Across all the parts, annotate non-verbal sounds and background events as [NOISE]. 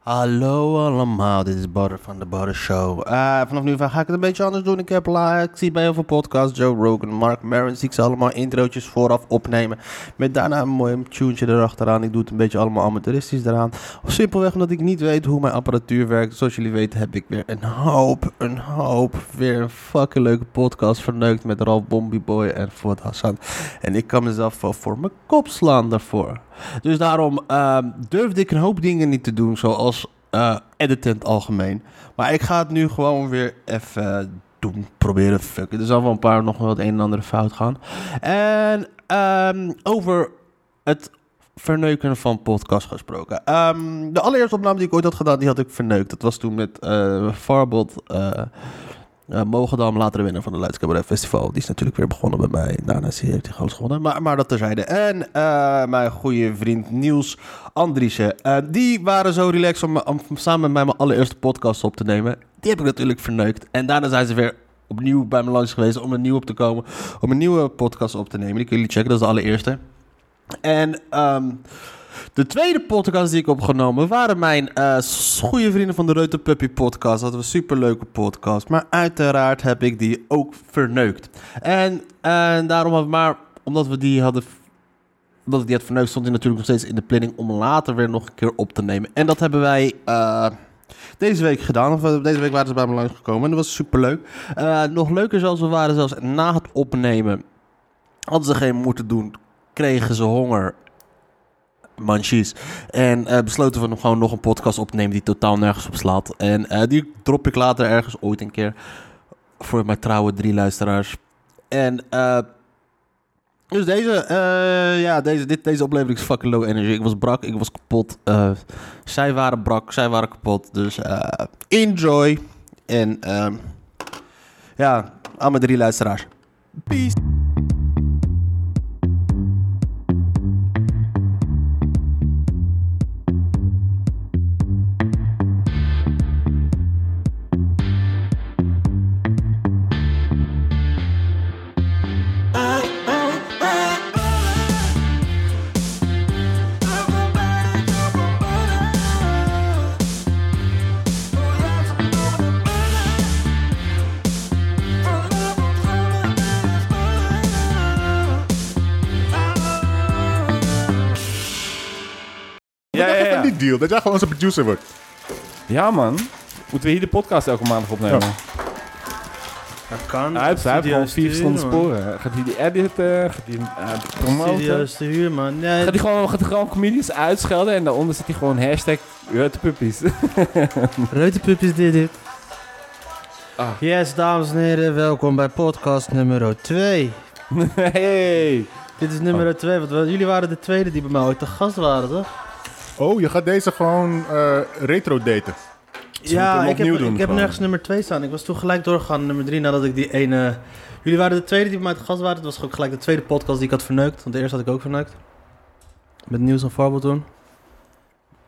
Hallo allemaal, dit is Barre van de Barre Show. Eh, vanaf nu van ga ik het een beetje anders doen. Ik heb la- ik zie bij heel veel podcasts, Joe Rogan, Mark Maron, zie ik ze allemaal introotjes vooraf opnemen. Met daarna een mooi tuneetje erachteraan. Ik doe het een beetje allemaal amateuristisch eraan. Simpelweg omdat ik niet weet hoe mijn apparatuur werkt. Zoals jullie weten heb ik weer een hoop, een hoop, weer een fucking leuke podcast verneukt met Ralf Bombieboy en Ford Hassan. En ik kan mezelf wel voor mijn kop slaan daarvoor. Dus daarom ehm, durfde ik een hoop dingen niet te doen, zoals eh editen in het algemeen. Maar ik ga het nu gewoon weer even doen, proberen te fucken. Er zal wel een paar nog wel het een en ander fout gaan. En ehm, over het verneuken van podcast gesproken. Ehm, de allereerste opname die ik ooit had gedaan, die had ik verneukt. Dat was toen met eh Farbot... eh, eh Mogendam, later de winnaar van de Leids Cabaret Festival. Die is natuurlijk weer begonnen bij mij. Daarna is hij- heeft hij goud gewonnen. Maar, maar dat terzijde. En eh, mijn goede vriend Niels Andriessen. Eh, die waren zo relaxed om, om samen met mij mijn allereerste podcast op te nemen. Die heb ik natuurlijk verneukt. En daarna zijn ze weer opnieuw bij me langs geweest om er nieuw op te komen. Om een nieuwe podcast op te nemen. Die kunnen jullie checken. Dat is de allereerste. En ehm, de tweede podcast die ik opgenomen waren mijn eh, s- goede vrienden van de Reuter Puppy podcast. Dat was een superleuke podcast. Maar uiteraard heb ik die ook verneukt. En, en daarom had maar, omdat we die hadden omdat ik die had verneukt, stond hij natuurlijk nog steeds in de planning om later weer nog een keer op te nemen. En dat hebben wij eh, deze week gedaan. Of, eh, deze week waren ze bij me langsgekomen en dat was superleuk. Eh nog leuker zelfs, we waren zelfs na het opnemen. Hadden ze geen moeten doen, kregen ze honger. Manchies. En eh, besloten we nog gewoon nog een podcast op te nemen die totaal nergens op slaat. En eh, die drop ik later ergens ooit een keer. Voor mijn trouwe drie luisteraars. En eh, dus deze, eh, ja, deze, dit, deze oplevering is fucking low energy. Ik was brak, ik was kapot. Eh, zij waren brak, zij waren kapot. Dus eh, enjoy. En ehm, ja, aan mijn drie luisteraars. Peace. Ja, ja, ja. die deal, dat jij gewoon zijn producer wordt. ja, man. Moeten we hier de podcast elke maandag opnemen? Ja. Dat kan. Hij heeft, hij heeft gewoon vier Studio's verschillende te huur, sporen. Gaat hij die editen? Gaat hij eh, man. promoten? Studio's te huur, man. Gaat Nee, hij gewoon, gaat hij gewoon comedians uitschelden en daaronder zit hij gewoon hashtag Puppies. [LAUGHS] Reuterpuppies dit dit. Ah. Yes, dames en heren, welkom bij podcast nummer 2. hey! Dit is Ah. nummer 2, want we- jullie waren de tweede die bij mij ooit te gast waren, toch? Oh, je gaat deze gewoon eh retro daten. moeten hem ik, heb, opnieuw doen ik heb gewoon. nergens nummer 2 staan. Ik was toen gelijk doorgegaan, nummer 3, nadat ik die ene... Jullie waren de tweede die bij mij te gast waren. Het was ook gelijk de tweede podcast die ik had verneukt, want de eerste had ik ook verneukt. Met nieuws en voorbeeld toen.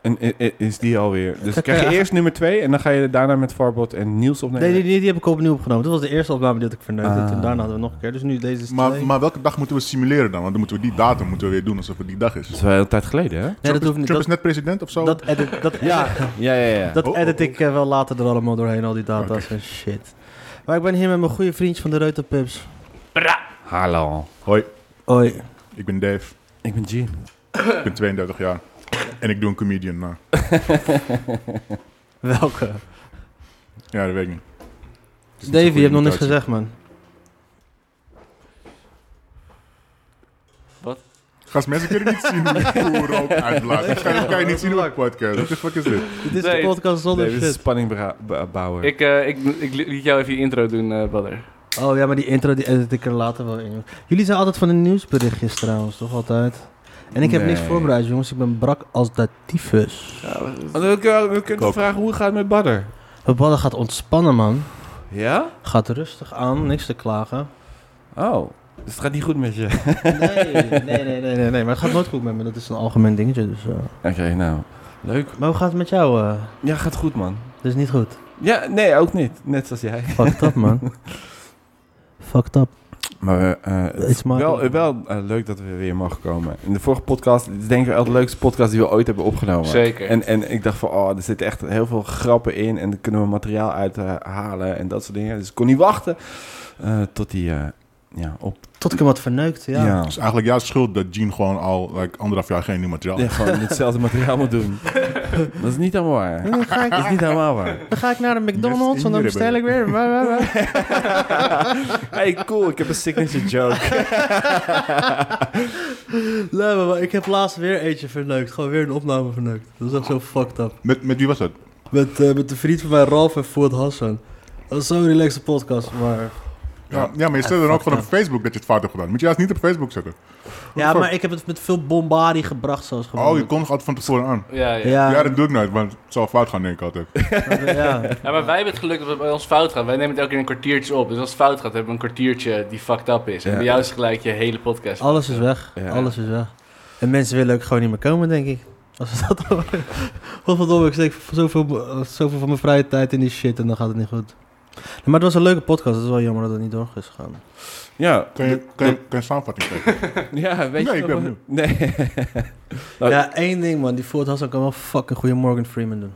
En i- i- is die alweer. Dus Kijk, krijg je eh, eerst nummer 2 en dan ga je daarna met Farbot en Niels opnemen. Nee, die, die, die heb ik opnieuw opgenomen. Dat was de eerste opname die had ik verneukt. En Ah. toen daarna hadden we nog een keer. Dus nu deze is twee. Maar, maar welke dag moeten we simuleren dan? Want dan moeten we die datum moeten we weer doen alsof het die dag is. Dat Trump, is wel een tijd geleden, hè? nee, dat hoeft niet. Trump Dat, is net president of zo? dat edit, dat Ja, ja, ja. ja. Dat [LAUGHS] Oh, oh, edit oh. ik eh, wel later er allemaal doorheen, al die data's en shit. Maar ik ben hier met mijn goede vriendje van de Reuterpups. Hallo. Hoi, Oi. ik ben Dave. Ik ben G. Ik ben 32 jaar. En ik doe een comedian. maar- Welke? ja, dat weet ik niet. Het is niet zo'n Davy, je goede hebt nog niks imitatie. gezegd, man. Gast, mensen kunnen niet zien [LAUGHS] hoe ik rook uitlaat. Waarschijnlijk kan je niet zien hoe ik podcast. What the fuck is dit? Dit is Nee. de podcast zonder David shit. Spanning bera- b- bouwen. Ik, eh, ik, ik li- liet jou even je intro doen, eh Badder. Oh ja, maar die intro die edit ik er later wel in. Jullie zijn altijd van de nieuwsberichtjes trouwens, toch altijd? En ik heb niks Nee. voorbereid, jongens. Ik ben brak als dat tyfus. Want we kunnen, we kunnen Koken. vragen hoe het gaat met Badder. Mijn ballen gaat ontspannen, man. Ja? Gaat rustig aan, niks te [LAUGHS] klagen. Oh. Dus het gaat niet goed met je. Oké, Nee, nee, nee, nee, nee, nee. Maar het gaat nooit goed met me. Dat is een algemeen dingetje, dus... eh. nou. Leuk. Maar hoe gaat het met jou? eh? Ja, gaat goed, man. Dat is niet goed. Ja, nee, ook niet. Net zoals jij. Fucked up, man. Fucked up. Maar we, eh, het Iets is wel, makkelijker. wel eh, leuk dat we weer mogen komen. In de vorige podcast, dit is denk ik wel de leukste podcast die we ooit hebben opgenomen. Zeker. En, en ik dacht van, oh, er zitten echt heel veel grappen in. En daar kunnen we materiaal uit eh, halen en dat soort dingen. Dus ik kon niet wachten eh, tot die, eh, ja, op... Tot ik hem had verneukt, ja. ja. Het is eigenlijk jouw schuld dat Gene gewoon al like, anderhalf jaar geen nieuw materiaal Ja, gewoon hetzelfde materiaal moet doen. Dat is niet helemaal waar. Dan ga, Dat is ik, niet helemaal waar. [LAUGHS] dan ga ik naar de McDonald's en dan bestel ik weer. Wa, wa, wa. [LAUGHS] Hey, cool, ik heb een signature joke. Nee, maar, maar ik heb laatst weer eentje verneukt. Gewoon weer een opname verneukt. Dat is echt zo fucked up. Met, met wie was dat? Met, eh, met de vriend van mij, Ralf en Ford Hassan. Dat is zo'n relaxte podcast, maar... Ja, ja maar je zet dan ook gewoon op Facebook dat je het fout hebt gedaan. Moet je juist niet op Facebook zetten. Ja, maar ik heb het met veel bombardie gebracht, zoals gewoon. Oh, je kondigt altijd van tevoren aan. Ja, ja. [LAUGHS] Ja, Ja, dat doe ik nooit, want het zal fout gaan, denk ik altijd. ja. Ja, maar wij hebben het geluk dat het bij ons fout gaat. Wij nemen het elke keer een kwartiertje op. Dus als het fout gaat, hebben we een kwartiertje die fucked up is. En Ja. bij jou is gelijk je hele podcast. Alles is weg. Ja. Alles is weg. En mensen willen ook gewoon niet meer komen, denk ik. Als we dat doen. [LAUGHS] Wat verdomme, ik steek zoveel, eh, zoveel van mijn vrije tijd in die shit en dan gaat het niet goed. Nee, Maar het was een leuke podcast. Het is wel jammer dat het niet door is gegaan. Ja, Kan je, kan je, kan je een samenvatting geven? [LAUGHS] ja weet Nee, je ik nog- ben benieuwd. Nee. Nou, ja, één ding man. Die Ford Hassan kan wel fucking goede Morgan Freeman doen.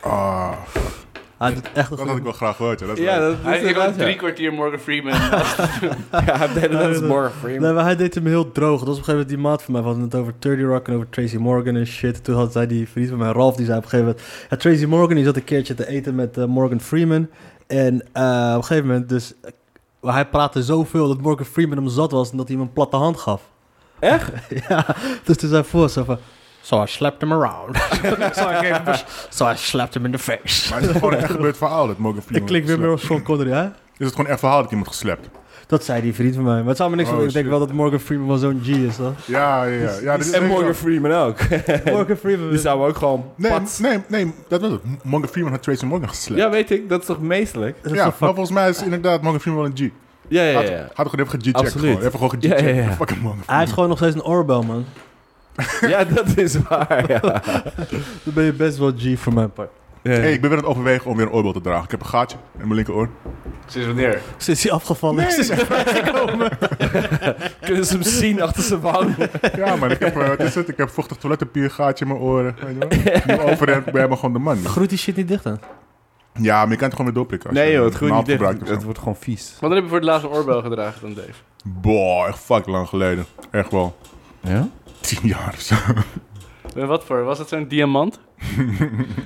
Ah, Hij doet echt een dat goede- had ik wel graag gehoord. Ja, dat is [LAUGHS] Ja, leuk. dat Hij is heeft ook inderdaad, ja. drie kwartier Morgan [LAUGHS] Freeman. Ja, hij deed dat is Morgan Nee, Freeman. maar hij deed hem heel droog. Dat was op een gegeven moment die maat van mij. We hadden het over 30 Rock en over Tracy Morgan en shit. Toen had zij die vriend van mij, Ralph, die zei op een gegeven moment... Ja, Tracy Morgan, die zat een keertje te eten met eh, Morgan Freeman. En eh, op een gegeven moment dus... eh, hij praatte zoveel dat Morgan Freeman hem zat was en dat hij hem een platte hand gaf. Echt? [LAUGHS] ja, dus toen zei Ford zo van... So I slapped him [LAUGHS] around. so, I gave him a- [LAUGHS] so I slapped him in the face. Maar is het gewoon een echt gebeurd verhaal dat Morgan Ik Freeman... klink weer meer geslapt? als Sean Connery, hè? Is het gewoon echt verhaal dat iemand geslept? Dat zei die vriend van mij. Maar het zou me niks Oh, van. Ik denk shit. wel dat Morgan Freeman wel zo'n G is, hoor. Ja, ja, ja. ja dat is En Morgan Freeman [LAUGHS] ook. Morgan Freeman. Die zou ook gewoon Nee, pats- nee, nee, dat was het. M- Morgan Freeman had Tracy Morgan geslept. Ja, weet ik. Dat is toch meestelijk? Ja, Dat is zo maar fucking- volgens mij is inderdaad Morgan Freeman wel een G. Ja, ja, Had, ja. had gewoon even ge-checkt. Absoluut. Gewoon. Even gewoon ge-checkt. Ja, ja, ja. Fucking Morgan Hij heeft gewoon nog steeds een oorbel, man. Ja, dat is waar, [LAUGHS] ja. Dan ben je best wel G voor mijn part. Ja. Hey, ik ben weer aan het overwegen om weer een oorbel te dragen. Ik heb een gaatje in mijn linkeroor. Sinds wanneer? Sinds hij afgevallen is, is hij vrijgekomen. Kunnen ze hem zien achter zijn [LAUGHS] wang? [LAUGHS] Ja, maar ik heb, eh, wat is het? Ik heb vochtig toiletpapier, gaatje in mijn oren. Weet je [LAUGHS] wel? Nu overhemd, ik ben helemaal gewoon de man. Groet die shit niet dicht dan. Ja, maar je kan het gewoon weer doorprikken. als Nee je joh, het een groeit niet naald dicht. gebruikt of zo. Het wordt gewoon vies. Wanneer heb je voor het laatst een oorbel gedragen dan Dave? Boah, echt fuck lang geleden. Echt wel. Ja? Tien jaar of zo. En Eh, wat voor? Was het zo'n diamant?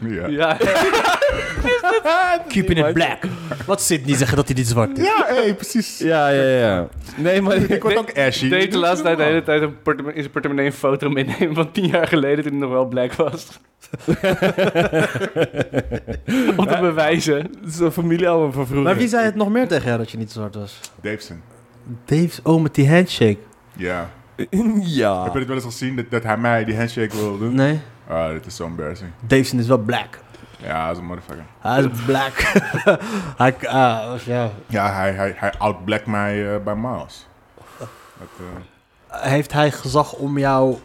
ja. Ja. [LAUGHS] Keep in it black. Wat Sidney zeggen dat hij niet zwart is? Ja, hey, precies. Ja, ja, ja. Nee, maar [LAUGHS] Ik word ook ashy. Dave de laatste tijd de hele tijd een portemo- in zijn portemonnee een foto meenemen van tien jaar geleden toen hij nog wel black [LAUGHS] was. [LAUGHS] Om te bewijzen. Het is een familiealbum van vroeger. Maar wie zei het nog meer tegen jou dat je niet zwart was? Daveson. Dave's oh met die handshake. Ja. Heb [LAUGHS] Ja. je dit wel eens gezien dat, dat hij mij die handshake wil doen? Nee? Ah, dit is zo embarrassing. Daveson is wel black. Ja, dat is een motherfucker. Hij is black. [LAUGHS] hij, ah, ja. Ja, hij, hij, hij outblack mij eh, bij Miles. Dat, eh, Heeft hij gezag om jou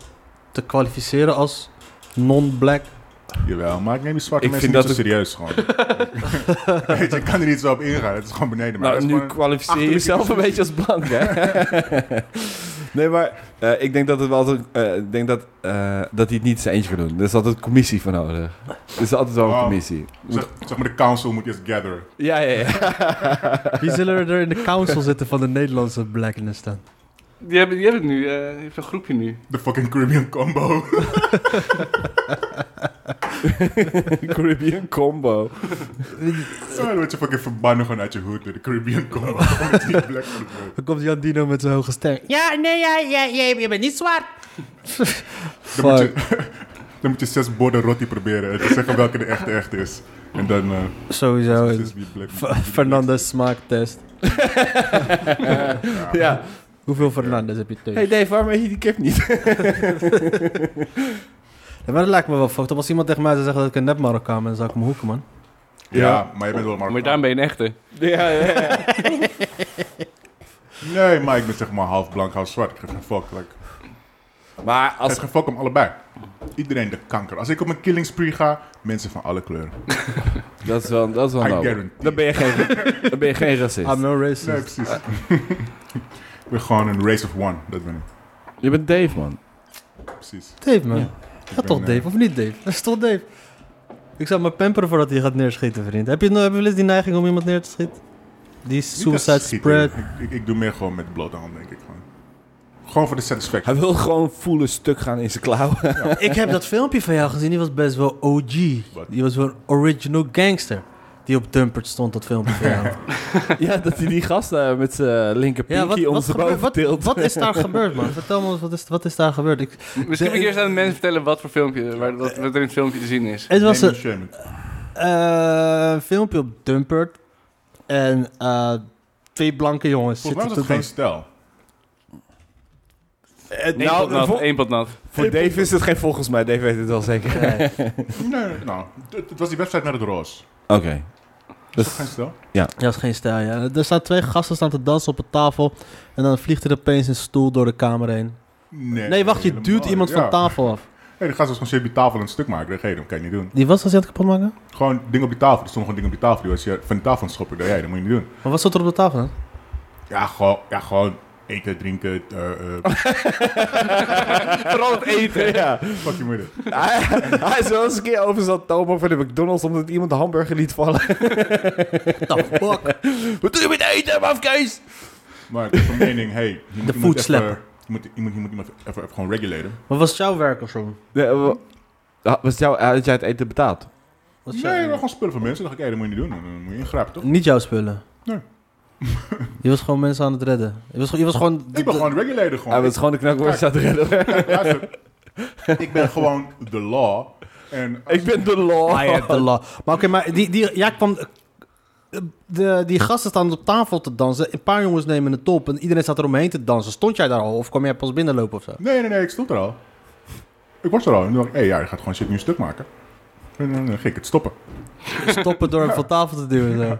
te kwalificeren als non-black? jawel, maar ik neem die zwarte Ik mensen vind niet zo dat serieus [LAUGHS] gewoon. Weet je, ik kan er niet zo op ingaan. Het is gewoon beneden mij. Nou, Dat is nu gewoon- kwalificeer je achterlijke jezelf een beetje als blank, hè? [LAUGHS] nee, maar eh, ik denk dat het wel altijd, eh, ik denk dat, eh, dat hij het niet zijn eentje gaat doen. Er is altijd een commissie voor nodig. Er is altijd wel een Wow. commissie. Zeg, zeg maar, de council moet eerst gatheren. Ja, ja, ja. Wie zullen er in de council zitten van de Nederlandse blackness dan? Die hebben, die hebben het nu, eh, die heeft een groepje nu. De fucking Caribbean [LAUGHS] combo. [LAUGHS] Caribbean combo. Zo, dan word je fucking verbannen gewoon uit je hoed door de Caribbean [LAUGHS] combo. Omdat je niet black moet worden. Dan komt Jan Dino met zijn hoge stem. Ja, nee, ja, ja, ja, je bent niet [LAUGHS] zwart. dan, moet je, [LAUGHS] dan moet je zes borden rotti proberen en te zeggen welke de echte echt is. En dan... eh, Sowieso. zes een wie black- wie F- black- Fernandes smaaktest. [LAUGHS] Ja. Hoeveel Fernandes heb je thuis? Hey Dave, waarom eet je die kip niet? Ja, maar dat lijkt me wel fucked up. Als iemand tegen mij zou zeggen dat ik een nep Marokkaan ben, dan zou ik me hoeken, man. Ja, maar je bent wel Marokkaan. Maar daarom ben je een echte. ja, ja, ja. Nee, maar ik ben zeg maar half blank, half zwart. Ik geef geen fuck. Like, Maar als... Ik als, geef geen fuck om allebei. Iedereen de kanker. Als ik op een killing spree ga, mensen van alle kleuren. [LAUGHS] Dat is wel, dat is wel I nodig. guarantee. Dan ben je geen, dan ben je geen I'm racist. no Nee, racist. precies. [LAUGHS] Ik ben gewoon een race of one, dat ben ik. Je bent Dave, man. Precies. Dave, man. Ja. Gaat toch ben, Dave, eh, of niet Dave? [LAUGHS] Dat is toch Dave? Ik zou maar pamperen voordat hij gaat neerschieten, vriend. Heb je, nou- hebben jullie die neiging om iemand neer te schieten? Die Niet echt suicide schieten. spread. Ik, ik, ik doe meer gewoon met blote hand, denk ik. Gewoon, gewoon voor de satisfaction. Hij wil gewoon voelen stuk gaan in zijn klauwen. ik heb dat filmpje van jou gezien, die was best wel OG. Wat? Die was wel een original gangster. Die op Dumpert stond, dat filmpje van [LAUGHS] jou. [LAUGHS] ja, dat hij die gast eh, met zijn linker ja, wat, pinkie om wat, zijn gebeurt- boven wat, tilt. wat is daar gebeurd, man? Vertel me eens, wat is, wat is daar gebeurd? Ik, Misschien moet ik eerst aan de mensen vertellen wat voor filmpje, waar, wat, wat er in het filmpje te zien is. het was Nee, een, niet shaming. eh, een filmpje op Dumpert. En eh, twee blanke jongens Volgens mij was zitten het te geen stijl. Eh, Eén pot nat, vol- één pot nat. voor Dave is het geen volgens mij. Dave weet het wel zeker. Oké. Nee. Nee, nou, het, het was die wedstrijd naar het roos. Dus- Geen stijl. Ja, dat is geen stijl, ja. Er staan twee gasten staan te dansen op een tafel. En dan vliegt er opeens een stoel door de kamer heen. Nee, Nee, wacht, je helemaal duwt niet. iemand Ja. van tafel af. Hey, die gast was gewoon shit op die tafel een stuk maken. Ik dacht, hey, dat kan je niet doen. Die was als je aan het kapot maken? Gewoon dingen op die tafel. Er stond gewoon dingen op die tafel. Die was je van de tafel aan het schoppen. Ik dacht, hey, dat moet je niet doen. Maar wat stond er op de tafel dan? Ja, gewoon, ja, gewoon eten, drinken. eh eh [LAUGHS] Vooral het eten. Ja. fuck je moeder. hij, hij is wel eens een keer over zijn topo van de McDonald's omdat iemand de hamburger liet vallen. [LAUGHS] Wat doe je met eten, mafkees? Maar ik heb van mening, hey, je moet De iemand food even- slapper. Je moet, je moet, je moet iemand even, even gewoon reguleren. Maar was het jouw werk of zo? eh, was jou, had jij het eten betaald? Was Nee, jouw- maar gewoon spullen van mensen. Dan dacht ik, hey, dat moet je niet doen. Dan moet je ingrijpen, toch? Niet jouw spullen? Nee. [LAUGHS] je was gewoon mensen aan het redden. Je was, gewoon- je was gewoon... Ik ben gewoon regulator gewoon. Hij was gewoon de knakworst aan het redden. Kijk, luister. ik ben gewoon de law. En Ik ben de law. I have the law. Maar oké, maar die, die, ja, ik kwam... De, die gasten staan op tafel te dansen. Een paar jongens nemen de top en iedereen staat er omheen te dansen. Stond jij daar al of kwam jij pas [LAUGHS] binnenlopen of zo? Nee, nee, nee, ik stond er al. Ik was er al. En toen dacht ik, hé, ja, je gaat gewoon shit nu stuk maken. En dan ging ik het stoppen. stoppen door hem van tafel te duwen. [LAUGHS]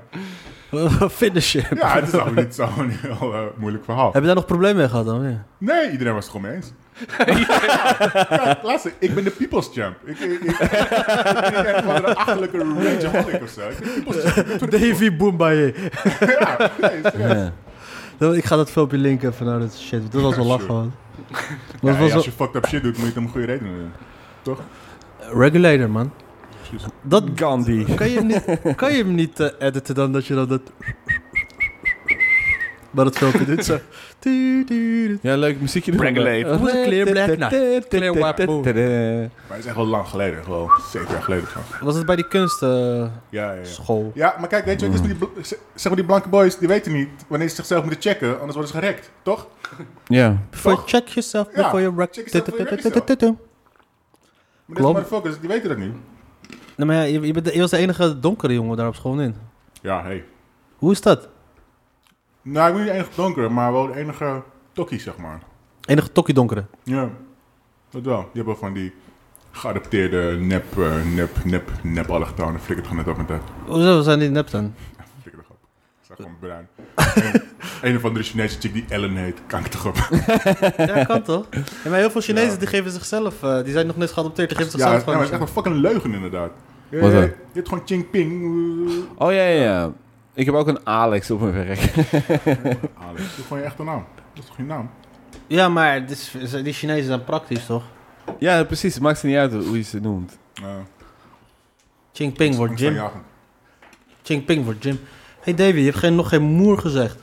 Zo. [LAUGHS] Finish him. Ja, het is nou niet zo'n heel eh, moeilijk verhaal. Heb je daar nog problemen mee gehad dan? Ja. Nee, iedereen was het gewoon mee eens. Kijk, luister, ik ben de people's champ. Ik, ik, ik, ik ben niet echt van een achterlijke rageaholic of zo. Ik ben de people's champ. Ik doe het Davy Boombaye. voor- Ja, nee, serieus. Ik ga dat filmpje linken even naar dat shit. Dat was wel lachen, Sure. man. Ja, Dat was als wel... je fucked up shit doet, moet je het om goede redenen doen. Toch? Regulator, man. Precies. Dat Gandhi. kan je hem niet, kan je hem niet eh, editen dan dat je dan dat... Maar dat filmpje doet zo... Tu, tu, tu. Ja, leuk muziekje. Brangleep. Was het Clear Black Night? Clear White Moon. Maar het is echt wel lang geleden. Gewoon zeven jaar geleden. gewoon. Was het bij die kunstschool? Ja, ja, ja. school? Ja, maar kijk, weet je wat het is met die, bl- z- zeg maar die blanke boys, die weten niet wanneer ze zichzelf moeten checken, anders worden ze gerekt, toch? Ja. Before Toch? check yourself Ja, before you wreck. check yourself before you wreck Maar deze Klopt. motherfuckers, die weten dat niet. Nou, maar ja, je, je, bent de, je was de enige donkere jongen daar op school in. Ja, hé. Hey. Hoe is dat? Nou, ik ben niet de enige donker, maar wel de enige tokkie, zeg maar. Enige tokkie donkere. Ja, dat wel. Die hebben van die geadopteerde nep, eh, nep, nep, nep alle gedaan. Dat flikkert gewoon net op met dat. Hoezo zijn die nep dan? Flikker toch op. Ze zijn gewoon bruin. En een of andere Chinese chick die Ellen heet, kan ik toch op. [LAUGHS] Ja, kan toch? Ja, maar heel veel Chinezen Ja. die geven zichzelf, eh, die zijn nog net geadopteerd, die geven Ja, zichzelf nou, maar gewoon. het is echt een fucking leugen inderdaad. Ja, Wat ja, dan? Je hebt gewoon Ching Ping. Oh ja, ja, ja. Ik heb ook een Alex op mijn werk. Alex, dat is gewoon je echte naam. Dat is toch geen naam? ja, maar het is- die Chinezen zijn praktisch toch? Ja, precies. Het maakt niet uit hoe je ze noemt. Eh, Chingping wordt angst van Jim. jagen. Chingping wordt Jim. Hey Davy, je hebt geen, nog geen moer gezegd.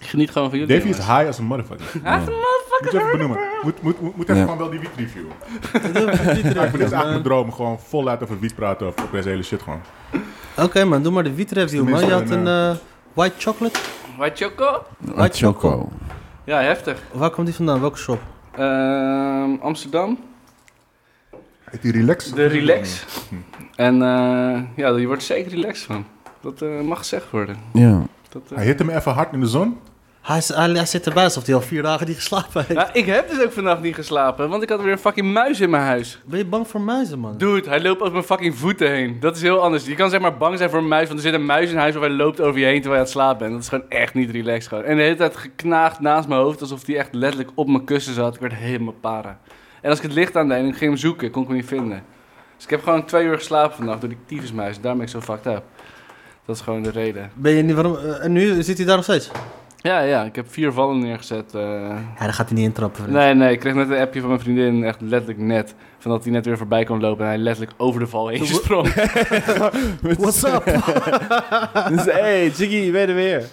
Ik geniet gewoon van jullie. Davy is high als een motherfucker. jongens. Ah, Moet je even benoemen. Moet, moet, moet, moet even Ja. gewoon wel die wiet reviewen. [LAUGHS] Dat durf ik niet te Ja, ik ben doen, dit is man. eigenlijk mijn droom. Gewoon voluit over wiet praten of over deze hele shit gewoon. Oké man, doe maar de wiet review man. Tenminste, Je had een, een eh, white chocolate. White Choco? Wat choco? Ja, heftig. Waar kwam die vandaan? Welke shop? Ehm, Amsterdam, Heet die relax? de Relax. Mhm. En eh, ja, je wordt zeker relaxed van. Dat eh, mag gezegd worden. Ja. Dat, eh, Hij hit hem even hard in de zon. Hij, is- hij, hij zit erbij alsof hij al vier dagen niet geslapen heeft. Nou, ik heb dus ook vannacht niet geslapen, want ik had weer een fucking muis in mijn huis. Ben je bang voor muizen man? Dude, hij loopt over mijn fucking voeten heen. Dat is heel anders. Je kan zeg maar bang zijn voor een muis, want er zit een muis in huis of hij loopt over je heen terwijl je aan het slapen bent. Dat is gewoon echt niet relaxed gewoon. En de hele tijd geknaagd naast mijn hoofd, alsof hij echt letterlijk op mijn kussen zat. Ik werd helemaal para. En als ik het licht aandeed en ik ging hem zoeken, kon ik hem niet vinden. Dus ik heb gewoon twee uur geslapen vannacht door die tyfusmuis. En Daarom ben ik zo fucked up. Dat is gewoon de reden. Ben je niet, waarom, eh, en nu zit hij daar nog steeds? Ja, ja, ik heb vier vallen neergezet. eh. Ja, daar gaat hij niet intrappen. vriend. Nee, nee, ik kreeg net een appje van mijn vriendin, echt letterlijk net. Van dat hij net weer voorbij kon lopen en hij letterlijk over de val heen sprong. What's up? Dus, hey, Jiggy, je bent er weer.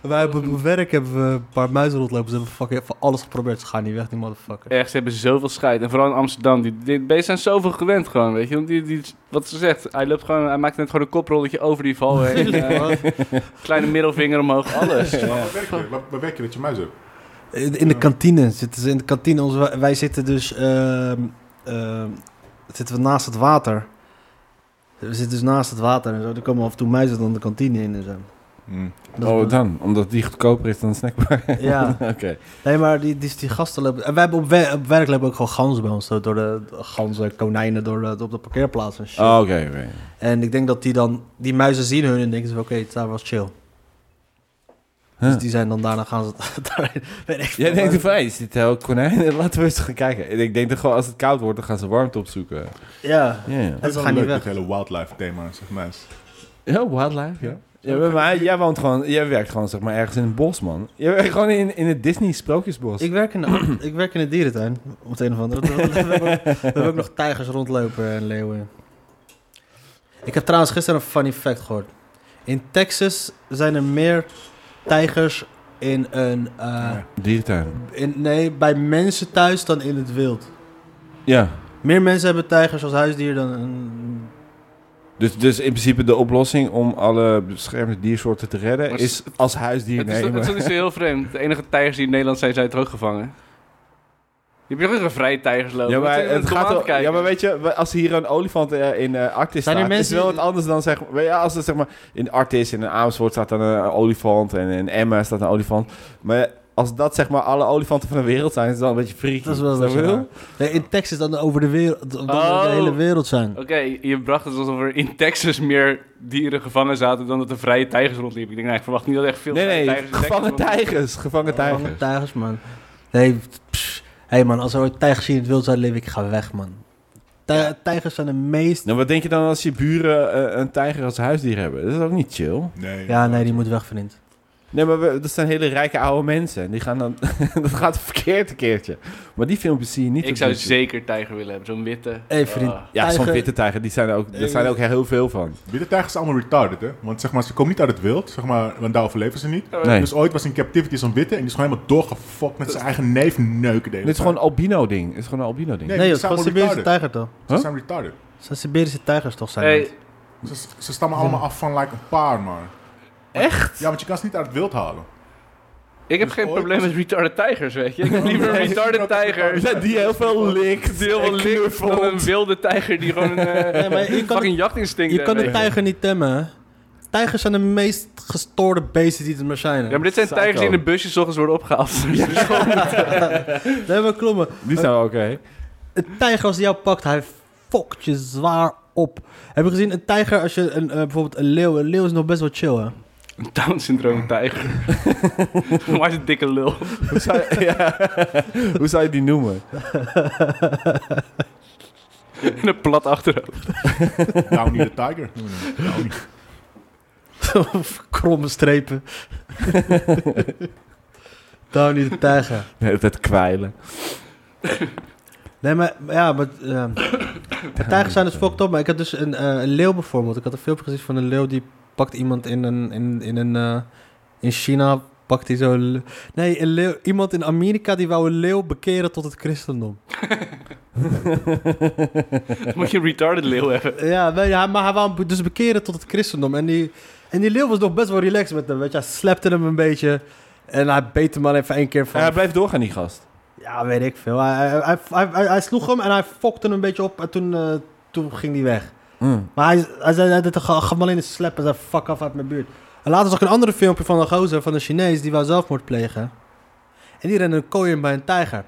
Wij hebben op mijn werk hebben we een paar muizen rondlopen. Ze hebben fucking van alles geprobeerd. Ze gaan niet weg, die motherfucker. Echt, ze hebben zoveel scheid. En vooral in Amsterdam, die, die beesten zijn zoveel gewend gewoon, weet je. Want die, die, wat ze zegt, hij, loopt gewoon, hij maakt net gewoon een koprolletje over die [LAUGHS] val heen. eh, kleine middelvinger omhoog, alles. Waar werk je? Waar- Waar werk je dat je muis hebt? In in de kantine zitten ze. In de kantine, onze, wij- wij zitten dus ehm, ehm, zitten we naast het water. We zitten dus naast het water en zo. Er komen af en toe muizen dan de kantine in en zo. Dat Oh, is- dan. Omdat die goedkoper is dan een snackbar. [LAUGHS] Ja, Oké. nee, maar die, die, die gasten lopen... En wij hebben op, wer- op werk lopen ook gewoon ganzen bij ons. zo Door de de ganzen, konijnen, door de, op de parkeerplaats en shit. Oh, oké, oké. En ik denk dat die dan... Die muizen zien hun en denken ze van, oké, het daar was chill. Dus Huh. die zijn dan daarna gaan ze [LAUGHS] daarin. Weet ik Jij veel. denkt van, hey, is dit heel konijn? [LAUGHS] Laten we eens gaan kijken. En Ik denk dat gewoon als het koud wordt, dan gaan ze warmte opzoeken. Ja. Ja, ja. Dat is ze wel gaan niet leuk, weg. dat hele wildlife thema, zeg maar. Heel wildlife, ja. Ja, maar- maar jij woont gewoon, jij werkt gewoon zeg maar ergens in een bos, man. Je werkt gewoon in, in het Disney sprookjesbos. Ik werk, in de, ik werk in de dierentuin, om het een of andere. We hebben, ook- we hebben ook nog tijgers rondlopen en leeuwen. Ik heb trouwens gisteren een funny fact gehoord. In Texas zijn er meer tijgers in een... eh, Dierentuin. in, nee, bij mensen thuis dan in het wild. Ja. Meer mensen hebben tijgers als huisdier dan... Een, Dus, dus in principe de oplossing om alle beschermde diersoorten te redden Maar is als huisdier Het is, nemen. het is niet zo heel vreemd. De enige tijgers die in Nederland zijn, zijn het ook gevangen. Je hebt hier ook een vrije tijgers lopen. Ja, Wat maar zit je het met om aan gaat te wel- kijken? ja, maar weet je, we- als hier een olifant eh, in eh Arctis Zijn er staat, is mensen het wel die- wat anders dan zeg maar, ja, als er zeg maar in Arctis in Amersfoort staat dan een olifant en in Emma staat een olifant. Maar als dat zeg maar alle olifanten van de wereld zijn, is het wel een beetje freaky. dat is wel Snap je raar. Nee, in Texas dan over de wereld, dan over de Oh. hele wereld zijn. Oké, je bracht het alsof er in Texas meer dieren gevangen zaten dan dat er vrije tijgers rondliepen. Ik denk, nou, ik verwacht niet dat er echt veel Nee, vrije nee, tijgers in Texas gevangen rondliepen. tijgers, gevangen tijgers. Lange tijgers, man. Nee, pss. hey man, als er ooit tijgers hier in het wild zijn leven, ik ga weg, man. Tij- Tijgers zijn de meest... Nou, wat denk je dan als je buren eh, een tijger als huisdier hebben? Dat is ook niet chill. Nee. Ja, nee, die moet weg, vriend. Nee, maar we- dat zijn hele rijke oude mensen. En Die gaan dan, [LAUGHS] dat gaat verkeerd een keertje. Maar die filmpjes zie je niet. Ik op zou YouTube. zeker tijger willen hebben, zo'n witte. hey, vriend. Ah. Ja, zo'n tijger- witte tijger, die zijn er ook, er zijn er ook heel veel van. Witte tijgers zijn allemaal retarded, hè? Want zeg maar, ze komen niet uit het wild, zeg maar, want daar overleven ze niet. Nee. Dus ooit was in captivity zo'n witte en die is gewoon helemaal doorgefokt met zijn eigen neef neuken. Dit is gewoon een albino-ding. Dit is gewoon een albino-ding. Nee, Nee, joh, die het is zijn gewoon allemaal Siberische retarded. tijger, toch? Ze Huh? zijn retarded. Het zijn Siberische tijgers, toch? Zijn Hey, het? Ze, ze stammen allemaal af van like een paar, man. Echt? Ja, want je kan ze niet uit het wild [LAUGHS] halen. ik heb Dus geen ooit- probleem met retarded tijgers, weet je. [LAUGHS] Ik heb liever [LAUGHS] een retarded tijger Ja, die heel veel likt. die heel en veel likt dan knuffelt. een wilde tijger die gewoon een [LAUGHS] eh, Nee, maar je kan, fucking jachtinstinct je kan heeft. de tijger niet temmen, hè? Tijgers zijn de meest gestoorde beesten die er maar zijn. hè? Ja, maar dit zijn tijgers die in de busjes 's ochtends worden opgehaald. [LAUGHS] Nee, maar klopt, maar Die zijn wel oké. Een tijger als die jou pakt, hij fokt je zwaar op. Heb je gezien, een tijger als je een, eh, bijvoorbeeld een leeuw... Een leeuw is nog best wel chill, hè? Een [LAUGHS] Down-syndroom tijger. [LAUGHS] maar is een dikke lul. [LAUGHS] Hoe, zou je- ja. [LAUGHS] Hoe zou je die noemen? En een plat [LAUGHS] achterhoofd. Downy the tiger. Nee, nee, Downy. Of [LAUGHS] kromme strepen. Tony de tijger. Nee, dat kwijlen. Nee, maar ja, maar... ehm, de tijgers zijn dus fucked up, maar ik had dus een, eh, een leeuw bijvoorbeeld. Ik had een filmpje gezien van een leeuw die pakt iemand in een... In, in, een, eh, in China pakt hij zo'n... le- Nee, een leeuw, iemand in Amerika die wou een leeuw bekeren tot het christendom. Dan moet je een retarded leeuw hebben. Ja, nee, ja, maar hij wou hem dus bekeren tot het christendom. En die, en die leeuw was nog best wel relaxed met hem, weet je. Hij slapte hem een beetje en hij beet hem maar even één keer van... hij blijft doorgaan, die gast. Ja, weet ik veel. Hij, hij, hij, hij, hij- hij sloeg hem en hij fokte hem een beetje op en toen, eh, toen ging hij weg. Mm. Maar hij, hij zei, hij deed- ga ga hem alleen eens slappen en zei, fuck af uit mijn buurt. En later zag ik een ander filmpje van een gozer, van een Chinees, die wou zelfmoord plegen. En die rende een kooi in bij een tijger.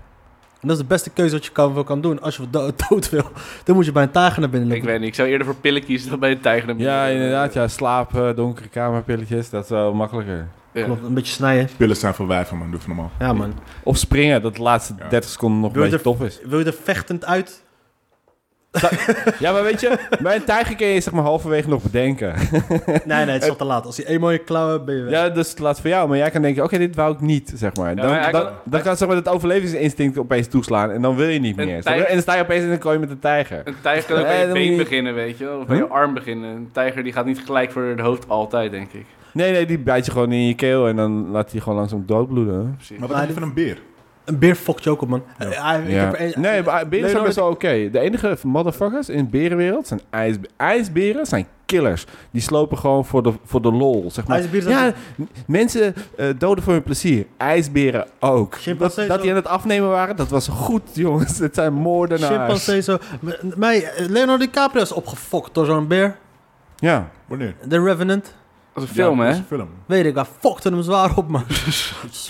En dat is de beste keuze wat je kan, voor kan doen. Als je do- [LAUGHS] dood wil, dan moet je bij een tijger naar binnen Ik lopen. weet niet, ik zou eerder voor pillen kiezen dan bij een tijger. Ja, inderdaad. Ja, slaap, eh, donkere kamerpilletjes. Dat is wel makkelijker. Ja. Klopt, een beetje snijden. Pillen zijn voor wijven, man. Doe even normaal. Ja, man. Of springen, dat de laatste Ja. 30 seconden nog een Doe het beetje top is. Wil je er vechtend uit? Ja, maar weet je, bij een tijger kun je zeg maar halverwege nog bedenken. Nee, nee, het is al te laat. Als hij eenmaal je klauwen hebt, ben je weg. Ja, dus het laat voor jou. Maar jij kan denken, oké, dit wou ik niet, zeg maar. Dan, maar hij dan, kan- dan kan zeg maar, het overlevingsinstinct opeens toeslaan en dan wil je niet Een meer. zeg maar. tijger- En dan sta je opeens in een kooi met een tijger. Een tijger kan ook bij Nee, je dat been moet je- beginnen, weet je wel. Of bij je Huh? arm beginnen. Een tijger die gaat niet gelijk voor het hoofd altijd, denk ik. Nee, nee, die bijt je gewoon in je keel en dan laat hij gewoon langzaam doodbloeden. Precies. Maar Maar wat heb je dit- van een beer? Een beer fokt je ook op, man. Ja. ik Ja. heb er een- Nee, maar eh, beren zijn Leonardo- best wel oké. De enige motherfuckers in de berenwereld zijn ijs, ijsberen, zijn killers. Die slopen gewoon voor de, voor de lol, zeg maar. IJsberen zijn- ja, n- mensen eh, doden voor hun plezier. IJsberen ook. Dat, Chimpansees dat die ook. aan het afnemen waren, dat was goed, [LAUGHS] jongens. Het zijn moordenaars. Chimpansee zo. M- Mij, eh, Leonardo DiCaprio is opgefokt door zo'n beer. Ja. Wanneer? The Revenant. Als een film, Ja, dat hè? is dus- een film. Weet ik, hij fokte hem zwaar op, man.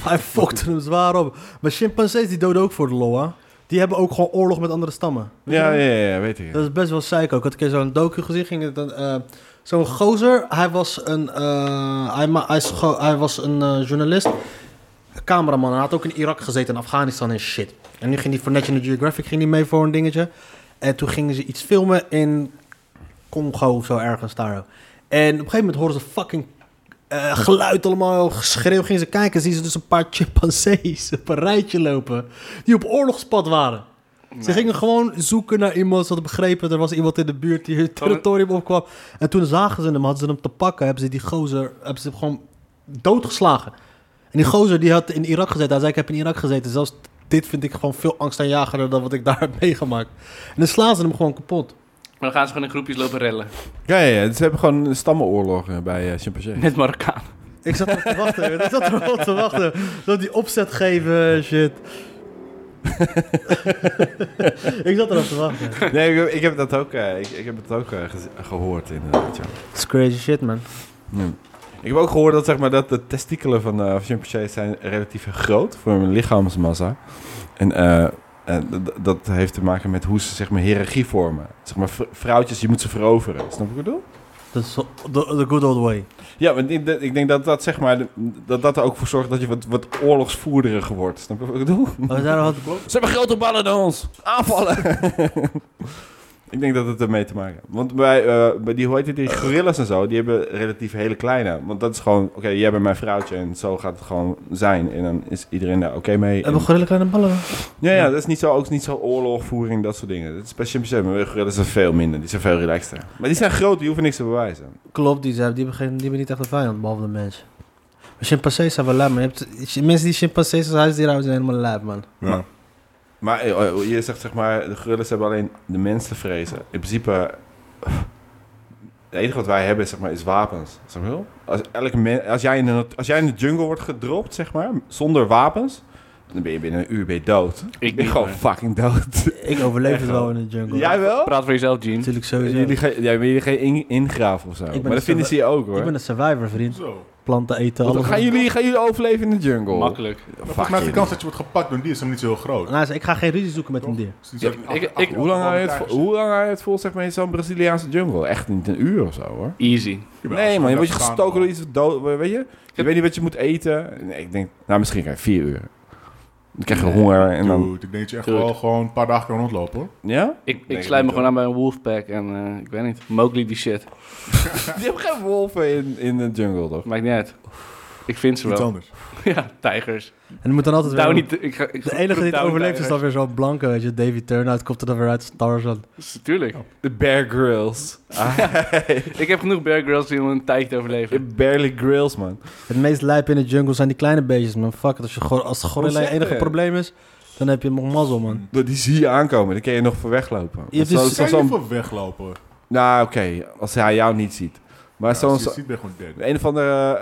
hij fokte hem zwaar op. Maar chimpansees die doden ook voor de lol, hè. Die hebben ook gewoon oorlog met andere stammen. Ja, ja, ja, ja, weet ik. Dat is best wel psycho. Ik had een keer zo'n docu gezien. Ging het dan, eh, zo'n gozer, hij was een, eh, hij, ma- hij, scho- hij was een eh, journalist, een cameraman. Hij had ook in Irak gezeten, in Afghanistan en shit. En nu ging hij voor National Geographic ging hij mee voor een dingetje. En toen gingen ze iets filmen in Congo of zo ergens daar. En op een gegeven moment horen ze fucking eh, geluid allemaal, geschreeuw. Gingen ze kijken, zien ze dus een paar chimpansees op een rijtje lopen. Die op oorlogspad waren. Ze gingen gewoon zoeken naar iemand. Ze hadden begrepen, er was iemand in de buurt die hun territorium opkwam. En toen zagen ze hem, hadden ze hem te pakken. Hebben ze die gozer, hebben ze hem gewoon doodgeslagen. En die gozer die had in Irak gezeten. Hij zei, ik heb in Irak gezeten. Zelfs dit vind ik gewoon veel angstaanjagender dan wat ik daar [LAUGHS] heb meegemaakt. En dan slaan ze hem gewoon kapot. Maar dan gaan ze gewoon in groepjes lopen rellen. Ja, ja, ja, ze hebben gewoon een stammenoorlog bij eh [LAUGHS] chimpansees. Met Marokkaan. Ik zat erop te wachten. [LAUGHS] ik zat erop te wachten. Dat die opzet geven, shit. [LAUGHS] ik zat erop te wachten. Nee, ik, heb- ik heb dat ook, eh, ik, ik heb het ook eh, gez- gehoord inderdaad, ja. It's crazy shit, man. Ja. Ik heb ook gehoord dat, zeg maar, dat de testikelen van eh, van chimpansees zijn relatief groot voor hun lichaamsmassa. En eh, eh, d- d- dat heeft te maken met hoe ze zeg maar, hiërarchie vormen. Zeg maar, vr- vrouwtjes, je moet ze veroveren. Snap je wat ik bedoel? Dat is the, the good old way. Ja, want ik, denk- ik denk dat dat, zeg maar, de- dat dat er ook voor zorgt dat je wat, wat oorlogsvoerderiger wordt. Snap je wat ik bedoel? Maar daar had Ze hebben grote ballen dan ons. Aanvallen. [LAUGHS] ik denk dat het ermee te maken heeft. Want bij, eh, bij die, hoe heet het, die gorillas en zo, die hebben relatief hele kleine. Want dat is gewoon, oké, jij bent mijn vrouwtje en zo gaat het gewoon zijn. En dan is iedereen daar oké mee. En- Hebben gorilla kleine ballen? ja, ja, dat is niet zo, ook niet zo oorlogvoering, dat soort dingen. Dat is bij chimpansees, maar bij gorillas zijn veel minder. Die zijn veel relaxter. Maar die zijn groot, die hoeven niks te bewijzen. Klopt, die, zijn, die, hebben geen, die hebben niet echt een vijand, behalve de mens. Maar chimpansees zijn wel lijp, man. Je hebt, mensen die chimpansees als huisdieren houden zijn helemaal lijp, man. Ja. Maar eh, eh, je zegt zeg maar, de gorillas hebben alleen de mensen te vrezen. In principe, het enige wat wij hebben zeg maar, is wapens. Snap je wel? Als, elke men, als, jij in de, nat- als jij in de jungle wordt gedropt, zeg maar, zonder wapens, dan ben je binnen een uur ben je dood. Ik ben niet, gewoon hoor. fucking dood. Ik overleef Echt het wel in de jungle. Jij wel? Praat voor jezelf, Gene. Natuurlijk sowieso. Jullie gaan, ja, maar jullie gaan in, ingraven of zo. ben Maar dus dat een vinden ze je ook hoor. Ik ben een survivor, vriend. Zo. Planten eten, Want alles. gaan, jullie, gaan jullie overleven in de jungle? Makkelijk. Volgens mij is de kans dat je wordt gepakt door een dier is hem niet zo heel groot. Nou, ik ga geen ruzie zoeken met een dier. Dus die zijn Ik- achter- ik- achter- ik- Hoe lang achter- hou je het, achter- vol- hoe lang hou je het vol zeg maar, in zo'n Braziliaanse jungle? Echt niet een uur of zo hoor. Easy. Ja, Nee, man, je wordt dat gaan gestoken we. door iets wat dood. Weet je? Je heb- weet niet wat je moet eten. Nee, ik denk, nou, misschien krijg je vier uur. Dan krijg je honger en dan. Dude, ik denk dat je echt Dude. wel gewoon een paar dagen kan rondlopen hoor. Ja? [LAUGHS] Ik, Nee, ik sluit me niet, gewoon aan bij een wolfpack en eh, ik weet niet. Mowgli die shit. Die hebben geen wolven in, in de jungle, toch? Maakt niet uit. Ik vind ze Iets wel. anders. [LAUGHS] Ja, tijgers. En er moet dan altijd weer... Down niet. Ik ga, ik De enige die het Down overleeft is dan tijgers. weer zo'n blanke, weet je. Davy Turnout komt er dan weer uit als Tarzan. Tuurlijk. De Bear [LAUGHS] Grylls. Ik heb genoeg Bear Grylls die om een tijdje te overleven. Barely Grills, man. Het meest lijp in de jungle zijn die kleine beestjes, man. Fuck it, als, je gor- als de gorilla je Ontzettend. enige probleem is, dan heb je nog mazzel, man. Die zie je aankomen, dan kun je nog voor weglopen. Je hebt Zo- dus- zo- Kan je zo'n- niet voor weglopen? nou, oké, als hij jou niet ziet. Maar Ja, zo'n. Nou, als je het ziet ben je gewoon dead. Een of andere,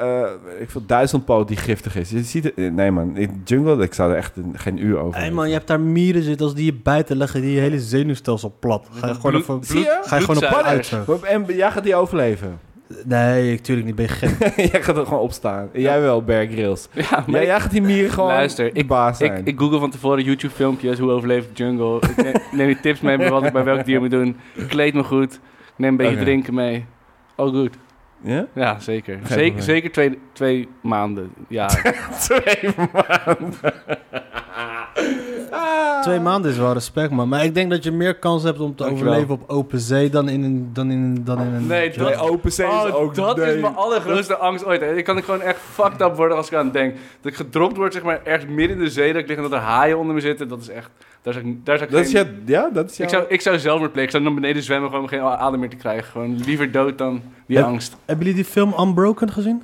eh ik vind duizendpoot die giftig is. Je ziet het, nee man, in de jungle, ik zou er echt een- geen uur over Hé hebben. man, je hebt daar mieren zitten, als die je bijten leggen, die je hele zenuwstelsel plat. Ga je gewoon Bloed- even... Zie je? Ga je gewoon op bloedzuigers. uit, zo. Maar- En jij gaat die overleven. Nee, ik- tuurlijk niet, ben je gek. [LAUGHS] jij gaat er gewoon opstaan. En Jij wel, Bear Grylls. Ja, Jij, maar jij gaat die mieren gewoon Luister, de baas ik, zijn. ik google van tevoren YouTube filmpjes. Hoe overleef ik jungle? Ik neem, [LAUGHS] neem die tips mee bij wat ik bij welk dier moet doen. Kleed me goed. Neem een beetje Oké. drinken mee. All good. Ja? Ja, zeker. probleem. Zeker, zeker twee, twee maanden. Ja. Twee maanden. Twee maanden is wel respect, man. Maar ik denk dat je meer kans hebt om te Dankjewel. overleven op open zee dan in een... Dan in, een- dan in een Nee, Ja. dat- [LAUGHS] Nee, open zee is Oh, ook... dat nee. is mijn allergrootste angst ooit. Ik kan ik gewoon echt fucked up worden als ik aan denk. Dat ik gedropt word, zeg maar, ergens midden in de zee. Dat ik lig en dat er haaien onder me zitten. Dat is echt... Daar zou ik, daar zou ik Dat is geen- je... Ja, dat is ik, jouw- zou, ik zou zelf maar plek. Ik zou naar beneden zwemmen, gewoon om geen adem meer te krijgen. Gewoon liever dood dan die Ja. angst. Hebben jullie die film Unbroken gezien?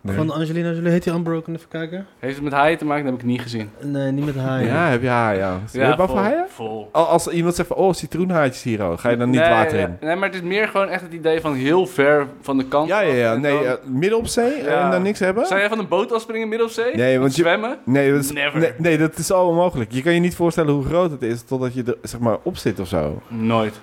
Nee. Van Angelina Jolie. Heet die Unbroken? Even kijken. Heeft het met haaien te maken? Dat heb ik niet gezien. Nee, niet met haar. Ja, heb je haar, ja. Heb je Ja, bang vol, voor haaien? Vol. Al- Als iemand zegt van, oh, citroenhaartjes hier, oh, ga je dan niet nee, water in? ja, Nee, maar het is meer gewoon echt het idee van heel ver van de kant. Ja, ja, ja. af en Nee, dan- eh, midden op zee Ja. en dan niks hebben? Zou jij van een boot afspringen in Middelzee? Nee, Of want je- zwemmen? Nee dat, is, Never. nee, nee, dat is al onmogelijk. Je kan je niet voorstellen hoe groot het is totdat je er zeg maar, op zit of zo. Nooit.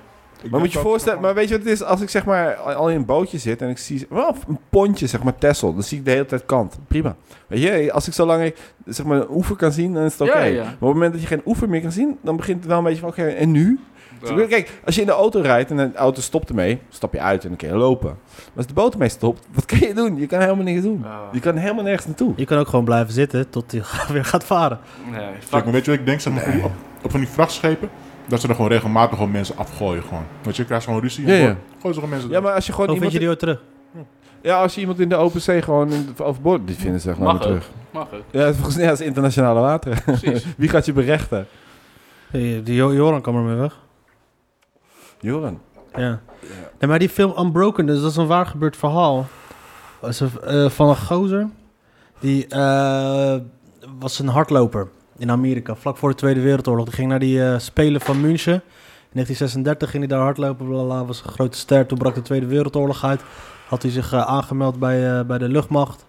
Maar moet je voorstellen, maar weet je wat het is? Als ik zeg maar al al in een bootje zit en ik zie wel of een pontje, zeg maar Tessel, dan zie ik de hele tijd kant. Prima. Weet je, als ik zolang ik zeg maar een oever kan zien, dan is het Ja, oké. ja. Maar op het moment dat je geen oever meer kan zien, dan begint het wel een beetje van oké, en nu? Ja. Dus Kijk, als je in de auto rijdt en de auto stopt ermee, stap je uit en dan kun je lopen. Maar als de boot ermee stopt, wat kan je doen? Je kan helemaal niks doen. Ah. Je kan helemaal nergens naartoe. Je kan ook gewoon blijven zitten tot hij [LAUGHS] weer gaat varen. Nee, fuck. Kijk, maar weet je wat ik denk? Zeg maar, op, op van die vrachtschepen, dat ze er gewoon regelmatig gewoon mensen afgooien. Gewoon. Want je krijgt gewoon ruzie. Ja, en ja. gewoon- Gooien ze gewoon mensen Ja, maar als je gewoon Hoe vind iemand... je die weer terug? Ja, als je iemand in de open zee gewoon in- overboord... Dit vinden ze echt Mag gewoon weer ook. terug. Mag ook, Ja, volgens mij is het internationale water. [LAUGHS] precies. Wie gaat je berechten? Hey, Die Jo- Joran kwam er mee weg. Joran. Ja. Nee, maar die film Unbroken, dus dat is een waar gebeurd verhaal. Was een, eh, van een gozer. Die eh, was een hardloper in Amerika, vlak voor de Tweede Wereldoorlog. Die ging naar die eh, Spelen van München. In 1936 ging hij daar hardlopen, blablabla, was een grote ster. Toen brak de Tweede Wereldoorlog uit. Had hij zich eh, aangemeld bij, eh, bij de luchtmacht.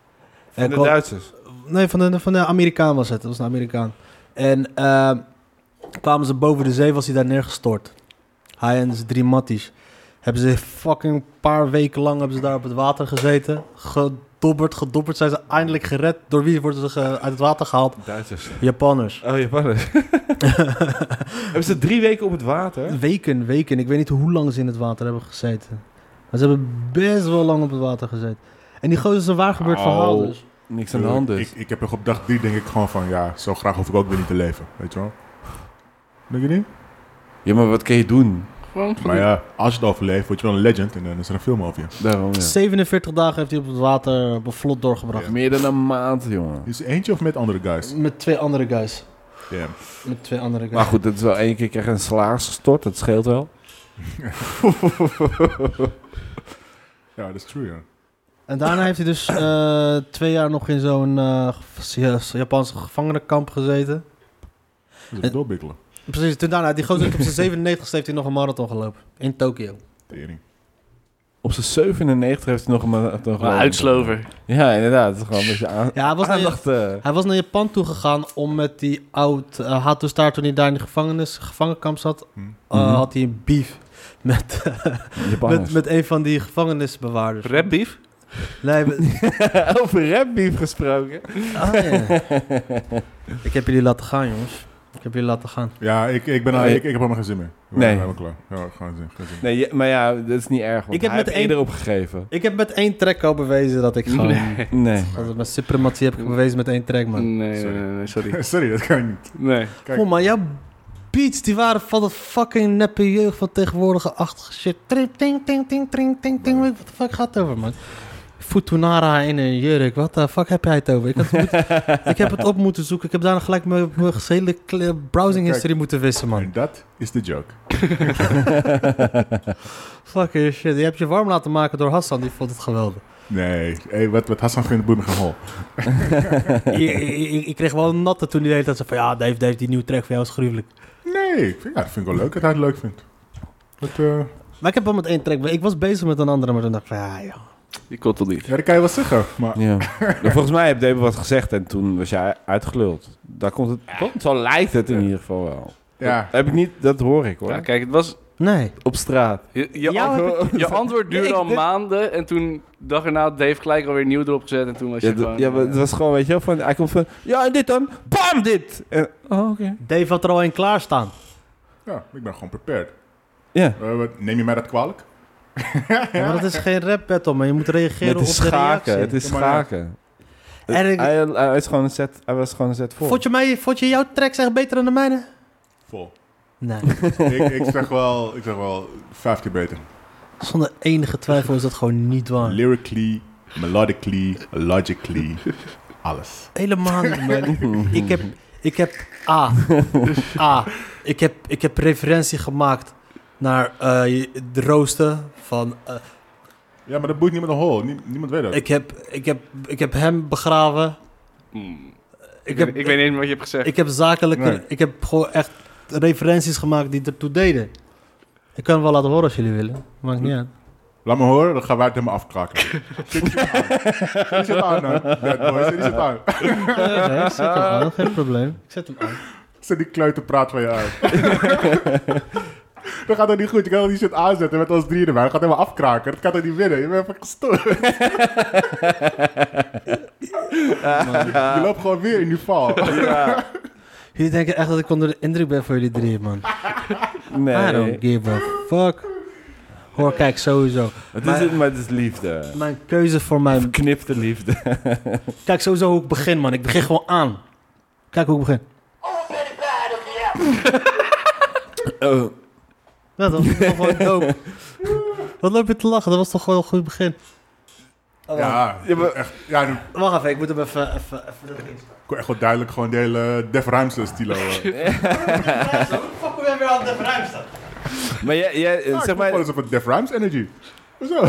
En En de kwam- Duitsers. Nee, van de, van de Amerikaan was het. Dat was een Amerikaan. En eh, kwamen ze boven de zee, was hij daar neergestort. Hij en zijn drie matties. Hebben ze fucking paar weken lang hebben ze daar op het water gezeten. Gedobberd, gedobberd. Zijn ze eindelijk gered. Door wie worden ze ge- uit het water gehaald? Duitsers. Japanners. Oh, [LAUGHS] Japanners. Hebben ze drie weken op het water? Weken, weken. Ik weet niet hoe lang ze in het water hebben gezeten. Maar ze hebben best wel lang op het water gezeten. En die gozer is een waar gebeurd Au. verhaal dus. Niks aan de hand dus. Ik, ik heb er op dag drie denk ik gewoon van, ja, zo graag hoef ik ook weer niet te leven. Weet je wel? Denk je niet? Ja, maar wat kun je doen? Gewoon Maar ja, als je het overleeft, word je wel een legend en dan is er een film over je. Daarom, ja. 47 dagen heeft hij op het water op een vlot doorgebracht. Meer dan een maand, jongen. Is het eentje of met andere guys? Met twee andere guys. Damn. Met twee andere Maar goed, dat is wel één keer krijg je een salaris gestort. Dat scheelt wel. Ja, dat is true, ja. En daarna heeft hij dus eh, twee jaar nog in zo'n eh, gev- ja, zo'n Japanse gevangenenkamp gezeten. Dat is doorbikkelen. Precies, toen daarna, die gozer heeft op zijn 97 heeft hij nog een marathon gelopen. In Tokio. Tering. Op zijn 97 heeft hij nog een maand. een uitslover. Ja, inderdaad. Het is gewoon een beetje aan... Ja, hij [LAUGHS] was, naar, aandacht. eh. hij was naar Japan toegegaan om met die oud... eh, had dus daar, toen hij daar in de gevangenis, gevangenkamp zat, Hm. eh, Mhm. had hij een beef met, Japanners. met, met een van die gevangenisbewaarders. Rap beef? Nee, we- [LAUGHS] [LAUGHS] Over rapbeef gesproken. ah, ja. Ik heb jullie laten gaan, jongens. Ik heb jullie laten gaan. Ja, ik, ik, ben, al- Nee. ik, ik heb helemaal geen zin meer. We Nee. zijn Helemaal klaar. Ja, gewoon zin. Geen zin. Nee, je- maar ja, dat is niet erg. Want Ik heb hij met heeft één- eerder opgegeven. Ik heb met één track al bewezen dat ik gewoon... Nee. Dat is mijn suprematie heb ik bewezen met één track, man. Nee, Sorry. nee, nee, [LAUGHS] sorry. Sorry, dat kan ik niet. Nee. Kijk. Kom maar, jouw beats, die waren van dat fucking neppe jeugd van tegenwoordige achtige shit. Tring, ting, ting, ting, ting, ting, ting. Wat de fuck gaat het over, man? Futunara in een jurk. Wat de fuck heb jij het over? Ik, had het moeten- ik heb het op moeten zoeken. Ik heb daarna gelijk mijn, mijn hele kle- browsing history moeten wissen, man. En dat is de joke. Fucking shit. Je hebt je warm laten maken door Hassan. Die vond het geweldig. Nee, hey, wat, wat Hassan vindt, boeit me geen hol. ik, ik- ik- ik kreeg wel een natte toen die deed dat ze van... Ja, Dave, Dave, die nieuwe track van jou is gruwelijk. Nee, ik vind, ja, ik vind ik wel leuk dat hij het leuk vindt. Dat, eh, Maar ik heb wel met één track... Ik was bezig met een andere, maar toen dacht ik van... Ja, joh. Die komt er niet. ja, dat kan je wel zeggen, maar... [LAUGHS] Ja. Nou, Volgens mij heb Dave wat gezegd en toen was jij uitgeluld. Daar komt het. toch? Zo lijkt het in ieder geval wel. Ja, Dat, heb ik niet, dat hoor ik hoor. Ja, kijk, het was... Nee. Op straat. Je, je, Jou antwoord, [LAUGHS] je antwoord duurde Nee, ik- al dit- maanden en toen dag erna had Dave gelijk alweer nieuw erop gezet en toen was je Ja, d- gewoon... eh, ja, maar het was gewoon, weet je wel, van, hij komt van, ja, en dit dan, bam, dit! En, oh, oké. Dave had er al een klaarstaan. ja, ik ben gewoon prepared. Ja. Eh, wat- neem je mij dat kwalijk? Ja, maar dat is geen rap battle, man. Je moet reageren Het is op de schaken. reactie. Het is Ja, maar ja. schaken. En ik- Hij, hij is gewoon een set, hij was gewoon een set voor. Vond je, mij, vond je jouw tracks echt beter dan de mijne? Vol. [LAUGHS] Nee. ik, ik, zeg wel, ik zeg wel vijf keer beter. Zonder enige twijfel is dat gewoon niet waar. Lyrically, melodically, [LAUGHS] logically, alles. Helemaal niet, [LAUGHS] man. [LAUGHS] ik heb... Ik heb... A. A. Ik heb, ik heb referentie gemaakt naar eh, de roosten van... eh, Ja, maar dat boeit niemand een hol. Nie- niemand weet dat. ik, heb, ik, heb, ik heb hem begraven. Hmm. Ik Ik, heb, weet, ik weet niet meer wat je hebt gezegd. ik heb zakelijke... Nee. Ik heb gewoon echt referenties gemaakt die ertoe deden. Ik kan hem wel laten horen als jullie willen. Maakt niet [LAUGHS] uit. Laat me horen, dan gaan wij het helemaal afkraken. Zet die shit aan. Zet die shit aan, man. Bad boy, zet die shit aan. Nee, ik zet hem aan, geen probleem. Ik zet hem aan. Zet die kluitenpraat van je [LAUGHS] uit. dat gaat toch niet goed. Je kan toch die shit aanzetten met ons drieën erbij. Dat gaat helemaal afkraken. Dat kan toch niet winnen. Je bent even gestoord. je loopt gewoon weer in die val. Jullie denken echt dat ik onder de indruk ben van jullie drie, man. I [LAUGHS] Nee. don't give a fuck. Hoor, kijk, sowieso. Het is, Maar- het, maar het is liefde. Mijn keuze voor mijn... Verknipte liefde. Kijk, sowieso hoe ik begin, man. Ik begin gewoon aan. Kijk hoe ik begin. Oh, Ja, dat was toch gewoon dope. [LAUGHS] Wat loop je te lachen? Dat was toch wel een goed begin. Ja, Ja, maar- echt, ja, nu Wacht even, ik moet hem even... even, even... kon echt wel duidelijk gewoon de hele Def Ruimste [LAUGHS] stilo. eh. Fuck, hoe ben weer aan de ruimte staan? maar jij, jij, eh, Ja, zeg maar, Alles op het Def Rhymes energy. Hoezo?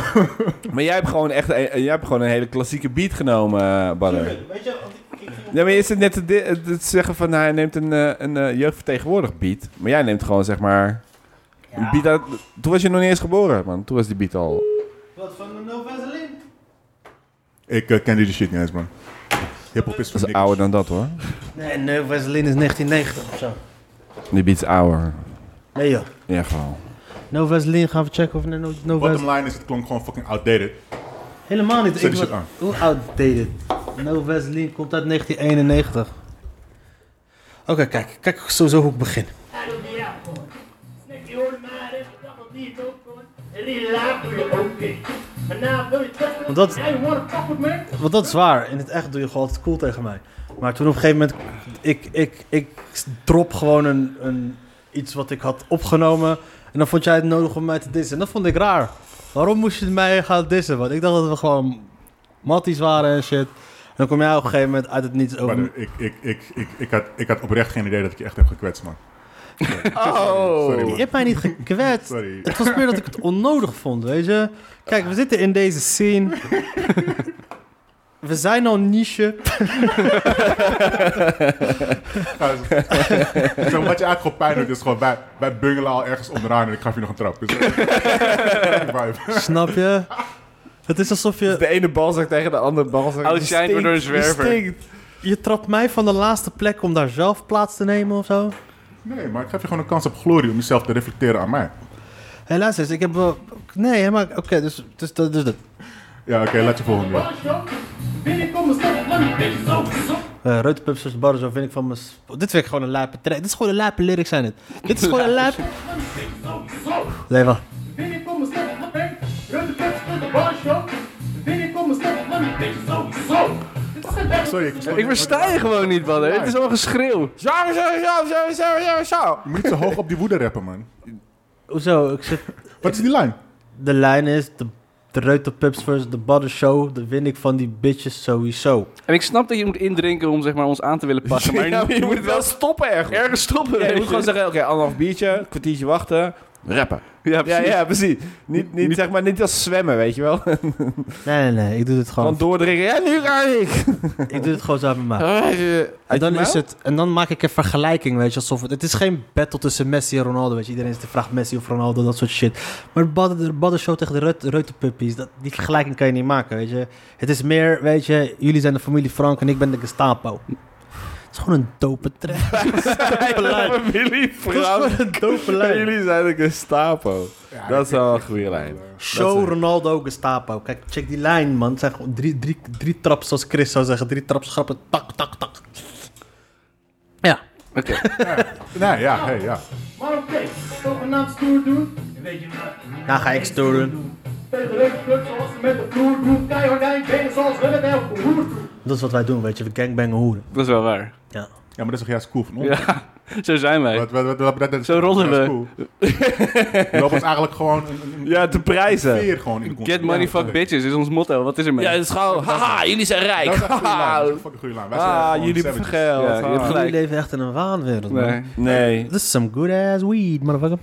maar jij hebt gewoon echt, een- jij hebt gewoon een hele klassieke beat genomen, eh, Badder. Weet je, want ik- ik- Ja, maar is het net het, di- het- het zeggen van hij neemt een, eh, een eh, jeugdvertegenwoordig beat, maar jij neemt gewoon zeg maar een beat uit. Toen was je nog niet eens geboren, man. Toen was die beat al. Wat, van de No Vaseline? Ik eh, ken die shit niet eens, man. Hip-hop is Dat van is niks. ouder dan dat hoor. Nee, No Vaseline is 1990 of zo. Die beat is ouder. Nee joh. Ja, gewoon. No Vaseline, gaan we checken of er No, no Vaseline... Bottom line is, het klonk gewoon fucking outdated. Helemaal niet. Zet Ik die shit was, aan. hoe outdated? No Vaseline komt uit 1991. Oké, kijk. Kijk sowieso hoe ik begin. Want dat, want dat is waar. In het echt doe je gewoon altijd cool tegen mij. Maar toen op een gegeven moment... Ik, ik, ik drop gewoon een, een, iets wat ik had opgenomen. En dan vond jij het nodig om mij te dissen. En dat vond ik raar. Waarom moest je mij gaan dissen? Want ik dacht dat we gewoon matties waren en shit. En dan kom jij op een gegeven moment uit het niets Maar over... ik, ik, ik, ik, ik, had, ik had oprecht geen idee dat ik je echt heb gekwetst, man. Oh. Sorry, Je man. hebt mij niet gekwetst. Sorry. [LAUGHS] Het was meer dat ik het onnodig vond, weet je. Kijk, we zitten in deze scene. We zijn al niche. Ja, zo- zo, wat je eigenlijk gewoon pijn doet, is gewoon wij, wij bungelen al ergens onderaan en ik gaf je nog een trap. Dus, [LAUGHS] eh, vibe. Snap je? Het is alsof je... De ene balzak tegen de andere balzak. Oud zijn door een zwerver. Je trapt mij van de laatste plek om daar zelf plaats te nemen of zo. Nee, maar ik gaf je gewoon een kans op glorie om jezelf te reflecteren aan mij. Helaas is, ik heb wel... Nee, hè, maar oké, dus, dus, dat dus dat. Ja, oké, laat je volgende doen. Eh Reuterpubs de bar, zo vind ik van mijn... sp- Dit vind ik gewoon een lijpe track. Dit is gewoon een lijpe lyrics zijn het. Dit is gewoon een lijpe... Nee, wacht. Sorry, ik verstond Ik niet. versta je gewoon niet, man. Het is allemaal geschreeuw. Zo, zo, zo, zo, zo, zo, zo. Je moet niet zo hoog op die woede rappen, man. Hoezo? Ik zeg... Wat is die lijn? De lijn is... De, de Reuterpubs versus de Butter Show. De win ik van die bitches sowieso. En ik snap dat je moet indrinken om zeg maar, ons aan te willen passen. [LAUGHS] Maar Ja, je, moet het wel stoppen ergens. ergens stoppen. Ja, weet je moet je. gewoon zeggen, oké, anderhalf biertje, kwartiertje wachten, rappen. ja, Ja, precies. ja, precies. Niet, niet, zeg maar, niet als zwemmen, weet je wel. Nee, nee, nee. Ik doe dit Gewoon gewoon... doordringen. Ja, nu ga ik. [LAUGHS] Ik doe dit gewoon zo uit mijn maag. En eh, Uit je dan, mouw? is het, en dan maak ik een vergelijking, weet je, alsof het... Het is geen battle tussen Messi en Ronaldo, weet je. Iedereen is de vraag Messi of Ronaldo, dat soort shit. Maar de Bad- de Baddershow tegen de Reut- Reuterpuppies, dat, die vergelijking kan je niet maken, weet je. Het is meer, weet je, jullie zijn de familie Frank en ik ben de Gestapo. Het is gewoon een dope [LAUGHS] trek. Mijn [LAUGHS] familie, Het is vrouw. gewoon een dope En lijn. jullie zijn een Gestapo. Dat is wel eh, een goede lijn. Show Ronaldo Gestapo. Kijk, check die lijn, man. Het zijn gewoon drie, drie, drie traps, zoals Chris zou zeggen. Drie traps, grappen, tak, tak, tak. Ja. Oké. Nee, ja, hey, ja. Maar oké, zogenaamd stoer doen. En weet je wat? Nou ga ik stoer doen. Tegen leuke clubs zoals ze met de vloer doen. Keihardijn benen zoals hun het elke hoer doen. Dat is wat wij doen, weet je. We gangbangen hoeren. Dat is wel waar. Ja, maar dat is toch juist cool van ons? Ja, zo zijn wij. Wat- wat- wat- wat- dat is Zo toch rollen juist we. cool? We lopen ons eigenlijk gewoon een, een, een Ja, te prijzen. veer gewoon in de Get money, fuck bitches is ons motto. Wat is er mee? Ja, dat is gewoon... Haha, jullie zijn Dat rijk. is echt een goede lijn. Dat is een fucking goede lijn. Wij zijn Ah, gewoon jullie hebben savages. geld. Ja, je hebt Ah. gelijk. Jullie leven echt in een waanwereld, man. Nee. Nee. This is some good ass weed, motherfucker.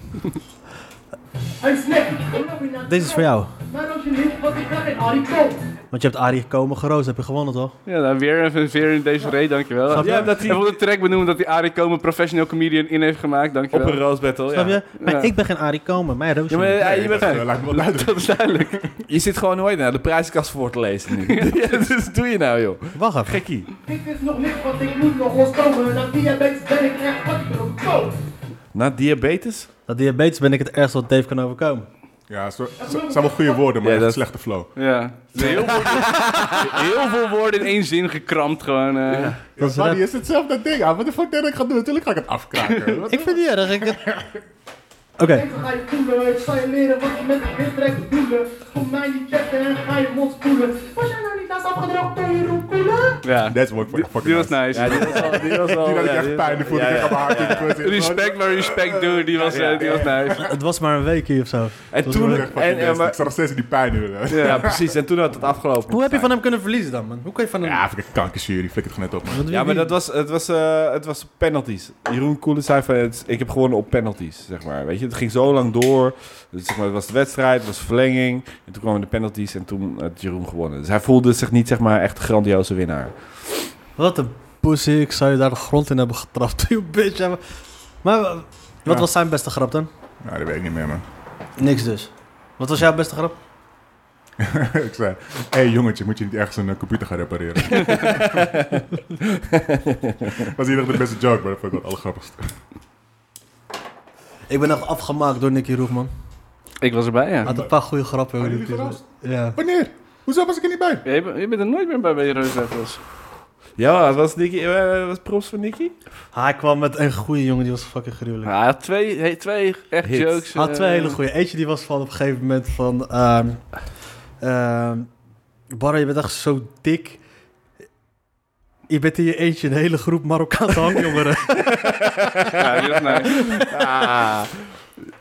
Hij is lekker. Kom nou weer naar de Deze is voor kroon. jou. Maar als je niet, wat ik kan in Arie Kool. Want je hebt Arie komen geroost, heb je gewonnen toch? Ja, nou, weer even een veer in deze reet, dankjewel. Snap je? Ja, dat hij... Even op de track benoemen dat die Arie Komen professional comedian in heeft gemaakt, Op dankjewel. een roast battle, Snap ja. je? Maar Ja. ik ben geen Arie Komen, mij roost. Ja, maar eh, je, Dat bent, eh, lijkt me wel duidelijk. [LAUGHS] Dat is duidelijk. je zit gewoon nooit naar de prijzenkast voor te lezen [LAUGHS] nu. ja, dus doe je nou, joh. Wacht even. Gekkie. Dit is nog niks, want ik moet nog ontkomen. Na diabetes ben ik echt fucking op de kool. Na diabetes? Dat diabetes ben ik het ergste wat Dave kan overkomen. Ja, zo, zo- zijn wel goede woorden, maar Ja, echt dat- slechte flow. Ja. Heel veel, heel veel woorden in één zin gekrampt gewoon. eh. Dat is is, buddy, net- is hetzelfde ding. Ah, Wat de fuck denk ik ga doen? Natuurlijk ga ik het [LAUGHS] afkraken. Wat- Ik vind die erg. ik- Oké, [LAUGHS] Mensen ga je voelen, ik zal je leren wat je met een windrek te doen. Kom mij niet checken en ga je mond spoelen. Was jij nou niet laatst afgedroogd door je roekoelen? Ja. That's what fucking Die was nice. nice. Ja, die was al... Die was al Die had ik ja, echt die- pijn in de voet. Ik heb mijn hart in de kwets. Respect, maar respect, dude. Die was, eh, die was nice. het was maar een weekje of zo. En Ik toen... was echt fucking En, en, nice. Ik maar, zat nog steeds in die pijn nu. hè. ja, precies. En toen had het afgelopen. Hoe heb je van hem kunnen verliezen dan, man? Hoe kan je van hem... Ja, vind ik een kankerjury. Flik het gewoon net op, man. Want wie- Ja, maar wie- dat was, het, was, eh, het was penalties. Jeroen Koelen zei van, het, is- ik heb gewonnen op penalties, zeg maar. Weet je, het ging zo lang door. Dus, zeg maar, het was de wedstrijd, het was verlenging. En toen kwamen de penalties en toen had Jeroen gewonnen. Dus hij voelde zich niet, zeg maar, echt een grandioze winnaar. Wat een pussy. Ik zou je daar de grond in hebben getrapt. [LAUGHS] You bitch. Ja, Maar, maar eh, wat Ja. was zijn beste grap dan? Nou, dat weet ik niet meer, man. Niks dus. Wat was jouw beste grap? [LAUGHS] ik zei, hé hey, jongetje, moet je niet ergens een eh, computer gaan repareren? [LAUGHS] was hier nog de beste joke, maar dat vond ik wel het allergrappigste. Ik ben nog afgemaakt door Nicky Roefman. Ik was erbij, ja. Had een paar goede grappen. Waren hoor, die jullie kerel. Ja. Wanneer? Hoezo was ik er niet bij? Je bent- je bent er nooit meer bij bij je Rose Devils. Ja, het was, Nicky, eh, was props van Nicky? Hij kwam met een goede jongen, die was fucking gruwelijk. Hij had Ah, twee, he- twee echt Hits. jokes. Hij had eh, twee hele goede. Eentje die was van op een gegeven moment van... ehm ehm, Barra, je bent echt zo dik. Je bent in je eentje een hele groep Marokkaanse hangjongeren. [LAUGHS] Ja, die was nice. Ah.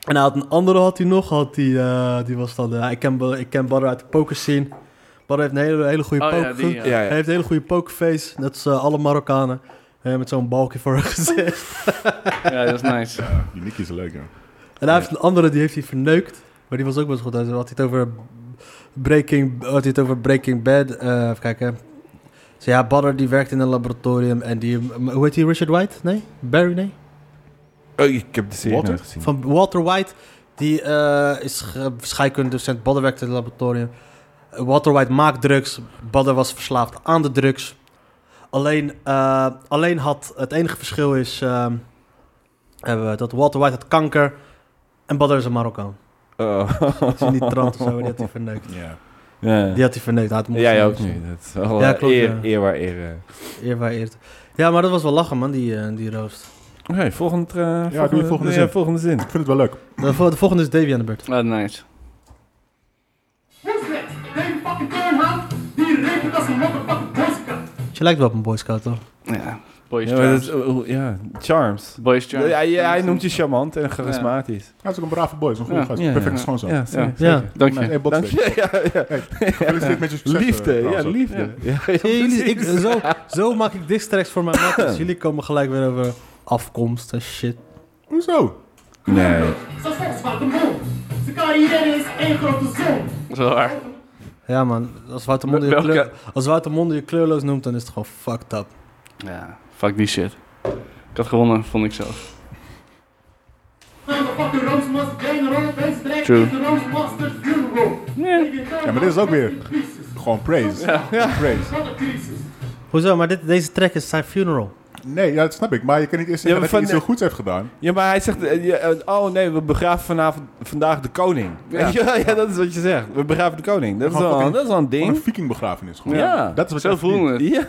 en hij had een andere had hij nog. Had die, eh, die was dan... eh, ik, ken, Bar- ik ken Barra uit de pokerscene. Barra heeft een hele, hele goede Oh poker. ja, die, ja. Ja, Hij ja. heeft een hele goede pokerface. Net als eh, alle Marokkanen. Eh, met zo'n balkje voor hun gezicht. Ja, die was nice. Die Nicky Ah, is leuk, joh. En hij heeft een andere, die heeft hij verneukt. Maar die was ook best goed. Hij had het over Breaking, had hij het over breaking Bad. Eh even kijken. Dus ja, Badder die werkt in een laboratorium. En die, hoe heet die, Richard White? Nee? Barry, nee? Oh, ik heb de serie Walter? nooit gezien. Van Walter White. Die eh, is ge- scheikundedocent. Badder werkt in het laboratorium. Walter White maakt drugs. Badder was verslaafd aan de drugs. Alleen, eh, alleen had... Het enige verschil is... ehm, hebben we dat Walter White had kanker. En Badder is een Marokkaan. Oh. Het is niet [LAUGHS] trant of zo, maar die had hij verneukt. Ja. ja. Die had hij verneukt. Hij had hem Jij ook opgenomen. nu. Dat is wel, Ja, eh, klopt, eer, ja. eer waar eer. eh. Oké, Eer waar eer te- Ja, maar dat was wel lachen, man, die, eh, die roost. volgende, eh, doe je volgende ja, zin. volgende zin. Ik vind het wel leuk. De, vol- de volgende is Davy aan de beurt. Ah, nice. Who's next? Dave fucking Turnhout. Die rekent als een motherfucking boska. Je lijkt wel op een boy scout, toch? Ja. Boys Ja, maar dat Charms. is- oh, oh, ja, charms. Boys Charms. Ja, ja, hij noemt je charmant en charismatisch. Hij is ook een brave boy. Is een goede Ja. gast. Ja, ja, Perfecte ja. schoonzoon. Ja, zeker. Ja. Dank je. Hey, Dank boxer. je. [LAUGHS] Ja, ja. Gefeliciteerd met je succes. Liefde, eh, ja, trouwens ook. liefde. Ja. Ja, jullie, ik, zo, zo maak ik distracts voor mijn makkers. Jullie komen gelijk weer over afkomst en shit. Hoezo? Nee. Zoals volgens Zwarte Mol. Zijn carrière is één grote zon. Dat is wel waar. Ja, man. Als Wouter Monde je, Welke- kleur, als Wouter Monde je kleurloos noemt, dan is het gewoon fucked up. Ja, fuck die shit. Ik had gewonnen, vond ik zelf. Gaan we fucking Roosmaster Jane Roll. Deze strijd True. is de Roosmaster Funeral. Ja, maar dit is ook weer- Gewoon praise. Praise. Wat een crisis. Hoezo? Maar dit, deze track is zijn funeral. Nee, ja, dat snap ik. Maar je kan niet eerst zeggen Ja, dat hij maar iets van- heel goeds heeft gedaan. Ja, maar hij zegt, eh, ja, eh, oh nee, we begraven vanavond, vandaag de koning. Ja. Ja, dat is wat je zegt. We begraven de koning. Dat is Gewoon wel, fucking- dat is wel een Gewoon een ding. vikingbegrafenis. Gewoon. Ja. Dat is wat Zo je verdient. voelde het. Ja,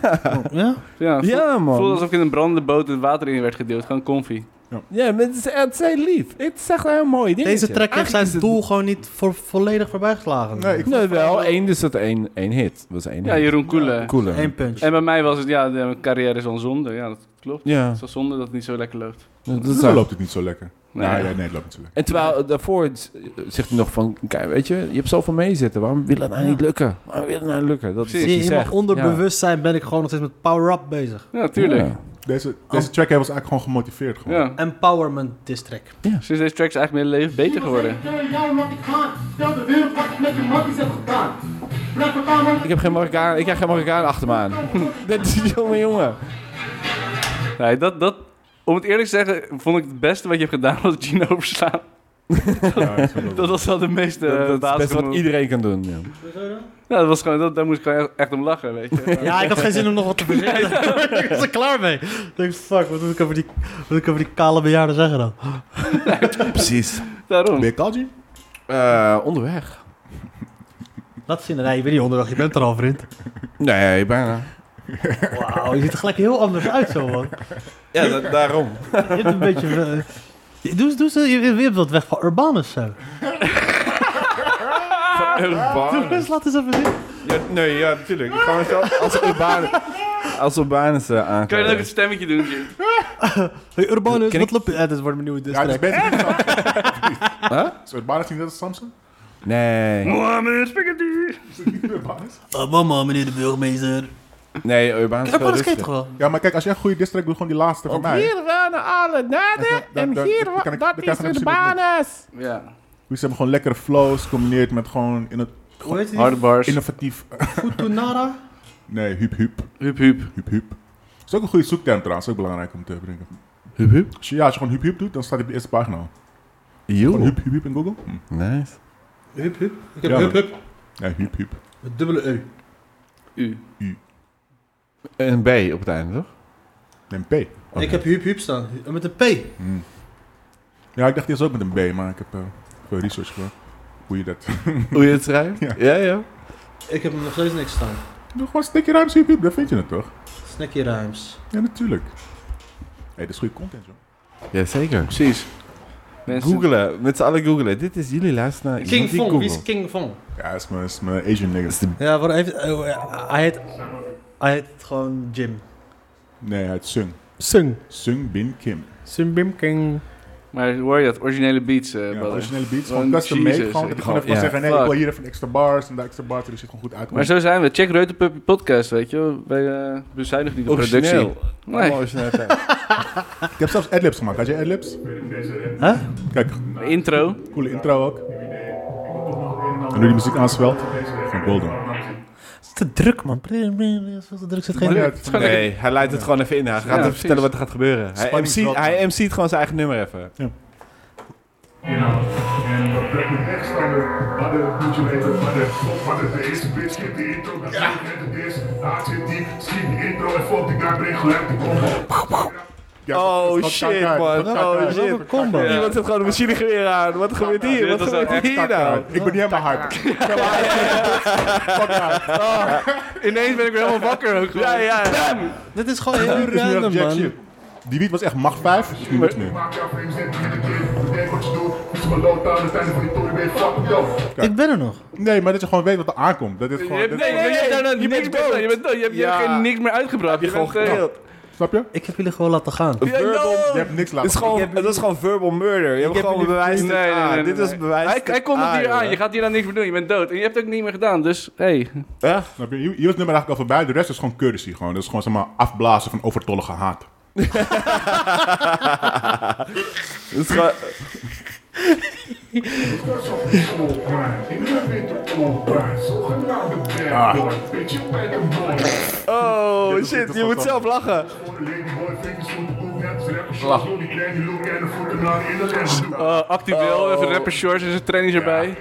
Ja? Ja, voel- ja voelde man. alsof ik in een brandende boot het water in werd gedeeld. Gewoon comfy. Ja, maar het is, het is heel lief. Het is echt een heel mooi ding. Deze track heeft zijn doel gewoon niet voor, volledig voorbijgeslagen. Nee, ik Nee, wel één, dus dat één, één hit. was één Ja, hit. Jeroen Koelen. Cooler. Eén punch. En bij mij was het, ja, de- mijn carrière is al zonde. Ja, dat klopt. Ja, Het is al zonde dat het niet zo lekker loopt. dat is Dan wel- loopt het niet zo lekker. Nee. Nee, nee, nee, het loopt niet zo lekker. En terwijl eh, daarvoor z- zegt hij nog van, kijk, weet je, je hebt zoveel meezitten. Waarom wil het nou niet lukken? Waarom wil het nou niet lukken? Dat is wat Zie je, hij in mijn zegt. onderbewustzijn ben ik gewoon nog steeds met power-up bezig. Ja, tuurlijk. Ja. Deze, Oh. deze track was eigenlijk gewoon gemotiveerd. Gewoon. Ja. Empowerment district. Sinds deze track is eigenlijk mijn hele leven beter geworden. Tegen jou laat ik gaan. Stel de wereld wat ik met je matties heb gedaan. Blijf elkaar man. Ik heb geen Marokkaan, ik krijg geen Marokkaan achter me aan. dat is jongen, jongen. Nee, dat, dat, om het eerlijk te zeggen, vond ik het beste wat je hebt gedaan [LAUGHS] was Gino verslaan. Ja, dat is wel Dat leuk. was wel de meeste Dat- eh, dat, is basische best wat move. iedereen kan doen. Ja. Ja, dat was gewoon, dat, daar moest ik gewoon echt, echt om lachen, weet [LAUGHS] je. [LAUGHS] Ja, ik had geen zin om nog wat te [LAUGHS] verzinnen. ik was er klaar mee. Ik denk, fuck, wat moet ik over die, wat moet ik over die kale bejaarden zeggen dan? precies. Daarom. Ben je Kalji? Eh, onderweg. Laat zien. Nee, je bent niet onderweg, je bent er al, vriend. Nee, bijna. Wauw, je ziet er gelijk heel anders uit zo, man. Ja, da- daarom. Je hebt een beetje... eh, je- doe, doe, doe, je, je hebt wat weg van Urbanus zo. Doe eens, Dus laat eens even zien. Ja, nee, ja, natuurlijk. Ik ga mezelf als urban, als urbanus eh, aankleden. Kan je dan ook het stemmetje doen, Jim? Hey, Urbanus, Ken wat ik- loop je... Eh, dit wordt mijn nieuwe diss Ja, het is beter track. dan Samson. Huh? Is het Barnes niet net als Samson? Nee. Mohammed Spaghetti! Is het niet meer Barnes? Oh, mama, meneer de burgemeester. Nee, urbanus is veel Urbanus kent rustiger. toch wel? Ja, maar kijk, als jij een goede district doet, gewoon die laatste van mij. waren alle naden Dan- en dan- hier dan wa- kan ik- dat dan kan is ik het misschien banas. Ja. Dus ze hebben gewoon lekkere flows, combineerd met gewoon in het Hoe heet die? Harde bars. innovatief... Futunara? Nee, hup hup. Hup hup. Hup hup. Dat is ook een goede zoekterm trouwens, ook belangrijk om te brengen. Hup, hup. Als je, ja, als je gewoon hup hup doet, dan staat hij op de eerste pagina. Gewoon Joe. hup hup hup in Google. Hm. Nice. Hup, hup. Ik heb Ja. hup, hup. Nee, hup hup. Met dubbele E. U. Een B op het einde, [LAUGHS] toch? En P. Ik heb hup, hup staan. Met een P. Hm. Ja, ik dacht eerst ook met een B, maar ik heb eh, veel research gedaan. Hoe je dat... Hoe je het schrijft? Ja. ja. ja. Ik heb nog steeds niks staan. Doe gewoon stikje ruimte hup hup, dan vind je het toch? Snacky Rhymes. Ja, natuurlijk. Hé, hey, dat is goede content, joh. Jazeker. Precies. Mensen. Googelen, met z'n allen googelen. Dit is jullie luisteren naar iemand die googelt. King Fong? Ja, dat is mijn, dat is mijn Asian nigger. Ja, waarom heeft... oh, eh, hij heet... Hij heet gewoon Jim. Nee, hij is Sung. Sung. Sung Bin Kim. Sung Bim King. Maar hoor je dat? Originele beats, eh Ja, brother. originele beats, Oh, gewoon custom made. Jesus, Gewoon, ik dat ik gewoon hou- even kan ja, zeggen, nee, fuck. ik wil hier even extra bars en daar extra bars, dus het gewoon goed Maar uitkomt. zo zijn we. Check Reuterpuppy Podcast, weet je. wel. Wij eh, bezuinigen niet de productie. Origineel. Nee. Allemaal origineel. Ik heb zelfs adlibs gemaakt. Had je adlibs? Huh? Kijk, Intro. coole intro ook. En nu die muziek aanswelt, van Golden. Het is te druk, man. Het is te druk. Zit geen... Het is gewoon lekker- Nee, hij leidt het gewoon even in. Hij gaat Ja, hem precies. vertellen wat er gaat gebeuren. Hij Spanning MC't, drop. hij MC't gewoon zijn eigen nummer even. Oh shit, man. Oh shit. een combo. Iemand zet gewoon een machinegeweer aan. Wat gebeurt hier? dit Wat was wel gebeurt echt hier nou? Ik ben niet helemaal hyped. Ineens ben ik weer helemaal wakker ook gewoon. Ja, ja. Dit is gewoon heel Het is nu echt random, jack man. shit. Die beat was echt macht 5, is nu niks meer. Ik ben er nog. Nee, maar dat je gewoon weet wat er aankomt. Dat is Je gewoon, hebt, dat- nee, nee, nee, je hebt Je niks bent meer gedaan. Je bent dood. Je hebt, je hebt Ja. geen- niks meer uitgebracht. Je, Gewoon bent, eh, geknald. Snap je? Ik heb jullie gewoon laten gaan. Ja, Verbal- Je yo. hebt niks Het is laten zien. gewoon, dat is gewoon verbal murder. Je hebt gewoon bewijs. Ah, Nee, nee, nee, nee, Dit nee. is bewijs. Hij, hij komt Ah, nog hier aan. joh. Je gaat hier dan niks meer doen. Je bent dood. En je hebt het ook niet meer gedaan. Dus, hey. Ja. Snap je? Hier hier was het nummer eigenlijk al voorbij. De rest is gewoon courtesy. Gewoon. Dat is gewoon zeg maar, afblazen van overtollige haat. Het is gewoon- [LAUGHS] Oh shit, je moet zelf lachen. Uh, actueel, even Oh. rapper shorts en zijn trainings erbij.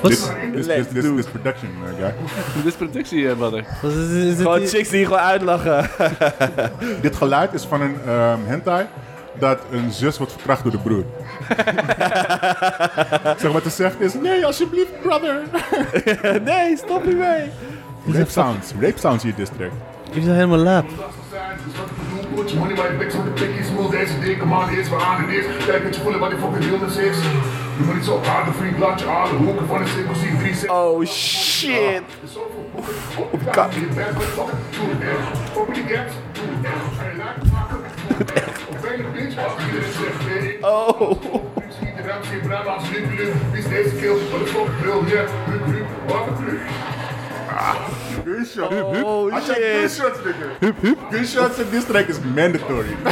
Wat Dit is, dit- dit- dit- dit is production, eh, guy. Dit is productie, eh, brother. wat is, is dit Gewoon die- chicks die je gewoon uitlachen. Dit geluid is van een ehm, hentai dat een zus wordt verkracht door de [LAUGHS] broer. zeg maar, wat ze zegt is, nee, alsjeblieft, brother. Nee, stop hiermee. Rape sounds. Rape sounds hier, district. Jullie zijn helemaal lap. Put your money in my face with the pinky smooth ass. You dig, come on, it's behind it is. Yeah, get you full of what the fucking illness is. You money so hard, the free blood, you are the hook in front of sickle, see three six. Oh shit. God. Oh. Gunshots. Oh, I check shit. gunshots, nigga. Hup, hup. Gunshots in this track is mandatory. Oh,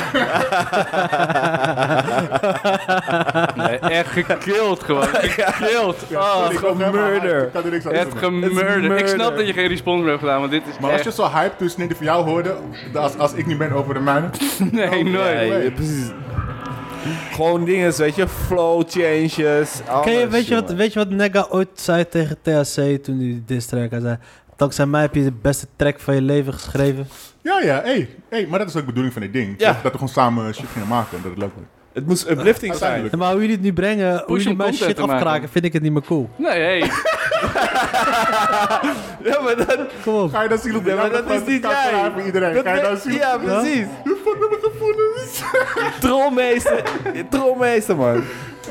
Nee, echt gekilld [LAUGHS] gewoon. Gekilld. Oh, Sorry, ik kan helemaal- murder. Ik kan er niks aan echt doen. gemurderd. Ik snap murder. dat je geen respons meer hebt gedaan, want dit is Maar als echt... je zo hype toen Snitty van jou hoorde, als, als ik niet ben over de mijne. [LAUGHS] Nee, [LAUGHS] nooit. Oh, Nee, way. precies. Gewoon dingen, weet je, flow changes. Ken alles, je, weet, je wat, jongen. weet je wat Nega ooit zei tegen THC toen hij die diss track hij zei? Dankzij mij heb je de beste track van je leven geschreven. Ja, ja, hey, hey, maar dat is ook de bedoeling van dit ding. Ja. Dat, dat we gewoon samen shit gingen maken en dat het leuk wordt. Het moest uplifting zijn. Uiteindelijk. Ja, maar hoe jullie het nu brengen, hoe Push jullie om mijn content shit te maken. afkraken, vind ik het niet meer cool. Nee, hey. Ja, maar dat, Kom op. Ga je dat zien op ja, maar dat is niet jij. voor iedereen. Dat Ga je dat weet- zien? ja, precies. [LAUGHS] Trolmeester. Trolmeester, man.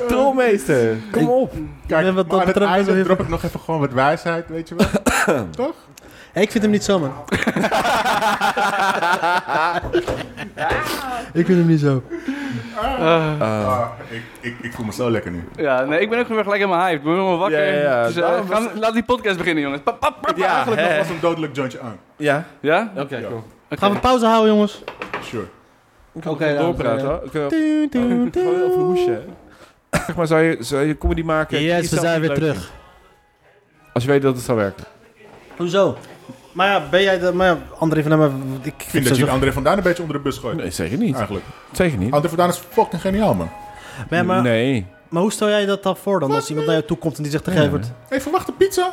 Trolmeester. Oh. Kom op. Kijk, ben wat maar dat aan het betreft best wel einde heel drop ik nog even gewoon wat wijsheid, weet [LAUGHS] je wel. Toch? Hey, ik vind hem niet zo, man. ik vind hem niet zo. Ah, ik, ik, ik voel me zo lekker nu. Ja, nee, ik ben ook weer gelijk helemaal hyped. Ik ben helemaal wakker. Ja, ja, ja. Dus, eh, Daarom was- gaan- laat die podcast beginnen, jongens. Pap, pap, pap. Ja, Eigenlijk hè. nog was een dodelijk jointje aan. Ja. Ja? Oké, cool. Oké. Gaan we pauze houden, jongens? Sure. Oké, Oké, dames en doorpraten. heren. hoor. Ik wil- Gewoon over een hoesje. hè. Zeg maar, zou je, zou je comedy maken? Yes, Iets we zelf zijn niet weer leuk terug. vindt? Als je weet dat het zou werken. Hoezo? Maar ja, ben jij de... Maar ja, André van Emmen, ik Ik vind vind dat je sowieso... André van Duin een beetje onder de bus gooit. Nee, zeker niet. Eigenlijk. Zeker niet. André van Duin is fucking geniaal, man. Nee, maar, Nee. maar hoe stel jij dat dan voor dan? Als iemand naar jou toe komt en die zegt, Gevert, Hey, verwacht een pizza?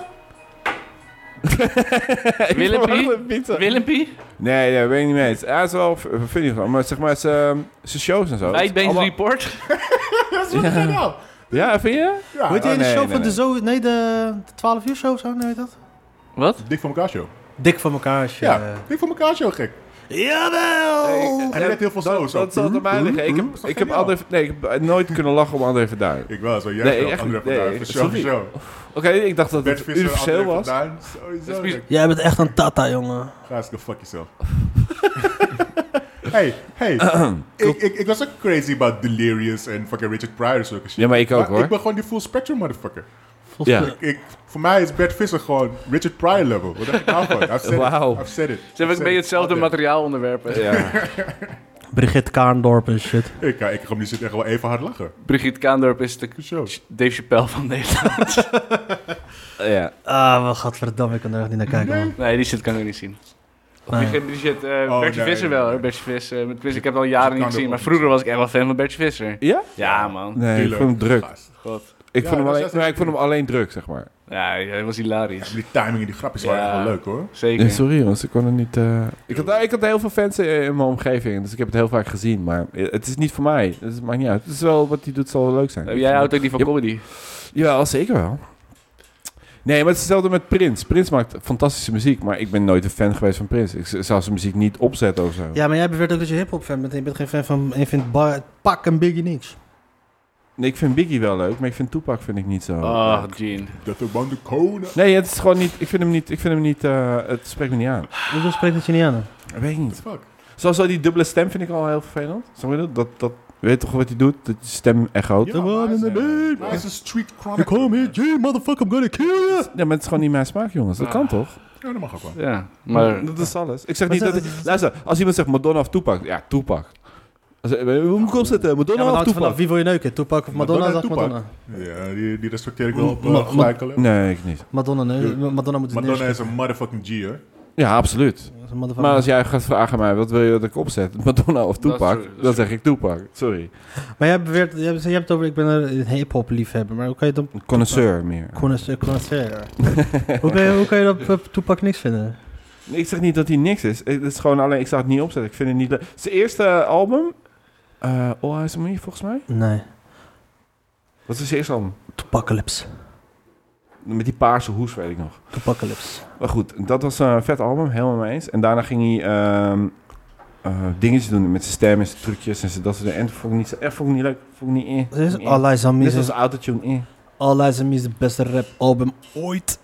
Willempie? pizza. Willempie? Nee, nee, ben ik niet mee eens. Hij is wel v- funny gewoon, maar ehm, zeg maar, zijn zijn shows en zo. Bijtbeens Allemaal- Report? Dat is wel geniaal. Ja, vind je? Ja, Weet je oh, in nee, de show nee, van nee. de zo... Nee, de, de 12 uur show of zo, nee, weet dat? Wat? Dik voor elkaar show. Dik van elkaar als je... Ja, dik voor elkaar show, gek. Jawel! En hij deed heel veel Hmm, zo. Dat, zo. dat zal er mij liggen. Ik heb, ik heb, André, nee, ik heb eh, nooit kunnen lachen om André Verduin. Ik wel, zo. Jij Nee, wel, echt André niet. van Duin. Nee, voor show, voor sorry. show. Oké, ik dacht dat Bert het Visser, André universeel van was. Duin. Dat Sowieso. is bizar. gek. Jij bent echt een tata, jongen. Ga eens go fuck yourself. hey, [CLEARS THROAT] hey. ik, ik, ik was ook crazy about Delirious en fucking Richard Pryor zulke shit. Ja, maar ik ook, Maar hoor. Ik ben gewoon die full spectrum motherfucker. Ja. Ik, voor mij is Bert Visser gewoon Richard Pryor level. Wat heb ik nou van? I've said Wauw. it. I've said it. Ze hebben ook een beetje hetzelfde materiaal onderwerpen. ja. Brigitte Kaandorp en shit. Ik, ja, ik ga om die shit echt wel even hard lachen. Brigitte Kaandorp is de Voor show. Dave Chappelle van Nederland. ja. Ah, wat gadverdamme, ik kan er echt niet naar kijken, man. Nee, die shit kan ik niet zien. Nee. Die, die shit, eh Oh, Bertje nee, Visser nee, wel nee. hoor. Bertje Visser. Met Visser, ik heb het al jaren niet Kaandorp gezien, ook maar niet. vroeger was ik echt wel fan van Bertje Visser. Ja? Ja, man. Nee, ik Tuurlijk. vond hem druk. Gast. Ik, Ja, vond hem dat alleen, is- maar ik vond hem alleen druk, zeg maar. Ja, hij was hilarisch. Die timing en die grapjes waren Ja. echt wel leuk hoor. Zeker. Nee, sorry jongens, ik kon het niet... eh, Ik, had, ik had heel veel fans eh, in mijn omgeving, dus ik heb het heel vaak gezien. Maar het is niet voor mij, dus het maakt niet uit. Het is wel, wat hij doet zal wel leuk zijn. Eh, Jij houdt ook niet van Ja. comedy. Jawel, zeker wel. Nee, maar het is hetzelfde met Prins. Prins maakt fantastische muziek, maar ik ben nooit een fan geweest van Prins. Ik z- zou zijn muziek niet opzetten of zo. Ja, maar jij beweert ook dat je hip-hop fan bent. en Je bent geen fan van. en Je vindt Bar- Pak en Biggie niks. Nee, ik vind Biggie wel leuk, maar ik vind Tupac vind ik niet zo. Oh, Gene. Dat er de konen. Nee, het is gewoon niet... Ik vind hem niet... Ik vind hem niet eh, het spreekt me niet aan. Hoezo spreekt dat je niet aan? Ik weet niet. Fuck. Zoals al die dubbele stem vind ik al heel vervelend. Snap je dat? Dat, dat weet toch wat hij doet? Dat je stem echoot. Ja, Ja. maar hij is- maar hij babe. is een street Ik chronicle. kom hier, G, motherfucker, I'm gonna kill [LAUGHS] you. maar het is gewoon niet mijn smaak, jongens. Dat kan toch? Ja, dat mag ook wel. Ja, maar... Dat is alles. Ik zeg Maar niet dat... ze- Luister, als iemand zegt Madonna of Tupac. Ja, Tupac. Als, eh, hoe moet ik opzetten? Madonna Ja, maar of hangt vanaf Tupac? wie wil je neuken? Toepak of Madonna? Madonna, Madonna, Tupac. Madonna. Ja, die, die respecteer ik wel op Ma- eh, gelijk alleen. Nee, ik niet. Madonna, nee. Dude, Madonna moet het Madonna neerschieten. is een motherfucking G, hoor. Ja, absoluut. Dat is een motherfucker. Maar als jij gaat vragen aan mij, wat wil je dat ik opzet? [LAUGHS] Madonna of Dat is Tupac? true, dat is Dan zeg ik Tupac. Sorry. Maar jij beweert, jij hebt je hebt het over, ik ben een hip-hop liefhebber. Maar hoe kan je dan. Een connoisseur meer. [LAUGHS] connoisseur- connoisseur. hoe, kan je, hoe kan je dat eh, Toepak niks vinden? Nee, Ik zeg niet dat hij niks is. Ik- Het is gewoon alleen, ik zou het niet opzetten. Ik vind het niet leuk. Zijn eerste album, eh All Eyes on Me, volgens mij. Nee. Wat is zijn eerste album? Toepacalypse. Met die paarse hoes, weet ik nog. Toepacalypse. eh, Maar goed, dat was een vet album, helemaal mee eens. En daarna ging hij ehm, eh, dingetjes doen met zijn stem en zijn trucjes en zijn dat soort dingen. En dat vond ik niet, zo- eh, vond ik niet leuk. Vond ik niet in. Dit is All Eyes on Me. Net is- als autotune in. All Eyes on Me is de beste rap album ooit.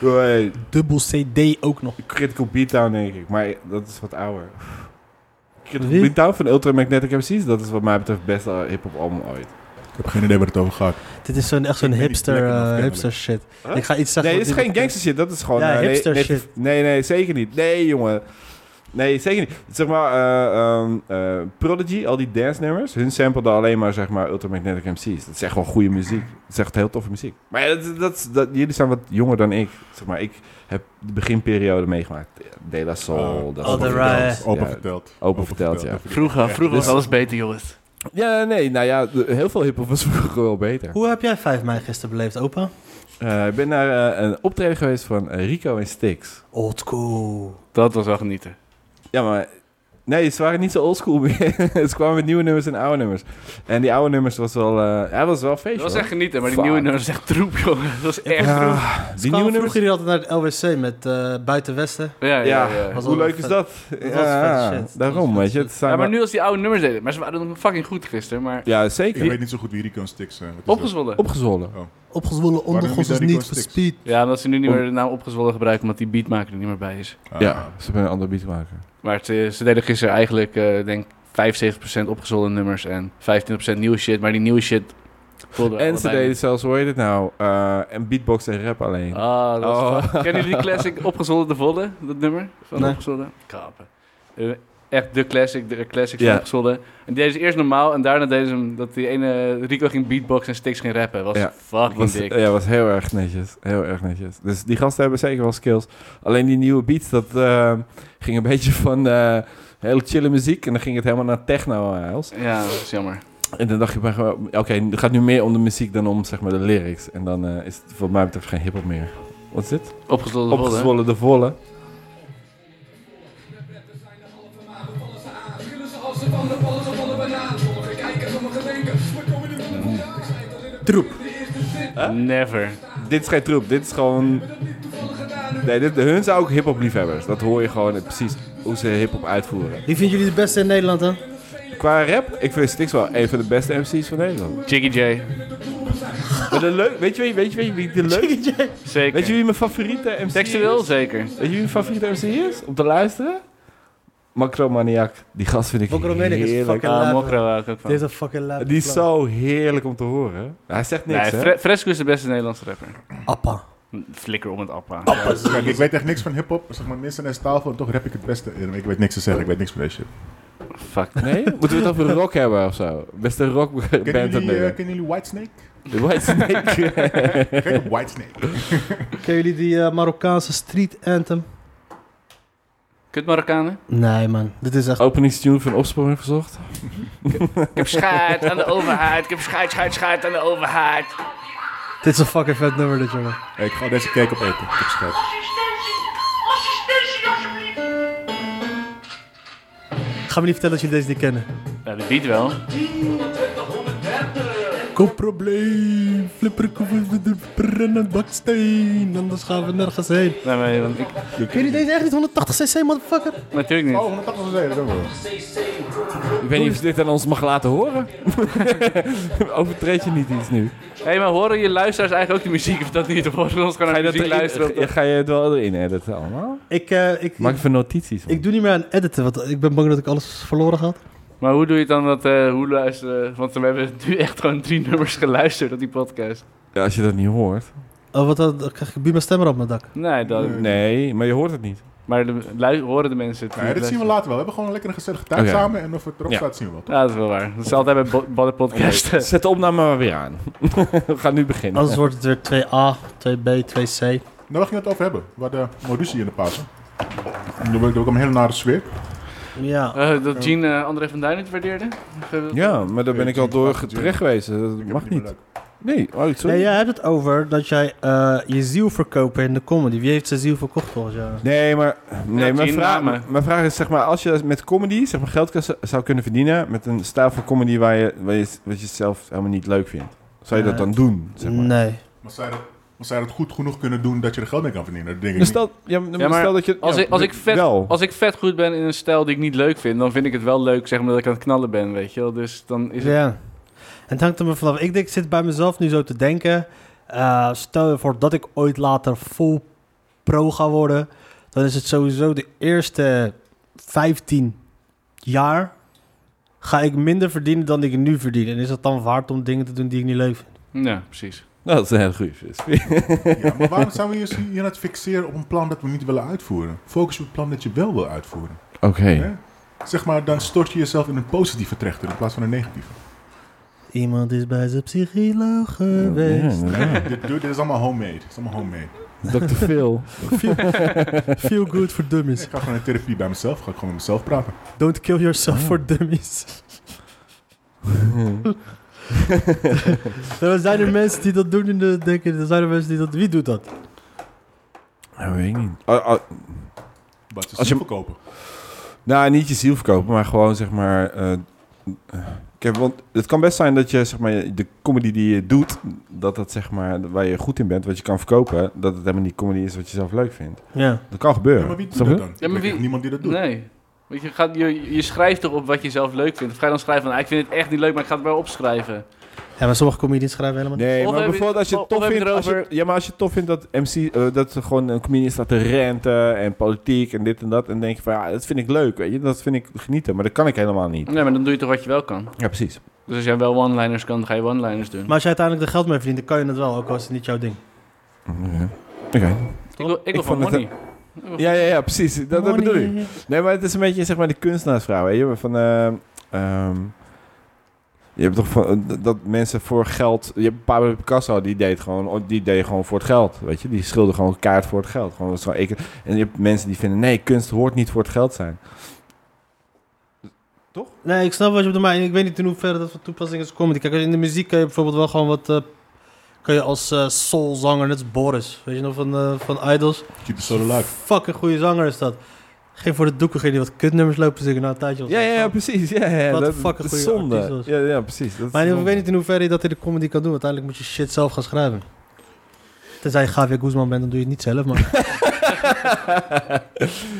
Hey, Dubbel CD ook nog. Critical Beatdown denk ik, maar eh, dat is wat ouder. Critical Wie? Beatdown van Ultra Magnetic MC's, dat is wat mij betreft best al hip-hop album ooit. Ik heb geen idee waar het over gaat. Dit is zo'n, echt zo'n Ik ben niet hipster, lekker eh, afkennelijk. hipster shit. Huh? Ik ga iets zeggen. Nee, dit wat is jullie- geen gangster shit, dat is gewoon... Ja, eh, nee, hipster nee, shit. Nee, nee, zeker niet. Nee, jongen. Nee, zeker niet. Zeg maar, eh, ehm, eh, Prodigy, al die dance nummers, hun sampelden alleen maar, zeg maar, Ultra Magnetic MC's. Dat is echt wel goede muziek. Dat is echt heel toffe muziek. Maar ja, dat, dat, dat, jullie zijn wat jonger dan ik. Zeg maar, ik heb de beginperiode meegemaakt. De La Soul, Oh, dat All soort the dingen. Right. Ja, Open verteld. Open verteld, ja. Vroeger, vroeger was Dus- alles beter, jongens. Ja, nee, nou ja, de- heel veel hiphop was vroeger wel beter. Hoe heb jij 5 mei gisteren beleefd, opa? Eh, ik ben naar eh, een optreden geweest van eh, Rico en Stix. Old school. Dat was wel genieten. Ja, maar... Nee, ze waren niet zo oldschool meer. [LAUGHS] ze kwamen met nieuwe nummers en oude nummers. En die oude nummers was wel... eh hij was wel een feestje, Dat was hoor. echt genieten, maar die Fuck. nieuwe nummer is echt troep, jongen. Dat was echt Ja, troep. die nieuwe nummers... vroeger hier altijd naar het LWC met eh Buitenwesten. Ja, ja, Ja, ja. Was hoe wel leuk is vet. dat? was ja, vet shit. Dat daarom, was weet je. vet Het Ja, zijn maar maar nu als die oude nummers deden. Maar ze waren nog fucking goed gisteren, maar... ja, Ik zeker. weet niet zo goed wie Rico en Stix zijn. Wat is dat? Opgezwollen. Opgezwollen. Opgezwollen ondergrond niet is Rico niet en Stix? verspeed. Ja, omdat ze nu niet meer de naam opgezwollen gebruiken, omdat die beatmaker er niet meer bij is. Ah, Ja, ze hebben een andere beat maken. Maar ze, ze deden gisteren eigenlijk, eh denk 75% opgezwollen nummers en 15% nieuwe shit. Maar die nieuwe shit... vulde En ze allebei deden zelfs, hoe heet het nou? eh, en beatbox en rap alleen. Ah, dat was Oh. fuck. Kennen jullie [LAUGHS] die classic Opgezollen de Volle? Dat nummer van Nee. Opgezollen? Kapen. Eh, echt de classic, de classic Ja. van Opgezollen. En die deden ze eerst normaal en daarna deden ze hem dat die ene Rico ging beatboxen en Stix ging rappen. was Ja. fucking Was, dik. ja, was heel erg netjes. Heel erg netjes. Dus die gasten hebben zeker wel skills. Alleen die nieuwe beats, dat eh, ging een beetje van eh hele chille muziek. En dan ging het helemaal naar techno eh, house. Ja, dat is jammer. En dan dacht je bij gewoon, oké, het gaat nu meer om de muziek dan om zeg maar de lyrics. En dan eh, is het voor mij betreft geen hiphop meer. Wat is dit? Opgezollen de Volle. Opgezwollen de volle. Never. Dit is geen troep, dit is gewoon... Nee, dit, hun zijn ook hiphop liefhebbers. Dat hoor je gewoon eh, precies hoe ze hiphop uitvoeren. Wie vinden jullie de beste in Nederland dan? Qua rap, ik vind Stix wel een van de beste MC's van Nederland. Jiggy J. Maar de leuk, weet je wie, weet je wie, wie de leuk Zeker. Weet je wie mijn favoriete MC Textueel? is? Zeker. Weet je wie mijn favoriete MC is? Om te luisteren? Macromaniac. Die gast vind ik Macromaniac is heerlijk. fucking- Ah, Laat- Mokro hou ik ook van. Deze fucking laat. Die is zo heerlijk om te horen. Hij zegt niks, Nee, hè? Fre- Fresco is de beste Nederlandse rapper. Appa. Flikker om het appa. Kijk, Dus ik weet echt niks van hip-hop. Zeg maar minstens een tafel en toch rap ik het beste. in. Ik weet niks te zeggen, ik weet niks van deze shit. Fuck. Nee? Moeten we het over rock hebben of zo? Beste rockband Kennen uit jullie, eh, Nederland. kennen jullie Whitesnake? The White Snake. Kijk op Whitesnake. Kennen jullie die eh, Marokkaanse street anthem? Kut Marokkanen. Nee man, dit is echt... Openingstune van Opsporing Verzocht. Ik heb scheid aan de overheid. Ik heb scheid, scheid, scheid aan de overheid. Dit is een fucking vet nummer dit jongen. Hey, [LAUGHS] ik ga deze cake opeten. Ik heb scheid. Assistentie! Assistentie, alsjeblieft! Ga me niet vertellen dat jullie deze niet kennen. Ja, de beat wel. Koopprobleem, flipperkoeven met de brennend baksteen, anders gaan we nergens heen. Nee, nee, want ik... Ken je deze echt niet? 180 cc, motherfucker. Natuurlijk niet. Oh, 180 is dat ook wel. Ik weet niet of je dit aan ons mag laten horen. [LAUGHS] Overtreed je niet iets nu? Hé, hey, maar horen je luisteraars eigenlijk ook de muziek? Of dat niet? Of horen we ons gewoon Ga naar je, de dat muziek erin, luisteren? ga- ga je het wel erin editen allemaal? Ik, eh, ik, Maak ik, even notities van. doe niet meer aan editen, want ik ben bang dat ik alles verloren ga. Maar hoe doe je het dan dat... eh, hoe luisteren? Want we hebben nu echt gewoon drie nummers geluisterd op die podcast. Ja, als je dat niet hoort. Oh, wat dan? Dan krijg ik Buma Stemmer op mijn dak. Nee, dat... Nee, maar je hoort het niet. Maar de, lui- horen de mensen het? Nou ja, niet dit zien we luisteren? later wel. We hebben gewoon lekker een gezellige tijd Oké. samen. En of het erop Ja. staat, zien we wel. Ja, dat is wel waar. Dat is altijd bij bo- bij de podcast. Zet de opname maar weer aan. [LAUGHS] We gaan nu beginnen. Anders wordt het weer 2A, 2B, 2C. Nou, waar ging het over hebben? We hadden gewoon ruzie in de pauze. Er was ook een hele nare sfeer. Ja. [LAUGHS] Eh, dat Jean eh, André van Duin het waardeerde? Of, eh, Ja, maar daar ben ik al door ge- terecht gewezen. Dat Ik heb mag het meer niet. leuk. Nee, oh, Nee, sorry. jij hebt het over dat jij eh, je ziel verkopen in de comedy. Wie heeft zijn ziel verkocht volgens jou? Nee, maar nee, Ja, mijn, die vraag, namen. mijn vraag is zeg maar, als je met comedy zeg maar, geld kan- zou kunnen verdienen met een stijl van comedy waar je, waar je, wat je zelf helemaal niet leuk vindt, zou je dat Nee. dan doen? Zeg maar? Nee. Maar zij dat Als zij dat goed genoeg kunnen doen dat je er geld mee kan verdienen, dat denk ik Maar niet. stel, ja, maar Ja, maar stel Dus dat je... Als, ja, ik, als, ik vet, Wel. als ik vet goed ben in een stijl die ik niet leuk vind, dan vind ik het wel leuk, zeg maar, dat ik aan het knallen ben, weet je wel. Dus dan is het... Ja. En het hangt er maar vanaf. Ik, denk, ik zit bij mezelf nu zo te denken. eh, stel je voor dat ik ooit later full pro ga worden. Dan is het sowieso de eerste 15 jaar. Ga ik minder verdienen dan ik nu verdien. En is dat dan waard om dingen te doen die ik niet leuk vind? Ja, precies. Nou, dat is een hele goede vis. Ja, maar waarom zijn we hier, hier aan het fixeren op een plan dat we niet willen uitvoeren? Focus je op het plan dat je wel wil uitvoeren. Oké. Hè? Zeg maar, dan stort je jezelf in een positieve trechter in plaats van een [LAUGHS] negatieve. Iemand is bij zijn psycholoog Oh, geweest. dit, dit is allemaal homemade. Dit is allemaal homemade. Dr. Phil. Feel good for dummies. Ik ga gewoon in therapie bij mezelf. Ga ik gewoon met mezelf praten. Don't kill yourself for [LAUGHS] dummies. er zijn er mensen die dat doen in de denken. Er zijn er mensen die dat. Wie doet dat? Dat weet ik niet. Ah, ah, Wat ze Als je- ziel verkopen. nou, niet je ziel verkopen, maar gewoon zeg maar... eh, eh, kijk, want het kan best zijn dat je zeg maar, de comedy die je doet, dat dat zeg maar waar je goed in bent, wat je kan verkopen, dat het helemaal niet comedy is wat je zelf leuk vindt. Ja. Dat kan gebeuren. Ja, maar wie doet Snap dat je? dan? Ja, maar Ik wie- weet niemand die dat doet. [LAUGHS] Nee. Want je, gaat, je, je schrijft toch op wat je zelf leuk vindt? Of ga je dan schrijven van, ah, ik vind het echt niet leuk, maar ik ga het wel opschrijven? Ja, maar sommige comedians schrijven helemaal Nee, Of maar heb je- bijvoorbeeld als je of- het tof of heb je vindt... Als je, erover- ja, maar als je het tof vindt dat MC... eh, dat er gewoon een comedian staat te renten en politiek en dit en dat... en denk je van, ja, dat vind ik leuk, weet je. Dat vind ik genieten, maar dat kan ik helemaal niet. Nee, maar dan doe je toch wat je wel kan? Ja, precies. Dus als jij wel one-liners kan, dan ga je one-liners doen. Maar als je uiteindelijk er geld mee verdient, dan kan je het wel, ook al is het niet jouw ding. Oké. ik wil, ik wil Ik van vond het- money. Ja, ja, ja, precies. Dat, dat bedoel ik. Nee, maar het is een beetje, zeg maar, de kunstenaarsvraag, weet je. Van, eh, ehm, je hebt toch van, eh, dat mensen voor geld... Je hebt Pablo Picasso, die deed, gewoon, oh, die deed gewoon voor het geld, weet je. Die schilder gewoon kaart voor het geld. Gewoon, dat is gewoon, ik, en je hebt mensen die vinden, nee, kunst hoort niet voor het geld zijn. Nee, ik snap wat je bedoelt, maar ik weet niet in hoeverre dat van toepassing is op comedy. Kijk, in de muziek kan je bijvoorbeeld wel gewoon wat... eh, kan je als eh, soulzanger, net als Boris, weet je nog, van, eh, van Idols. Keep the soul alive. Fucking goede zanger is dat. Geen voor de doeken, geen die wat kutnummers lopen zingen na een tijdje. of Ja, zo. ja, ja, precies. Ja, ja, Wat dat een fucking dat is goeie artiest zonde. was. Ja, ja, precies. Dat is Maar ik zonde. weet niet in hoeverre je dat in de comedy kan doen. Uiteindelijk moet je shit zelf gaan schrijven. Tenzij je Javier Guzman bent, dan doe je het niet zelf, maar... [LAUGHS]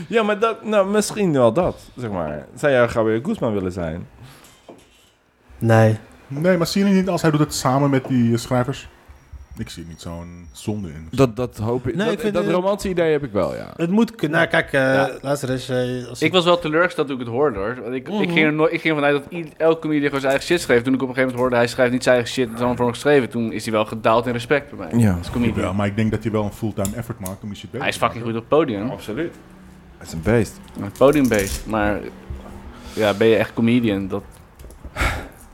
Ja, maar dat, nou, misschien wel dat, zeg maar. Zou jij Gabriel Guzman willen zijn? nee. [LAUGHS] Nee, maar zie je niet als hij doet het samen met die eh, schrijvers? Ik zie niet zo'n zonde in. Dat, dat hoop ik. Nee, dat ik vind dat het- romantische idee heb ik wel, ja. Het moet kunnen. Nou, kijk, eh Ja. luister eens. eh, als Ik was wel teleurgesteld toen ik het hoorde hoor. Want ik, Mhm. ik, ging er nooit- ik ging vanuit dat ied- elke comedian gewoon zijn eigen shit schreef. Toen ik op een gegeven moment hoorde, hij schrijft niet zijn eigen shit, het is allemaal voor hem geschreven. Toen is hij wel gedaald in respect bij mij. Ja. Als Wel, comedian. maar ik denk dat je wel een fulltime effort maakt om die shit beter Hij is te maken. fucking goed op het podium. Absoluut. Hij is een beest. Een podiumbeest. Maar ja, ben je echt comedian? Dat...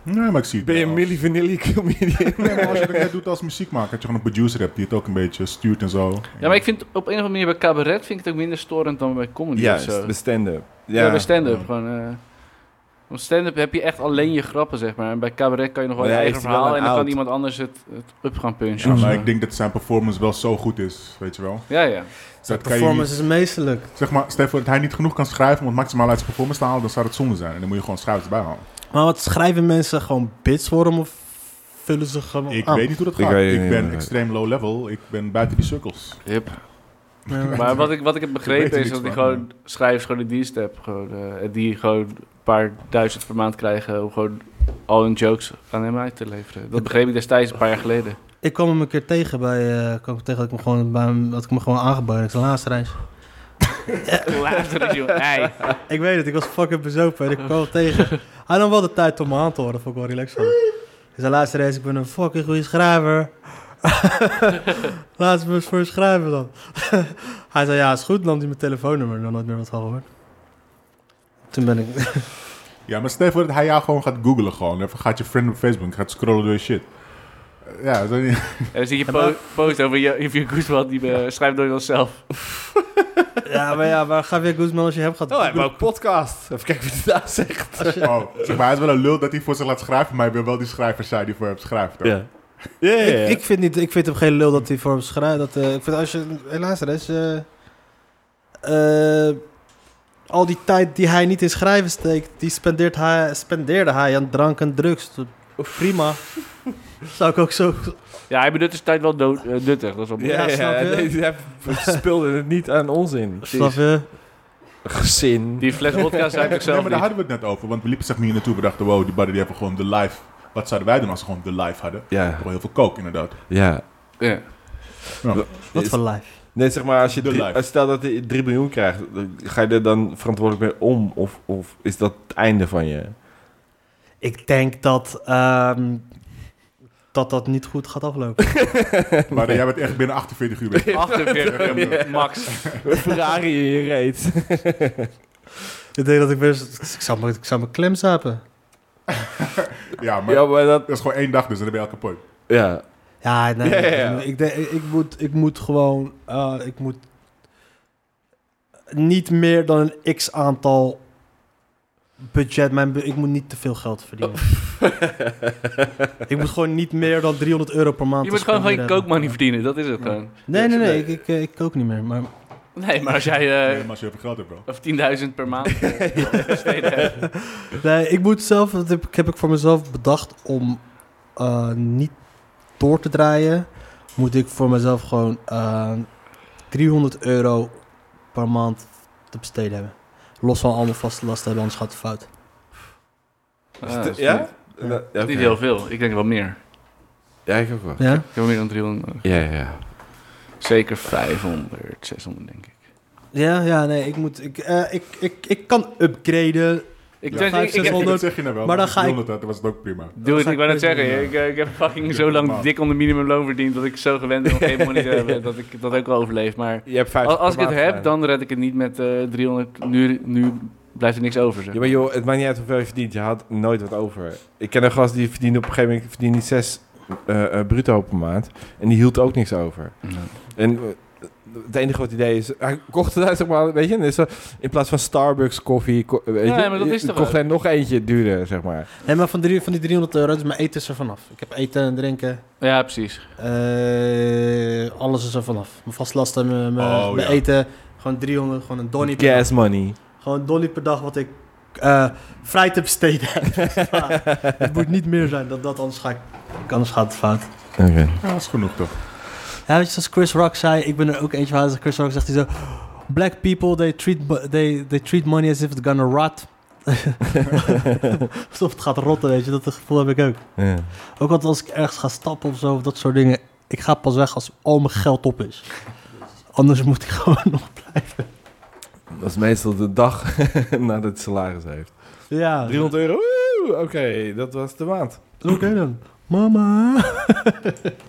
Nee, maar ik zie het Ben je wel. een Milli Vanilli comedian? Nee, maar als je dat net doet als muziekmaker, dat je gewoon een producer hebt die het ook een beetje stuurt en zo. Ja, maar ik vind op een of andere manier bij cabaret vind ik het ook minder storend dan bij comedy of Juist, zo. de stand-up. Ja, Ja, bij stand-up dus, Ja. gewoon. eh, want stand-up heb je echt alleen je grappen, zeg maar. En bij cabaret kan je nog wel Maar je hij eigen heeft wel verhaal een en dan out. kan iemand anders het, het up gaan Ja, punchen. maar ik denk dat zijn performance wel zo goed is, weet je wel. Ja, Dat ja. kan je niet, performance is meesterlijk. zeg maar, stel je voor dat hij niet genoeg kan schrijven om het maximaal uit zijn performance te halen, dan zou dat zonde zijn. En dan moet je gewoon schrijvers erbij halen. Maar wat schrijven mensen gewoon bits voor hem of vullen ze gewoon Ah. Ik aan? weet niet hoe dat Ik gaat. weet het Ik, niet, ben maar- extreem low level. Ik ben buiten die cirkels. Yep. Maar wat ik, wat ik [LAUGHS] heb Ik weet begrepen er is niks dat ik van, gewoon schrijvers gewoon in dienst heb. Gewoon, eh, die gewoon een paar duizend per maand krijgen om gewoon al hun jokes aan hem uit te leveren. Dat begreep ik destijds een paar jaar geleden. Ik kwam hem een keer tegen bij, eh, kwam ik tegen dat ik me gewoon, bij hem, dat ik me gewoon aangeboden. Ik zei, laatste reis. Later, joh. Hey. Ik weet het, ik was fucking bezopen en ik kwam hem [LAUGHS] tegen. Hij nam wel de tijd om me aan te horen, vond ik wel relaxed van. hem. Ik zei, laatste reis, ik ben een fucking goede [LAUGHS] schrijver. Laat me eens voor je schrijven dan. [LAUGHS] hij zei, ja, is goed. Nam hij mijn telefoonnummer en dan nooit meer wat van gehoord. Toen ben ik... Ja, maar stel je voor dat hij jou gewoon gaat googlen gewoon. Even gaat je friend op Facebook, gaat scrollen door je shit. Eh, Ja, zo niet. En dan zie je po post over je, over je Guzman, die eh, schrijft door jezelf. ja, maar ja, maar Javier Guzman, als je hem gaat... Oh, hij heeft googlen- ook podcast. Even kijken wat hij daar zegt. Oh, zeg maar, hij is wel een lul dat hij voor zich laat schrijven, maar hij wil wel die schrijver zijn die voor hem schrijft. hoor. Ja. Ja, ja, ja. Ik, ik, vind niet, ik vind hem geen lul dat hij voor hem schrijft. Dat, eh, ik vind als je, helaas, er is. eh, eh, al die tijd die hij niet in schrijven steekt, die spendeert hij, spendeerde hij aan drank en drugs. Dat Prima. Zou ik ook zo... Ja, hij benut zijn tijd wel dood, eh, nuttig. Dat is wel mooi. Ja, snap je? nee, hij speelde het niet aan [LAUGHS] onzin. Snap je? Gezin. Die fles vodka zei ik ook Nee, zelf maar daar niet. hadden we het net over. Want we liepen zeg maar hier naartoe. We dachten, wow, die barren die hebben gewoon de live. Wat zouden wij doen als ze gewoon de live hadden? Ja, Gewoon heel veel coke, [LAUGHS] inderdaad. ja. Ja. Wat Is- voor life. Nee, zeg maar, als je De drie- life. als stel dat je 3 miljoen krijgt, dan- ga je er dan verantwoordelijk mee om? Of, of is dat het einde van je? Ik denk dat... ehm, dat dat niet goed gaat aflopen. Maar eh, jij bent echt binnen 48 uur [LAUGHS] weg. 48 uur, max. Ferrari in [LAUGHS] je reet. ik denk dat ik best... Ik zou me, ik zou me klem zapen. Ja, maar Ja, maar dat... Ah, dat is gewoon één dag, dus dan ben je al kapot. Ja. Ja, nee. Ja, ja, ja. Ik, denk, ik, ik moet, ik moet gewoon... eh, ik moet niet meer dan een x-aantal budget... Mijn, bu- ik moet niet te veel geld [LAUGHS] verdienen. ik moet gewoon niet meer dan 300 euro per maand... Je moet te gewoon gewoon spenderen je hebben. kookmoney verdienen, dat is het gewoon. Nee, nee, nee. Ik, ik, eh, ik kook niet meer. Maar Nee, maar als jij Nee, eh maar als je heel veel geld hebt, bro. of 10.000 per maand eh, besteden hebt. Nee, ik moet zelf, dat heb, ik- heb ik voor mezelf bedacht om eh, niet door te draaien. Moet ik voor mezelf gewoon eh, 300 euro per maand te besteden hebben. Los van alle vaste lasten hebben, anders gaat het fout. Ah, dat is ja? niet- Ja, oké. Niet heel veel, ik denk wel meer. Ja, ik ook wel. Ja? Ik heb wel meer dan 300. Ja, ja, ja. Zeker 500, 600 denk ik. Ja, ja, nee, ik moet, ik, eh, ik, ik, ik kan upgraden. Ik, Ja, denk- vijf, ik- ik, zeshonderd. Dat zeg je nou wel. Maar dan als ga ik- 300 had, dan was het ook prima. Doe het, ga ik wou ik net zeggen. prima. Ik, eh, ik heb fucking Ja, zo lang normaal. dik onder minimumloon verdiend dat ik zo gewend ben om geen [LAUGHS] money te hebben dat ik dat ook wel overleef. Maar Je hebt vijf als, als ik het heb, dan red ik het niet met eh 300. Nu, nu blijft er niks over. Zeg. Ja, maar joh, het maakt niet uit hoeveel je verdient. Je haalt nooit wat over. Ik ken een gast die verdiende op een gegeven moment... verdient niet zes eh, eh, bruto per maand. En die hield ook niks over. En eh, het enige wat hij deed is... Hij kocht daar, zeg maar, weet je... en is zo- in plaats van Starbucks koffie... ko- weet Ja, je, maar dat is toch kocht wel- hij nog eentje duurder, zeg maar. Nee, maar van, drie, van die 300 euro, dus mijn eten is er vanaf. Ik heb eten en drinken, Ja, precies. eh, alles is er vanaf. Mijn vaste lasten, mijn, mijn, Oh, mijn ja. eten, gewoon 300, gewoon een donnie per Gas money. Gewoon dolly per dag wat ik eh, vrij te besteden heb. [LAUGHS] Ja, het moet niet meer zijn dan dat, anders, ga ik, anders gaat het fout. [LAUGHS] Oké. Ja, dat is genoeg toch? Ja, weet je, zoals Chris Rock zei, ik ben er ook eentje van. Als Chris Rock zegt hij zo... Black people, they treat, bu- they, they treat money as if it's gonna rot. [LAUGHS] Alsof het gaat rotten, weet je. Dat gevoel heb ik ook. Ja. Ook want als ik ergens ga stappen of zo, of dat soort dingen. Ik ga pas weg als al mijn geld op is. Anders moet ik gewoon nog... Dat is meestal de dag [LAUGHS] nadat het salaris heeft. Ja, 300 euro, woe! oké, dat was de maand. Oké [CLEARS THROAT] dan. Mama. [LAUGHS]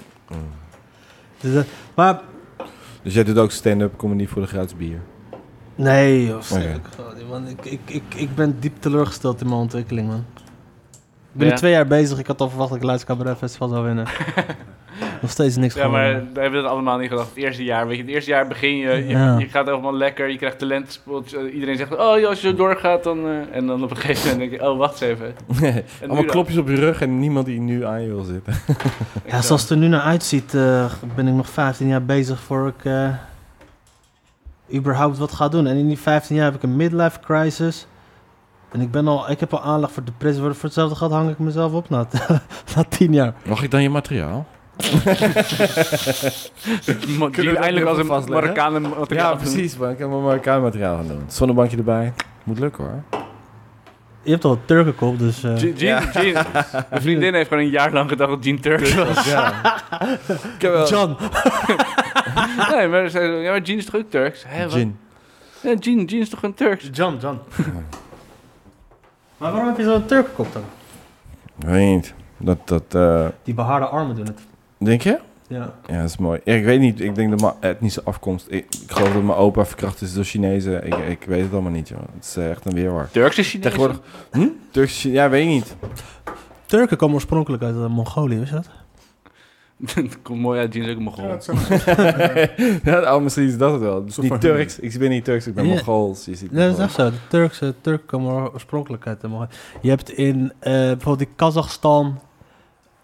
Dus, eh, maar Dus jij doet ook stand-up comedy voor de gratis [LAUGHS] bier. nee, of Oké. man, ik, ik, ik, ik ben diep teleurgesteld in mijn ontwikkeling, man. Ik ben Ja. nu twee jaar bezig. Ik had al verwacht dat ik Leids Cabaret Festival zou [LAUGHS] winnen. Nog steeds niks Ja, maar gewonnen. we hebben dat allemaal niet gedacht. Het eerste jaar, weet je, het eerste jaar begin je, je, Ja. je gaat helemaal lekker, je krijgt talent. eh, Iedereen zegt, oh ja, als je zo doorgaat, dan... eh, en dan op een gegeven moment denk je, oh, wacht eens even. En nu Allemaal dan? klopjes op je rug en niemand die nu aan je wil zitten. Ja, zoals het er nu naar uitziet, eh, ben ik nog 15 jaar bezig voor ik eh, überhaupt wat ga doen. En in die 15 jaar heb ik een midlife crisis. En ik, ben al, ik heb al aanleg voor depressie. Voor voor hetzelfde geld hang ik mezelf op na, [LAUGHS] na 10 jaar. Mag ik dan je materiaal? Mo- we [LAUGHS] Die dat eindelijk even als een vastleggen? Marokkanen... Ja, materiaal doen. precies, man. Ik heb mijn Marokkaan materiaal gaan doen. Zonnebankje erbij. Moet lukken [LAUGHS] hoor. Je hebt al een Turkenkop, dus... eh, Jean, Jean, Jean. Mijn vriendin heeft gewoon een jaar lang gedacht dat Jean Turk was. Ja. ik heb wel... John! Nee, maar, zij zo, ja, maar Jean is toch ook Turks? Hè, wat? Gin. Ja, Jean, Jean is toch een Turks? John, John. maar waarom heb je zo'n Turkenkop dan? Weet niet. Dat, dat, eh, Die behaarde armen doen het. denk je? Ja. Ja, dat is mooi. Ja, ik weet niet. Ik denk dat mijn etnische afkomst... Ik, ik geloof dat mijn opa verkracht is door Chinezen. Ik, ik weet het allemaal niet, joh. Het is eh, echt een weerwaar. Turks is Chinees. Tegenwoordig... [LAUGHS] Hm? Turks... Ja, weet ik niet. Turken komen oorspronkelijk uit eh, Mongolië, is dat? Het komt mooi uit, Jean is ook een Ja, Mongool. dat zijn ja, oh, misschien is dat het wel. Dus Zo niet van- Turks. Ik ben niet Turks. Ik ben Ja. Mongools. Je ziet Nee, dat is Mongool. echt zo. De Turkse Turken komen oorspronkelijk uit de Mongolië. Je hebt in eh, bijvoorbeeld in Kazachstan,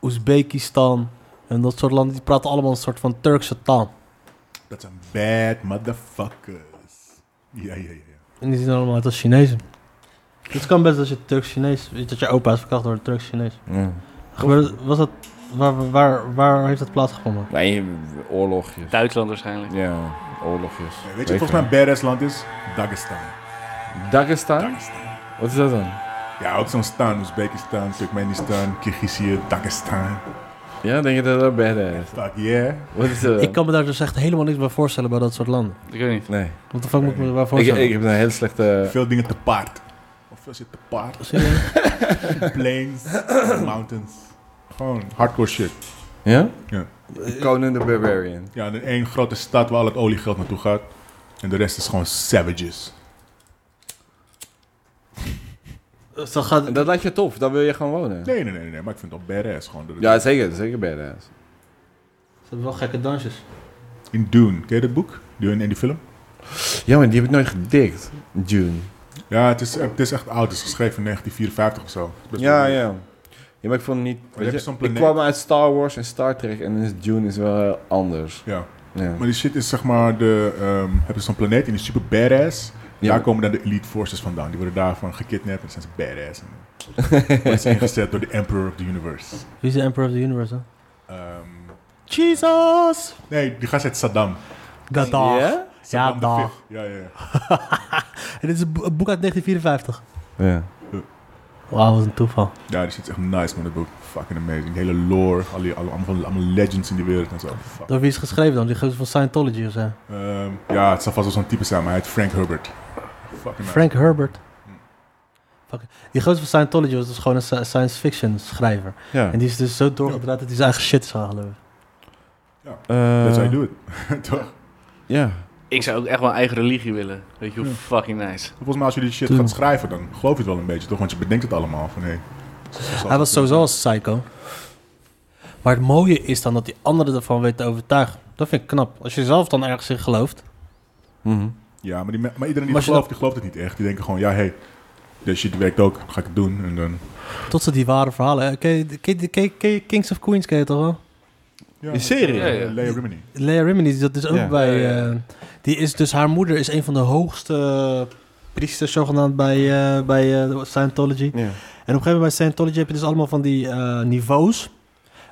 Oezbekistan en dat soort landen, die praten allemaal een soort van Turkse taal. [LAUGHS] dat zijn bad motherfuckers. Ja, ja, ja. En die zien allemaal uit als Chinezen. Dus Het kan best dat je Turks-Chinees, dat je opa is verkracht door een Turks-Chinees. Ja. Gebeurde- was dat, waar, waar, waar heeft dat plaatsgevonden? Nee, oorlogjes. Duitsland waarschijnlijk. Ja, oorlogjes. Nee, Weet je, volgens mij een badass land is Dagestan. Dagestan? Wat is dat dan? Ja, ook zo'n staan. Oezbekistan, Turkmenistan, Kyrgyzije, Dagestan. Ja, denk je dat dat badass is? Fuck yeah. Wat is dat? Ik kan me daar dus echt helemaal niks bij voorstellen bij dat soort landen. Ik weet niet. Nee. Wat de fuck moet ik me erbij Ik, voorstellen? ik heb een hele slechte... Veel dingen te paard. Of veel zit te paard. [LAUGHS] Serieus? Plains, mountains. Gewoon hardcore shit. Ja? Eh, Ja. Conan the Barbarian. Ja, en één grote stad waar al het oliegeld naartoe gaat. En de rest is gewoon savages. Dus dan gaat, En dat lijkt je tof, daar wil je gewoon wonen. Nee, nee, nee, nee, maar ik vind het wel badass. Gewoon de- Ja, zeker, zeker badass. dat zijn wel gekke dansjes. In Dune, ken je dat boek? Dune en die film? Ja, maar die heb ik nooit gedikt, June. Ja, het is, het is echt oud. Het is geschreven in 1954 of zo. Best Ja, wel- ja. Ja, maar ik vond het niet... je hebt zo'n ik planeet- kwam uit Star Wars en Star Trek en dus June is wel eh, anders. Ja, Ja. maar die shit is zeg maar de... ehm hebben ze zo'n planeet en die is super badass. Ja. Daar komen dan de elite forces vandaan. Die worden daarvan gekidnapt en zijn ze [LAUGHS] badass. En worden ze ingezet door de emperor of the universe. Wie is de Emperor of the Universe? Hè? Ehm, Jesus! nee, die gast heet Saddam. Dat Ja? dag. Ja, Saddam the dag. Fifth. Ja, ja, ja. En dit is een bo- een boek uit 1954. Ja. Wauw, wat een toeval. Ja, die shit is echt nice, man. Dat boek fucking amazing. De hele lore, alle, alle, allemaal, allemaal legends in die wereld en zo. Fuck. Door wie is het geschreven dan? Die gozer van Scientology of zo? Ehm, ja, het zal vast wel zo'n type zijn, maar hij heet Frank Herbert. Fucking nice. Frank Herbert. Fuck. Die gozer van Scientology was dus gewoon een sci- science fiction schrijver. ja. En die is dus zo doorgedraaid dat hij zijn eigen shit is gaan geloven. Eh, That's how you do it. [LAUGHS] Toch? Ja. Ik zou ook echt wel een eigen religie willen. Weet je hoe fucking nice. Volgens mij als je die shit Doe. gaat schrijven, dan geloof je het wel een beetje, toch? Want je bedenkt het allemaal van, hé. Hey, Hij was sowieso een psycho. Maar het mooie is dan dat die anderen ervan weten te overtuigen. Dat vind ik knap. Als je zelf dan ergens in gelooft. Mhm. Ja, maar, die, me- maar iedereen die Maar het als je gelooft, die gelooft het niet echt. Die denken gewoon, ja, hé, hey, deze shit werkt ook. Ga ik het doen. En dan... Tot ze die ware verhalen. hè. Ken je- ken je- ken je- ken je Kings of Queens ken je toch wel? Ja, Die serie? Ja, ja. Ja, ja. Leia Rimini. Leia Rimini, die dat is ook Ja. bij. Ja, ja, ja. eh, die is dus haar moeder is een van de hoogste eh, priesters zogenaamd bij, eh, bij eh, Scientology. Ja. En op een gegeven moment bij Scientology heb je dus allemaal van die eh, niveaus.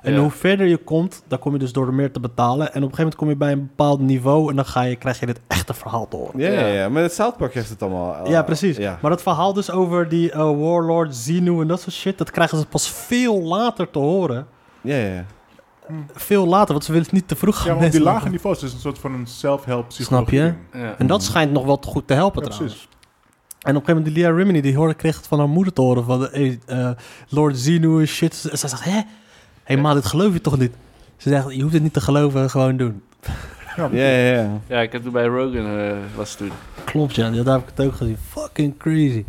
En Ja. hoe verder je komt, dan kom je dus door er meer te betalen. En op een gegeven moment kom je bij een bepaald niveau en dan ga je, krijg je dit echte verhaal te horen. Ja, ja, Ja. ja, maar het Zoutpark heeft het allemaal. eh, Ja, precies. Ja. Maar dat verhaal dus over die eh, warlord, Zenu en dat soort shit, dat krijgen ze pas veel later te horen. Ja, ja, ja. Veel later, want ze willen het niet te vroeg gaan Ja, maar op die mensen lage niveaus is een soort van een self-help psychologie. Snap je? ding. Ja. En dat schijnt nog wel te goed te helpen Ja, trouwens. precies. En op een gegeven moment, die Lia Rimini, die hoorde, kreeg het van haar moeder te horen. Van, hey, eh, Lord Zenu en shit. En zij zegt, hè? Hé, ma, dit geloof je toch niet? Ze zegt, je hoeft het niet te geloven, gewoon doen. Ja, ja, ja. Ja, ik heb toen bij Rogan eh, was toen. Klopt, ja. ja, Daar heb ik het ook gezien. Fucking crazy.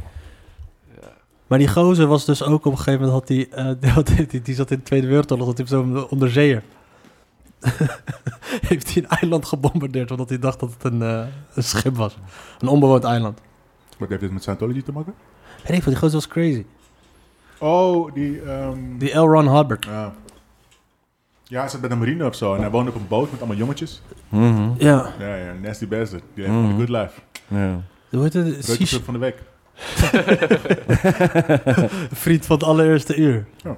Maar die gozer was dus ook op een gegeven moment, had die, eh, [LAUGHS] die, had- die, die zat in de Tweede Wereldoorlog, dat hij zo'n onderzeeër. [LAUGHS] Heeft hij een eiland gebombardeerd, omdat hij dacht dat het een, eh, een schip was. Een onbewoond eiland. Wat heeft dit met Scientology te maken? En ik vond die gozer was crazy. Oh, die... ehm, Die L. Ron Hubbard. Ja. Ja, hij zat bij de marine of zo. En hij woonde op een boot met allemaal jongetjes. Mhm. Ja. Ja, ja, nasty bastard. Die heeft gewoon Mhm. de good life. ja. Hoe heet het? Reukenpunt van de week. Vriend van het allereerste uur. Ja.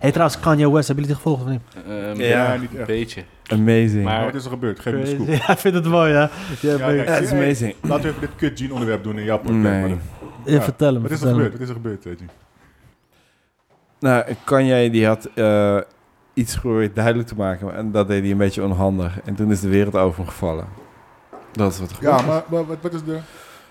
hey, trouwens, Kanye West, hebben jullie die gevolgd of niet? Ehm, Ja, Ja. niet Een echt. beetje. Amazing. Maar Maar wat is er gebeurd? Geef me de scoop. [LAUGHS] Ja, ik vind het mooi, hè? Ja, Ja, ja, Ja, het is Hey, amazing. Laten we even dit kut Gene onderwerp doen in jouw podcast. Nee. maar dan- ja, vertel hem. Wat is er vertel hem. gebeurd? Wat is er gebeurd, weet je? Nou, Kanye die had eh, iets geprobeerd duidelijk te maken en dat deed hij een beetje onhandig. En toen is de wereld over hem gevallen. Dat is wat er Ja, gebeurd maar maar wat, wat is de... wat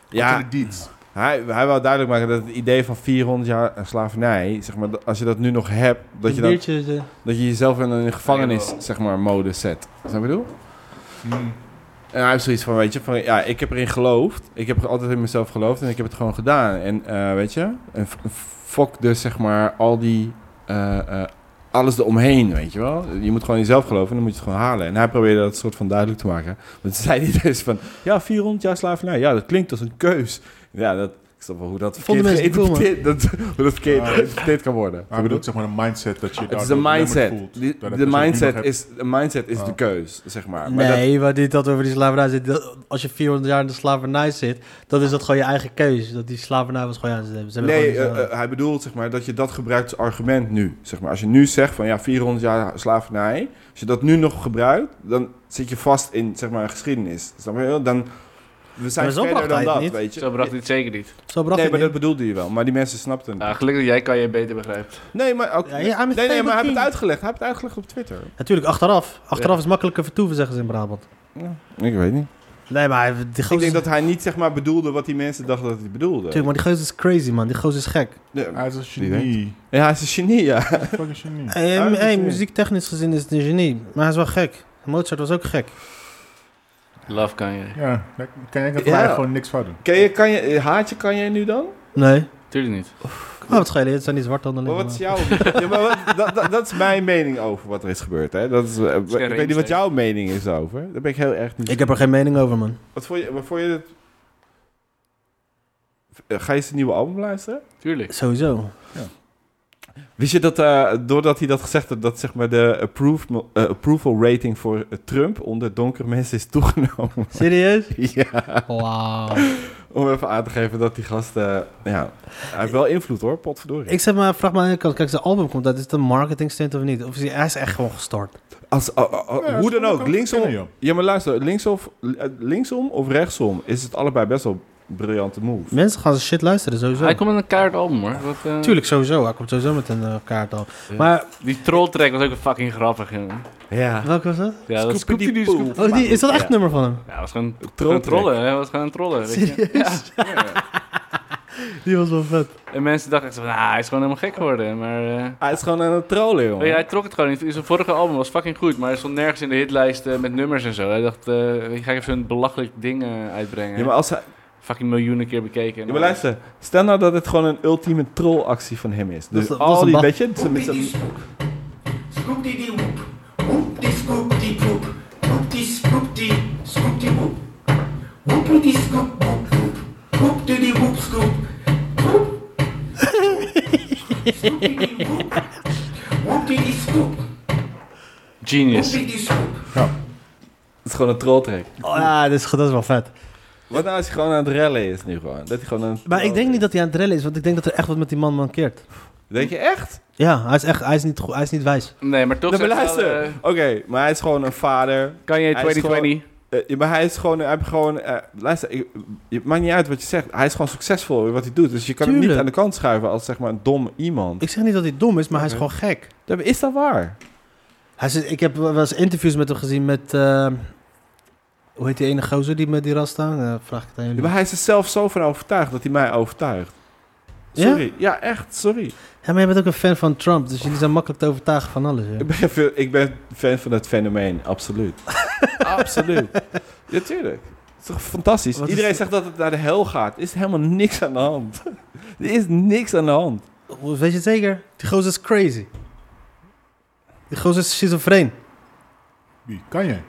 zijn Ja, de deeds? hij, hij wou duidelijk maken dat het idee van 400 jaar slavernij, zeg maar, dat als je dat nu nog hebt, dat je, Een dat, biertje, eh, dat je jezelf in een gevangenis, zeg maar, mode zet. Snap je wat ik bedoel? Hmm. En hij heeft zoiets van, weet je, van, ja, ik heb erin geloofd. Ik heb altijd in mezelf geloofd en ik heb het gewoon gedaan. En eh, weet je, en f- fuck dus zeg maar al die, eh, eh, alles eromheen, weet je wel. Je moet gewoon in jezelf geloven en dan moet je het gewoon halen. En hij probeerde dat soort van duidelijk [LAUGHS] te maken. Want toen zei hij dus van, ja, 400 jaar slavernij, ja, dat klinkt als een keus. Ja, dat, Ik snap wel hoe dat Vonden verkeerd mensen het cool, man? geïnterpreteerd dat- [LAUGHS] hoe dat verkeerd Ah. geïnterpreteerd kan worden. Maar ik bedoel, zeg maar een mindset dat je Het is daardoor een mindset. belemmerd voelt. Die- Dat het dus ook De nu nog mindset hebt. is, de mindset is Ah. de keus, zeg maar. maar dat- Nee, maar dit dat over die slavernij zit. dat- Als je 400 jaar in de slavernij zit, dan is dat gewoon je eigen keuze. Dat die slavernij was gewoon aan ze hebben. Ze hebben Nee, gewoon eh, eh, hij bedoelt zeg maar, dat je dat gebruikt als argument nu. Zeg maar. Als je nu zegt van ja, 400 jaar slavernij, als je dat nu nog gebruikt, dan zit je vast in zeg maar, een geschiedenis. Snap je wel? Dan, we zijn Maar zo verder bracht hij dan het dat, niet. weet je. Zo bracht hij het zeker niet. zo bracht nee, hij maar het dat bedoelde je wel. Maar die mensen snapten het. niet. Ah, gelukkig, jij kan je beter begrijpen. Nee, maar, ook, Ja, ja, I'm a nee, nee, maar hij heeft king. het uitgelegd. Hij heeft het uitgelegd op Twitter. in. Natuurlijk, achteraf. Achteraf is makkelijker vertoeven, zeggen ze in Brabant. Ik weet niet. Nee, maar hij- die Ik gozer... denk dat hij niet zeg maar, bedoelde wat die mensen dachten dat hij bedoelde. Tuurlijk, maar die gozer is crazy, man. Die gozer is gek. Hij Ja, is een genie. Ja, hij is een genie, ja. Hij is een fucking genie. Hey, Ah, m- dat hey, is- muziektechnisch gezien is het een genie, maar hij is wel gek. Mozart was ook gek. Love kan je. Ja, daar kan jij Ja. daar gewoon niks fout doen. Ken je, kan je, haatje kan jij nu dan? Nee. Tuurlijk niet. Oh, wat schelen, het zijn die zwarte Maar onderlingen. wat is jouw... ja, maar wat, dat, dat, dat is mijn mening over wat er is gebeurd, hè? Dat is, eh, ik weet niet wat jouw mening is over. Daar ben ik heel erg niet... Ik heb er geen mening over, man. Wat vond je, wat vond je het... Eh, Ga je zijn nieuwe album luisteren? Tuurlijk. Sowieso. Wist je dat, eh, doordat hij dat gezegd had, dat zeg maar de approved, eh, approval rating voor eh, Trump onder donkere mensen is toegenomen? Serieus? [LAUGHS] ja, Wauw. om even aan te geven dat die gast... eh, ja, hij heeft wel invloed hoor, potverdorie. Ik zeg maar, vraag maar aan de kant, kijk, zijn album komt uit, is het een marketing stunt of niet? Of is hij, hij is echt gewoon gestort. Als, oh, oh, oh, Ja, hoe dan dat ook, kan linksom... kunnen, joh. Ja, maar luister, linksom, linksom of rechtsom is het allebei best wel een briljante move. Mensen gaan zijn shit luisteren, sowieso. Hij komt met een kaart album hoor. Wat, eh, Tuurlijk, sowieso. Hij komt sowieso met een eh, kaart al. Maar, Die trolltrack was ook fucking grappig. jongen. Ja. welke was dat? Ja, dat Scoopity Scoopity Poo. Scoop- Oh, die, is dat echt een nummer van hem? Ja, dat was gewoon gewoon Trolltrack. trollen. Hij was gewoon trollen. Weet je? Die was wel vet. En mensen dachten echt van, ah, hij is gewoon helemaal gek geworden. Maar eh, Hij is gewoon aan het trollen, jongen. weet je, hij trok het gewoon niet. Zijn vorige album was fucking goed, maar hij stond nergens in de hitlijst eh, met nummers en zo. Hij dacht, eh, weet je, ga ik even een belachelijk ding eh, uitbrengen. Ja, maar als hij... Fucking miljoenen keer bekeken. Ja, maar luister, stel nou dat het gewoon een ultieme trollactie van hem is. Dus Dat is- dat is al een die, ba- weet je, het is met zijn- Scoop die die woep. Woep die scoop die poep. Woep die scoop die scoop die woep. Woep die scoop woep woep. Woep die die woep scoop. Woep. Scoop die die woep. Woep die die scoop. Woep Genius. die die scoop. het is gewoon een trolltrek. Oh, ja, dat is, dat is wel vet. Wat nou als hij gewoon aan het rellen is nu gewoon? Dat hij gewoon aan het Maar ik denk trollen niet dat hij aan het rellen is, want ik denk dat er echt wat met die man mankeert. is. Denk je echt? Ja, hij is echt, hij is niet, goed- hij is niet wijs. Nee, maar toch Nee, maar zegt wel, luister. eh, Oké, maar hij is gewoon een vader. kan je Hij is 2020... Eh, ja, maar hij is gewoon, hij heeft gewoon eh, luister, ik, het maakt niet uit wat je zegt. Hij is gewoon succesvol in wat hij doet. Dus je kan hem niet Tuurlijk. aan de kant schuiven als zeg maar een dom iemand. Ik zeg niet dat hij dom is, maar hij is gewoon gek. Ja, maar Is dat waar? Hij is, ik heb wel eens interviews met hem gezien met... eh, hoe heet die ene gozer die met die rasta? Eh vraag ik het Ja, aan jullie. maar hij is er zelf zo van overtuigd dat hij mij overtuigt. Ja? Sorry. Ja, echt, sorry. Ja, maar jij bent ook een fan van Trump, dus jullie zijn makkelijk te overtuigen van alles. hè? Ik ben, veel- ik ben fan van dat fenomeen, [LAUGHS] absoluut. absoluut. Ja, tuurlijk. Het is toch fantastisch. Wat is Iedereen de- zegt dat het naar de hel gaat. Er is helemaal niks aan de hand. [LAUGHS] er is niks aan de hand. Hoe- Weet je het zeker? Die gozer is crazy. Die gozer is schizofreen. Wie? Kan jij?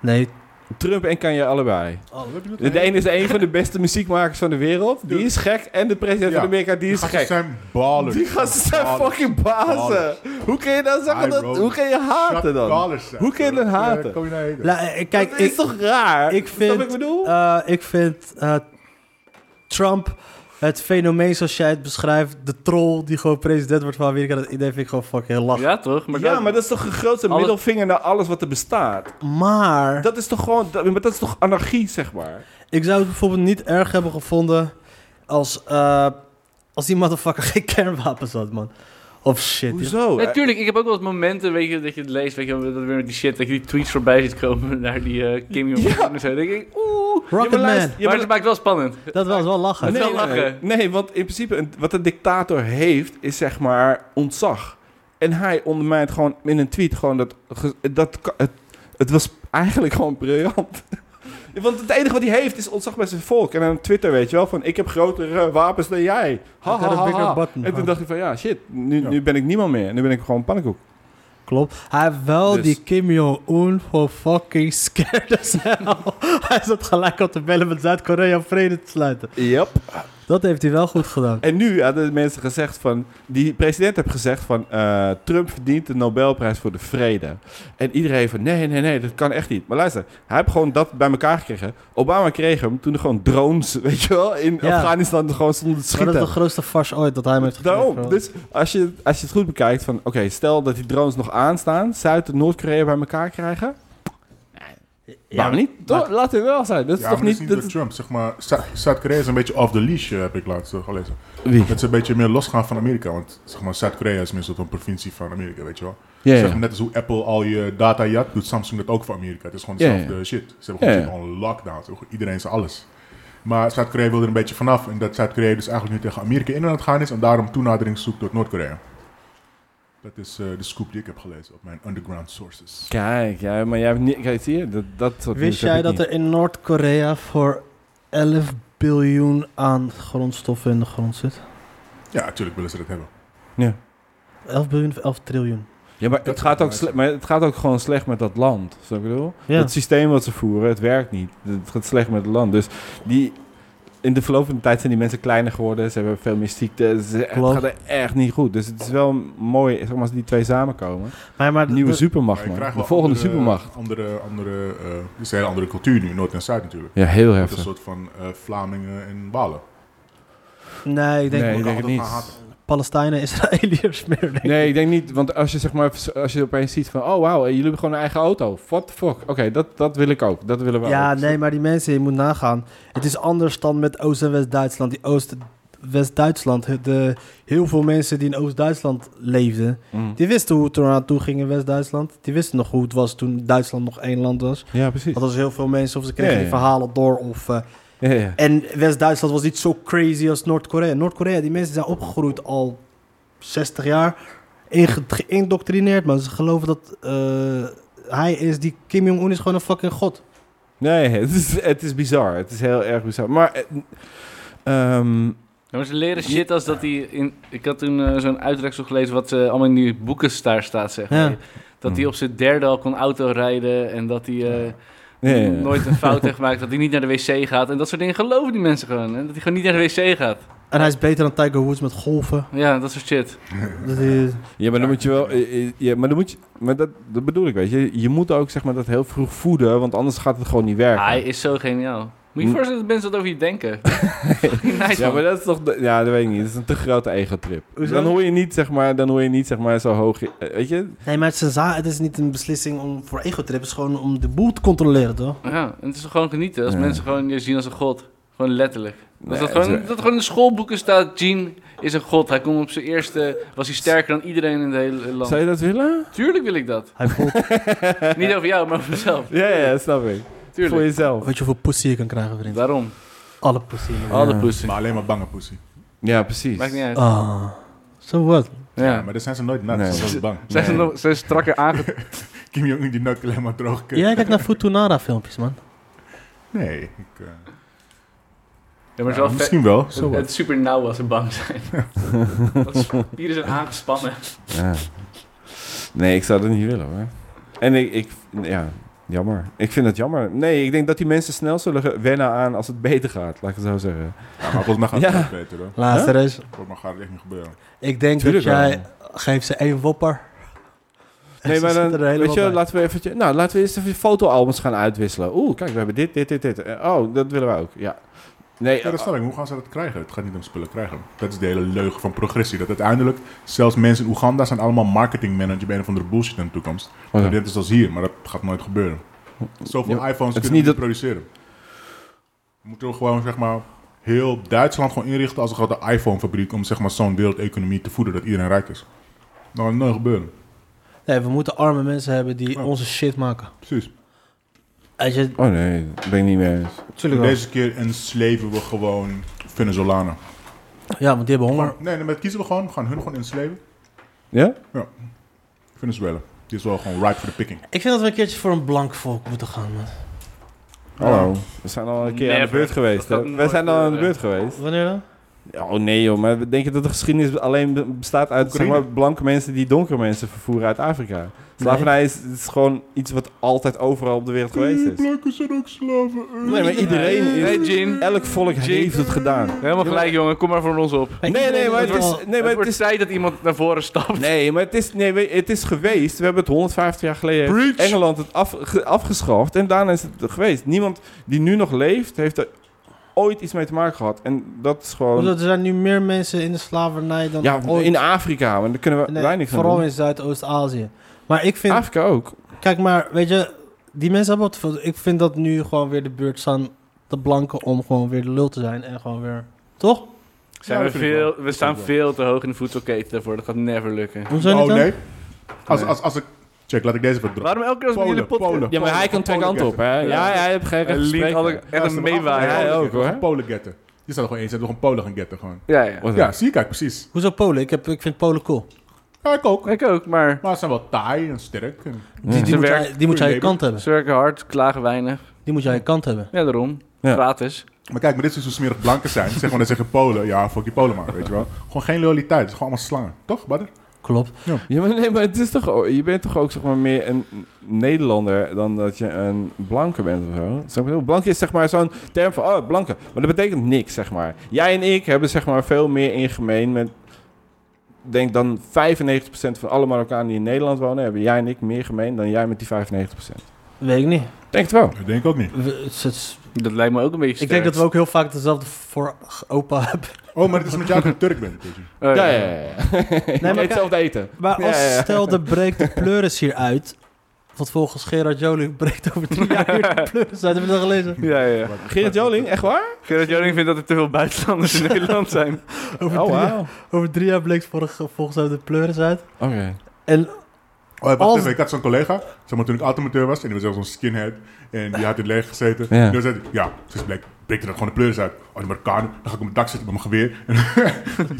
Nee. Trump en kan je allebei. Wat heb je net De gezegd? ene is een van de beste muziekmakers van de wereld. Die is gek. En de president Ja. van Amerika, die Die is gasten gek. zijn ballers. Die gasten zijn Ballers. fucking bazen. Ballers. Hoe kun je dan zeggen High dat... road. Hoe kun je haten Shut dan? ballers zijn, Hoe kun je bro. dat haten? Ja, kom je naar heden. La- eh, kijk, dat is ik, toch raar? ik Snap vind- wat ik bedoel? eh, ik vind eh, Trump het fenomeen zoals jij het beschrijft, de troll die gewoon president wordt van Amerika, dat idee vind ik gewoon fucking heel lachen. Ja, toch? ja, maar dat is toch de grootste Alle- middelvinger naar alles wat er bestaat? Maar Dat is toch gewoon... Dat, maar dat is toch anarchie, zeg maar? ik zou het bijvoorbeeld niet erg hebben gevonden als, eh, als die motherfucker [LAUGHS] geen kernwapens had, man. Of shit. Hoezo? Eh, Natuurlijk, ik heb ook wel eens momenten weet je, dat je het leest, weet je, wel, dat weer met die shit, dat je die tweets voorbij ziet komen [LAUGHS] naar die eh, Kim Jong-un Ja. en zo. denk ik, oeh. ja, maar Rocketman, luister, ja, Ja, maar maar- dat maakt wel spannend. dat was wel lachen. Nee. Nee, wel nee, lachen. nee. Nee, want in principe, een- wat een dictator heeft, is zeg maar ontzag. En hij ondermijnt gewoon in een tweet gewoon dat... ge- dat ka- het, het was eigenlijk gewoon briljant. [LAUGHS] Want het enige wat hij heeft is ontzag bij zijn volk. En aan Twitter weet je wel van, ik heb grotere wapens dan jij. Ha, I got ha, a ha, bigger ha. button. En toen dacht ik van, ja shit, nu, Ja. nu ben ik niemand meer. Nu ben ik gewoon pannenkoek. Klopt. Hij heeft wel Dus- die Kim Jong-un voor fucking [LAUGHS] scared as hell. Hij zat gelijk op te bellen met Zuid-Korea om vrede te sluiten. Yep. Dat heeft hij wel goed gedaan. En nu hadden de mensen gezegd van... Die president heeft gezegd van... eh, Trump verdient de Nobelprijs voor de vrede. En iedereen van... Nee, nee, nee, dat kan echt niet. Maar luister, hij heeft gewoon dat bij elkaar gekregen. Obama kreeg hem toen er gewoon drones, [LAUGHS] weet je wel... In Ja. Afghanistan gewoon stonden te Maar schieten. dat is de grootste farce ooit dat hij hem heeft gekregen. Daarom. Dus als je, als je het goed bekijkt van... Oké, stel dat die drones nog aanstaan... Zuid- en Noord-Korea bij elkaar krijgen... waarom niet? Toch, laat het wel zijn. Dat is Ja, toch maar dat is niet niet... dat door is- Trump. Zeg maar, Zu- Zuid-Korea is een beetje off the leash, eh, heb ik laatst eh, gelezen. Wie? Dat ze een beetje meer losgaan van Amerika. Want zeg maar, Zuid-Korea is meer zo'n provincie van Amerika, weet je wel. Ja, ja. Zeg maar, net als hoe Apple al je data jat, doet Samsung dat ook voor Amerika. Het is gewoon Ja, ja. dezelfde shit. Ze hebben gewoon Ja, ja. shit on lockdown. Zo, Iedereen zijn alles. Maar Zuid-Korea wil er een beetje vanaf. En dat Zuid-Korea dus eigenlijk nu tegen Amerika in aan het gaan is. En daarom toenadering zoekt door Noord-Korea. Dat is eh, de scoop die ik heb gelezen op mijn underground sources. Kijk, ja, maar jij hebt niet... Kijk, zie je? Dat, dat soort Wist nieuws heb jij ik dat niet. er in Noord-Korea voor 11 biljoen aan grondstoffen in de grond zit? Ja, natuurlijk willen ze dat hebben. 11 biljoen of 11 triljoen? Ja, maar Dat het, gaat zou mooi ook sle- zijn. maar het gaat ook gewoon slecht met dat land. Snap je wat ik bedoel? Ja. Het systeem wat ze voeren, het werkt niet. Het gaat slecht met het land. Dus die, in de verloop van de tijd zijn die mensen kleiner geworden. Ze hebben veel meer ziekte. Ze, het Klopt. gaat er echt niet goed. Dus het is wel mooi zeg maar, als die twee samenkomen. Maar, maar Nieuwe de- supermacht, Maar je man. krijgt De wel volgende andere- supermacht. Andere, andere, eh, het is een hele andere cultuur nu, Noord en Zuid natuurlijk. Ja, heel Het is een heftig. soort van eh, Vlamingen en Walen. Nee, ik denk Nee, ik dat denk we het dat gaan niet. haten. Palestijnen, [LAUGHS] Israëliërs meer. denk ik. Nee, ik denk niet. Want als je, zeg maar, als je opeens ziet van... Oh, wauw, jullie hebben gewoon een eigen auto. What the fuck? Oké, dat, dat wil ik ook. Dat willen we Ja, ook. nee, maar die mensen, je moet nagaan. Het is anders dan met Oost- en West-Duitsland. Die Oost- en West-Duitsland, het, eh, heel veel mensen die in Oost-Duitsland leefden, Mm. die wisten hoe het eraan toe ging in West-Duitsland. Die wisten nog hoe het was toen Duitsland nog één land was. Ja, precies. Want als heel veel mensen, of ze kregen Ja, ja, die ja. verhalen door. Of, eh, Ja, ja. en West-Duitsland was niet zo crazy als Noord-Korea. Noord-Korea, die mensen zijn opgegroeid al 60 jaar, inge- geïndoctrineerd. Maar ze geloven dat eh, hij is, die Kim Jong-un is gewoon een fucking god. Nee, [LAUGHS] het is, het is bizar. Het is heel erg bizar. Maar eh, ehm, Ja, Nou, maar ze leren shit als dat die... In, ik had toen eh, zo'n uitreksel gelezen wat ze allemaal in die boeken daar staat, zeg maar. Ja. Dat hij op zijn derde al kon autorijden en dat hij eh, ja, ja, ja. nooit een fout heeft gemaakt. Dat hij niet naar de wc gaat en dat soort dingen geloven die mensen gewoon. Hè? Dat hij gewoon niet naar de wc gaat. En hij is beter dan Tiger Woods met golven. Ja, dat soort shit. Dat hij- ja, maar dan moet je wel. eh, eh, Ja, maar dan moet je. Maar dat, dat bedoel ik, weet je. Je moet ook zeg maar dat heel vroeg voeden, want anders gaat het gewoon niet werken. Hij is zo geniaal. Moet je je Hm. voorstellen dat mensen dat over je [LAUGHS] denken. nice, Ja, man. maar dat is toch. de- Ja, dat weet ik niet. Dat is een te grote ego-trip. Hoezo? Dan hoor je niet, zeg maar, dan hoor je niet, zeg maar, zo hoog. eh, Weet je? Nee, maar het is, een za- het is niet een beslissing om voor ego-trip. Het is gewoon om de boel te controleren, toch? Ja, en het is gewoon genieten. Als Ja. mensen gewoon je zien als een god. Gewoon letterlijk. Dat, Nee, dat, gewoon, het is- dat gewoon in de schoolboeken staat, Gene is een god. Hij kon op zijn eerste, was hij sterker dan iedereen in het hele land. Zou je dat willen? Tuurlijk wil ik dat. Hij voelt, [LAUGHS] Niet over jou, maar over mezelf. Ja, ja, snap ik. Voor Tuurlijk. jezelf. weet je hoeveel pussy je kan krijgen, vriend? Daarom. Alle pussy. in de wereld. Alle poesten. Maar alleen maar bange pussy. Ja, precies. Maakt niet uit. Ah. So what? Ja. Maar daar zijn ze nooit nat, Nee. ze zijn nooit bang. Zijn ze nog zijn ze strakker aange... Kim Jong-un die neukt alleen maar droog. kut. Jij kijkt naar Futunara-filmpjes, man. Nee, ik, eh, Ja, maar ja, zo misschien wel. Zo het wat. is super nauw als ze bang zijn. Dat spieren zijn aangespannen. Ja. Nee, ik zou dat niet willen hoor. En ik, ik, ja, jammer. Ik vind het jammer. Nee, ik denk dat die mensen snel zullen ge- wennen aan als het beter gaat, laat ik het zo zeggen. Ja, maar volgens mij gaat het Ja. niet beter hoor. Luister eens. Volgens mij gaat het echt niet gebeuren. Ik denk Tuurlijk dat wel. jij... Geef ze één wopper. En Nee, ze maar dan, zitten er helemaal weet je, bij. laten we eventjes, nou, laten we eerst even fotoalbums gaan uitwisselen. Oeh, kijk, we hebben dit, dit, dit, dit. Eh, Oh, dat willen we ook. Ja. Nee, Ja, dat snap ik. Hoe gaan ze dat krijgen? Het gaat niet om spullen krijgen. Dat is de hele leugen van progressie. Dat uiteindelijk, zelfs mensen in Oeganda zijn allemaal marketingmanager bij een of andere bullshit in de toekomst. Oh ja. Net is als hier, maar dat gaat nooit gebeuren. Zoveel Ja, iPhones het kunnen we is niet niet dat- produceren. We moeten gewoon, zeg maar, heel Duitsland gewoon inrichten als een grote iPhone-fabriek om, zeg maar, zo'n wereldeconomie te voeden dat iedereen rijk is. Dat gaat nooit gebeuren. Nee, we moeten arme mensen hebben die Ja. onze shit maken. Precies. Als je... oh nee, dat ben ik niet mee eens. Tuurlijk wel. Deze keer ensleven we gewoon Venezolanen. Ja, want die hebben honger. Maar, nee, nee, maar dat kiezen we gewoon. We gaan hun gewoon ensleven. Ja? Venezuela. Die is wel gewoon ripe for the picking. Ik vind dat we een keertje voor een blank volk moeten gaan, man. Hallo. We zijn al een keer aan de Never. beurt geweest. Dat hè? gaat We zijn al aan de nooit beurt geweest. Wanneer dan? Ja, Oh nee joh, maar denk je dat de geschiedenis alleen be- bestaat uit zeg Oekraïne. maar, blanke mensen die donkere mensen vervoeren uit Afrika? Slavernij is, is gewoon iets wat altijd overal op de wereld geweest is. Blanken zijn ook slaven. eh. Nee, maar iedereen, Hey, is- Jin. elk volk heeft het gedaan. Helemaal gelijk, jongen. Kom maar voor ons op. Nee, nee, maar het wordt- is, nee, maar het het wordt is, tijd dat iemand naar voren stapt. nee, maar het is, nee, weet je, het is geweest. We hebben het 150 jaar geleden heeft Engeland het af, ge- afgeschaft en daarna is het er geweest. Niemand die nu nog leeft heeft er ooit iets mee te maken gehad. En dat is gewoon... Omdat er zijn nu meer mensen in de slavernij dan ja, ooit. in Afrika, want daar kunnen we Nee, weinig niks aan vooral doen. in Zuidoost-Azië. Maar ik vind, Afrika ook. kijk maar, weet je, die mensen hebben wat. voor- Ik vind dat nu gewoon weer de beurt staan de blanken om gewoon weer de lul te zijn en gewoon weer. Toch? Zijn Ja, we, dat vind ik veel, wel. we staan veel te hoog in de voedselketen daarvoor. Dat gaat never lukken. Hoe zijn Oh het dan? nee. Als, als, als ik. Check, laat ik deze even droppen. Waarom elke keer als ik Polen, jullie podcast... Polen. Ja, Ja, maar hij kan twee kanten op, hè? Ja, hij heeft geen Hij recht liet alle, gesprek. echt een Luister, maar af en toe Ja, meewaaien. Polen ook, getten, hoor. gewoon Polen getten. Je staat er gewoon eens, je hebt gewoon Polen gaan getten gewoon. Ja, ja. Ja, zie je, kijk, precies. Hoezo Polen? Ik, heb, ik vind Polen cool. Ja, ik ook. Ik ook, maar Maar ze zijn wel taai en sterk. En... Die, die, Ze moet, werkt. jij, die moet jij aan je Goeie kant hebben. ze werken hard, klagen weinig. Die moet jij aan je kant hebben. Ja, daarom. Ja. Gratis. Maar kijk, maar dit is hoe smerig blanken zijn. Zeg maar, dan zeggen [LAUGHS] Polen, ja, fuck je Polen maar, weet je wel. Gewoon geen loyaliteit, het is gewoon allemaal slangen. Toch, Badder? Klopt. Ja, maar nee, maar het is toch, o- je bent toch ook zeg maar meer een Nederlander dan dat je een blanke bent of zo. Snap je? Blank is zeg maar zo'n term van, oh, blanke. Maar dat betekent niks, zeg maar. Jij en ik hebben zeg maar veel meer in gemeen met, ik denk dan 95% van alle Marokkanen die in Nederland wonen, hebben jij en ik meer gemeen dan jij met die 95%. Weet ik niet. Denk het wel. Dat denk ik ook niet. We- het is- het is- Dat lijkt me ook een beetje ik sterk. denk dat we ook heel vaak dezelfde voor opa hebben. Oh, maar het is omdat jij geen Turk bent. weet je. Oh, Ja, ja, ja. [LAUGHS] ja. Ik maar eet kijk- hetzelfde eten. Maar Ja, als ja, ja. stel de breekt de pleuris hier uit. Want volgens Gerard Joling breekt over drie jaar weer de pleuris uit. Heb je dat gelezen? Ja, ja. ja. Gerrit Joling, echt waar? Gerard Joling vindt dat er te veel [LAUGHS] buitenlanders in Nederland zijn. Over, Oh, drie, jaar- wauw. over drie jaar bleek vorig- volgens mij de pleuris uit. Oké. [LAUGHS] Oh, wacht Als- even, ik had zo'n collega, zeg maar, toen ik automateur was, en die was zelfs zo'n skinhead, en die had in het leger gezeten. Ja. En toen zei hij, ja, ze is black, breekt er dan gewoon de pleurs uit. Oh, die Marokkanen, dan ga ik op mijn dak zitten met mijn geweer, en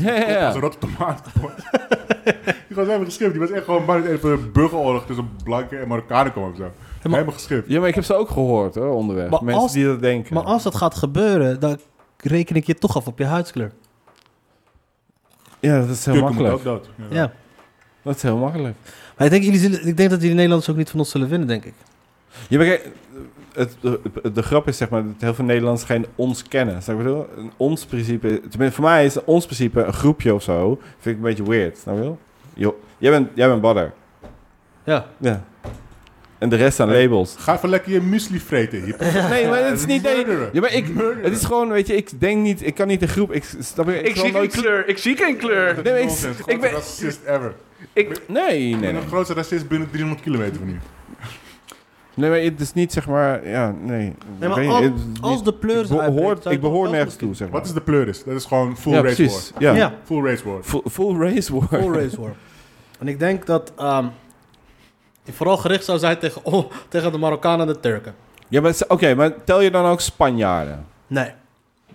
Ja, ja, ja. als een rotte tomaat. [LAUGHS] die was helemaal geschift, die was echt gewoon bang dat er een burgeroorlog tussen blanken en Marokkanen kwam of zo. Helemaal geschift. Ja, maar ik heb ze ook gehoord hoor, onderweg. Maar Mensen als- die dat denken. Maar als dat gaat gebeuren, dan reken ik je toch af op je huidskleur. Ja, dat is heel Turken moeten makkelijk. ook dood. Ja. Ja. Dat is heel makkelijk. Maar ik denk, jullie zullen- ik denk dat jullie Nederlanders ook niet van ons zullen winnen, denk ik. Ja, maar kijk, het, de, de grap is zeg maar dat heel veel Nederlanders geen ons kennen. Snap je wat ik bedoel? Een ons principe, tenminste voor mij is ons principe een groepje of zo. Vind ik een beetje weird. Snap je wel? Jo, jij bent, jij bent badder. Ja. Ja. En de rest zijn [LAUGHS] labels. Ga even lekker je muesli vreten, hippie. Nee, maar het is niet... Nee, Murderen. ja, maar ik, het is gewoon, weet je, ik denk niet... Ik kan niet de groep... Ik, snap je? Ik zal zie geen nooit- kleur. Ik zie geen kleur. Nee, maar ik- Nonsens, ik grootste ben- racist ever. Nee, Ik nee, ben nee. de grootste racist binnen 300 kilometer van hier. Nee, maar het is niet zeg maar... Ja, nee. Nee, Ik weet maar niet, als, het is als niet- de pleuris Ik behoor, uitbreekt... zou ik je toch behoor wel nergens moeten- toe, zeg maar. Wat is de pleuris? Dat is gewoon full ja, race precies. war. Ja. Ja, Full race war. Full, full race war. full race war. En ik denk dat ehm, die vooral gericht zou zijn tegen, oh, tegen de Marokkanen en de Turken. Ja, maar, ze- oké, maar tel je dan ook Spanjaarden? Nee.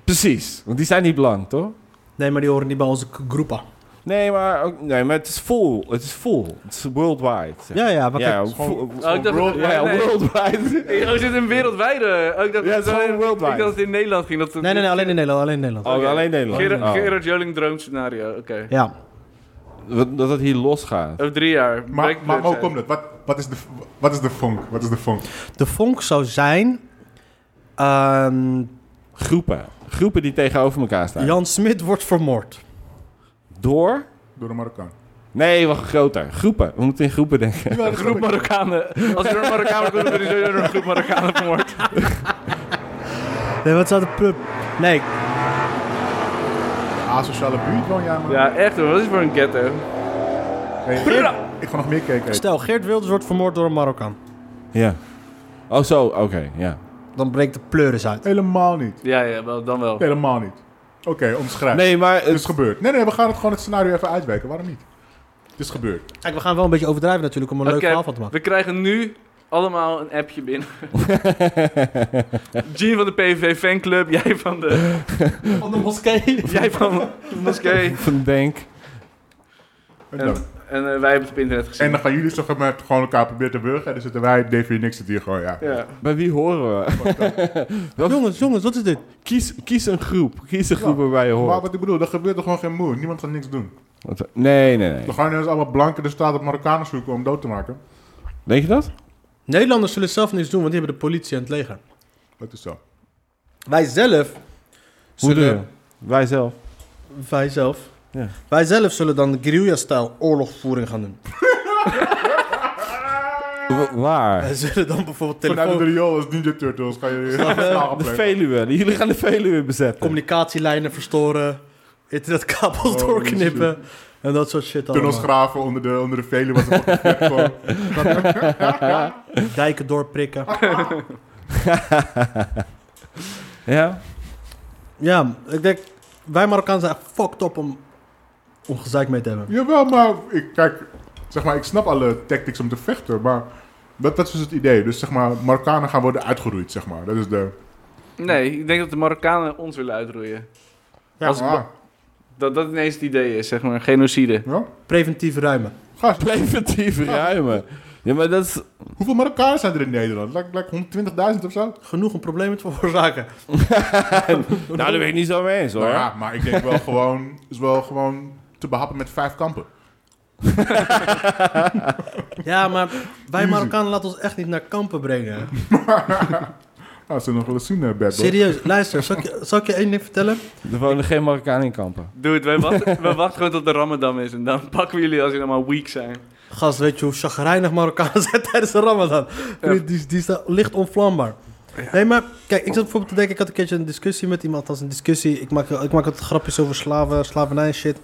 Precies. Want die zijn niet blank, toch? Nee, maar die horen niet bij onze k- groepa. Nee, maar, ook, nee, maar het is vol. Het is vol. Het is worldwide. zeg. Ja, ja, maar kijk, ja, Gewoon- vol- Oh, ik dacht, ja, ja, nee. [LAUGHS] worldwide. Oh, is dit een wereldwijde? Oh, ik dacht, Ja, het is gewoon worldwide. Ik dacht dat het in Nederland ging. Dat het- Nee, nee, nee, alleen in Nederland. Alleen in Nederland. Oh, alleen Nederland. Gerard, Oh. Gerard Joling droomscenario, oké. Ja. Dat, dat het hier losgaat. Over drie jaar. Maar, Breakbird maar hoe zijn. komt dat? Wat, wat, is de, wat is de funk? Wat is de funk? De vonk zou zijn... ehm, Groepen. Groepen die tegenover elkaar staan. Jan Smit wordt vermoord. Door? Door een Marokkaan. Nee, wacht, groter. Groepen. We moeten in groepen denken. [LAUGHS] Een groep Marokkanen. Als er een Marokkaan komt, dan is er een groep Marokkanen vermoord. Nee, wat zou de... pub? Nee, Asociale buurt woon jij, man. Ja, echt hoor. Wat is dit voor een ghetto? Hey, ik, ik ga nog meer kijken. stel, Geert Wilders wordt vermoord door een Marokkaan. Ja. Oh, zo. Oké, ja. Dan breekt de pleuris uit. Helemaal niet. Ja, ja, wel, dan wel. Helemaal niet. Oké, omschrijf. Nee, maar... Het Het, is gebeurd. Nee, nee, we gaan het gewoon het scenario even uitwerken. Waarom niet? Het is gebeurd. Kijk, we gaan wel een beetje overdrijven natuurlijk om een leuk Oké, verhaal van te maken. We krijgen nu allemaal een appje binnen. Gene van de PVV fanclub, jij van de, Van de moskee. jij van de moskee. van denk. Oké, En, en eh, wij hebben het op internet gezien. En dan gaan jullie toch met gewoon elkaar proberen te burgen. En dan zitten wij, Davy en ik zitten hier gewoon, ja. ja. Bij wie horen we? [LAUGHS] Jongens, jongens, wat is dit? Kies, kies een groep. Kies een groep waarbij je Maar hoort. wat ik bedoel, er gebeurt er gewoon geen moe. Niemand gaat niks doen. Wat- Nee, nee, nee. Dan gaan ineens allemaal blanken de staat op Marokkanen zoeken om dood te maken. Denk je dat? Nederlanders zullen zelf niks doen, want die hebben de politie en het leger. Dat is zo. Wij zelf Hoe zullen... doe je? Wij zelf. Wij zelf. Ja. Wij zelf zullen dan guerrilla-stijl oorlogvoering gaan doen. Wa- Waar? Wij zullen dan bijvoorbeeld Vanuit de telefoon, riool als Ninja Turtles gaan jullie slagen De plegen. Veluwe. Jullie gaan de Veluwe bezetten. communicatielijnen verstoren, internetkabels Oh, doorknippen en dat soort shit Tunnels allemaal. graven onder de, onder de velen was het gewoon. [LAUGHS] Dijken doorprikken. Ja? ja, ik denk, wij Marokkanen zijn echt fucked up om, om gezeik mee te hebben. Jawel, maar ik, kijk, zeg maar, ik snap alle tactics om te vechten, maar dat, dat is dus het idee. Dus zeg maar, Marokkanen gaan worden uitgeroeid, zeg maar. Dat is de... Nee, ik denk dat de Marokkanen ons willen uitroeien. Ja, Als- ah, Dat dat ineens het idee is, zeg maar. Genocide. ja. Preventief ruimen. Gast, Preventief ruimen. Ja, maar dat is... hoeveel Marokkanen zijn er in Nederland? Like, like 120.000 of zo? Genoeg om problemen te veroorzaken. Nou, daar ben ik niet zo mee eens, hoor. Nou ja, maar ik denk [LAUGHS] wel gewoon, is wel gewoon te behappen met vijf kampen. Ja, maar wij Marokkanen laten ons echt niet naar kampen brengen. Nou, ze nog wel eens zien, eh, bad boy. Serieus, luister, zal ik, je- zal ik je één ding vertellen? Er wonen geen Marokkanen in kampen. Dude, wij wachten, wij wachten gewoon tot de Ramadan is. En dan pakken we jullie als jullie allemaal weak zijn. Gast, weet je hoe chagrijnig Marokkanen zijn [LAUGHS] tijdens de Ramadan? Die, die, die staan licht onvlambaar. Nee, maar kijk, ik zat bijvoorbeeld te denken, ik had een keertje een discussie met iemand, als een discussie. Ik maak, ik maak het grapjes over slaven, slavernij en shit.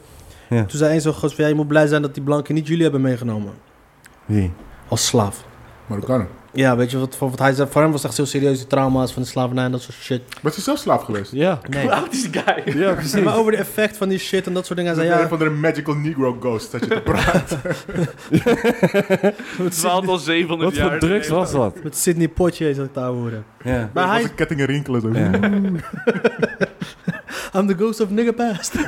Ja. Toen zei een zo'n gast van, ja, je moet blij zijn dat die blanken niet jullie hebben meegenomen. Wie? Als slaaf. Marokkanen. Ja, weet je, wat, wat hij zei, voor hem was echt heel serieus, die trauma's van de slavernij en dat soort shit. Was hij zelf slaaf geweest? Ja. Nee. Hoe oud is die guy? Ja, precies. Maar over de effect van die shit en dat soort dingen. Dat Hij is zei, een van de magical negro ghosts dat je [LAUGHS] te praten. Het dwaalt al 700 Wat jaar. voor drugs geleden. was dat? ja, met Sidney Poitier zat ik daar horen. Ja. Maar hij, Was de kettingen rinkelen zo. Ja. I'm the ghost of nigger past. [LAUGHS]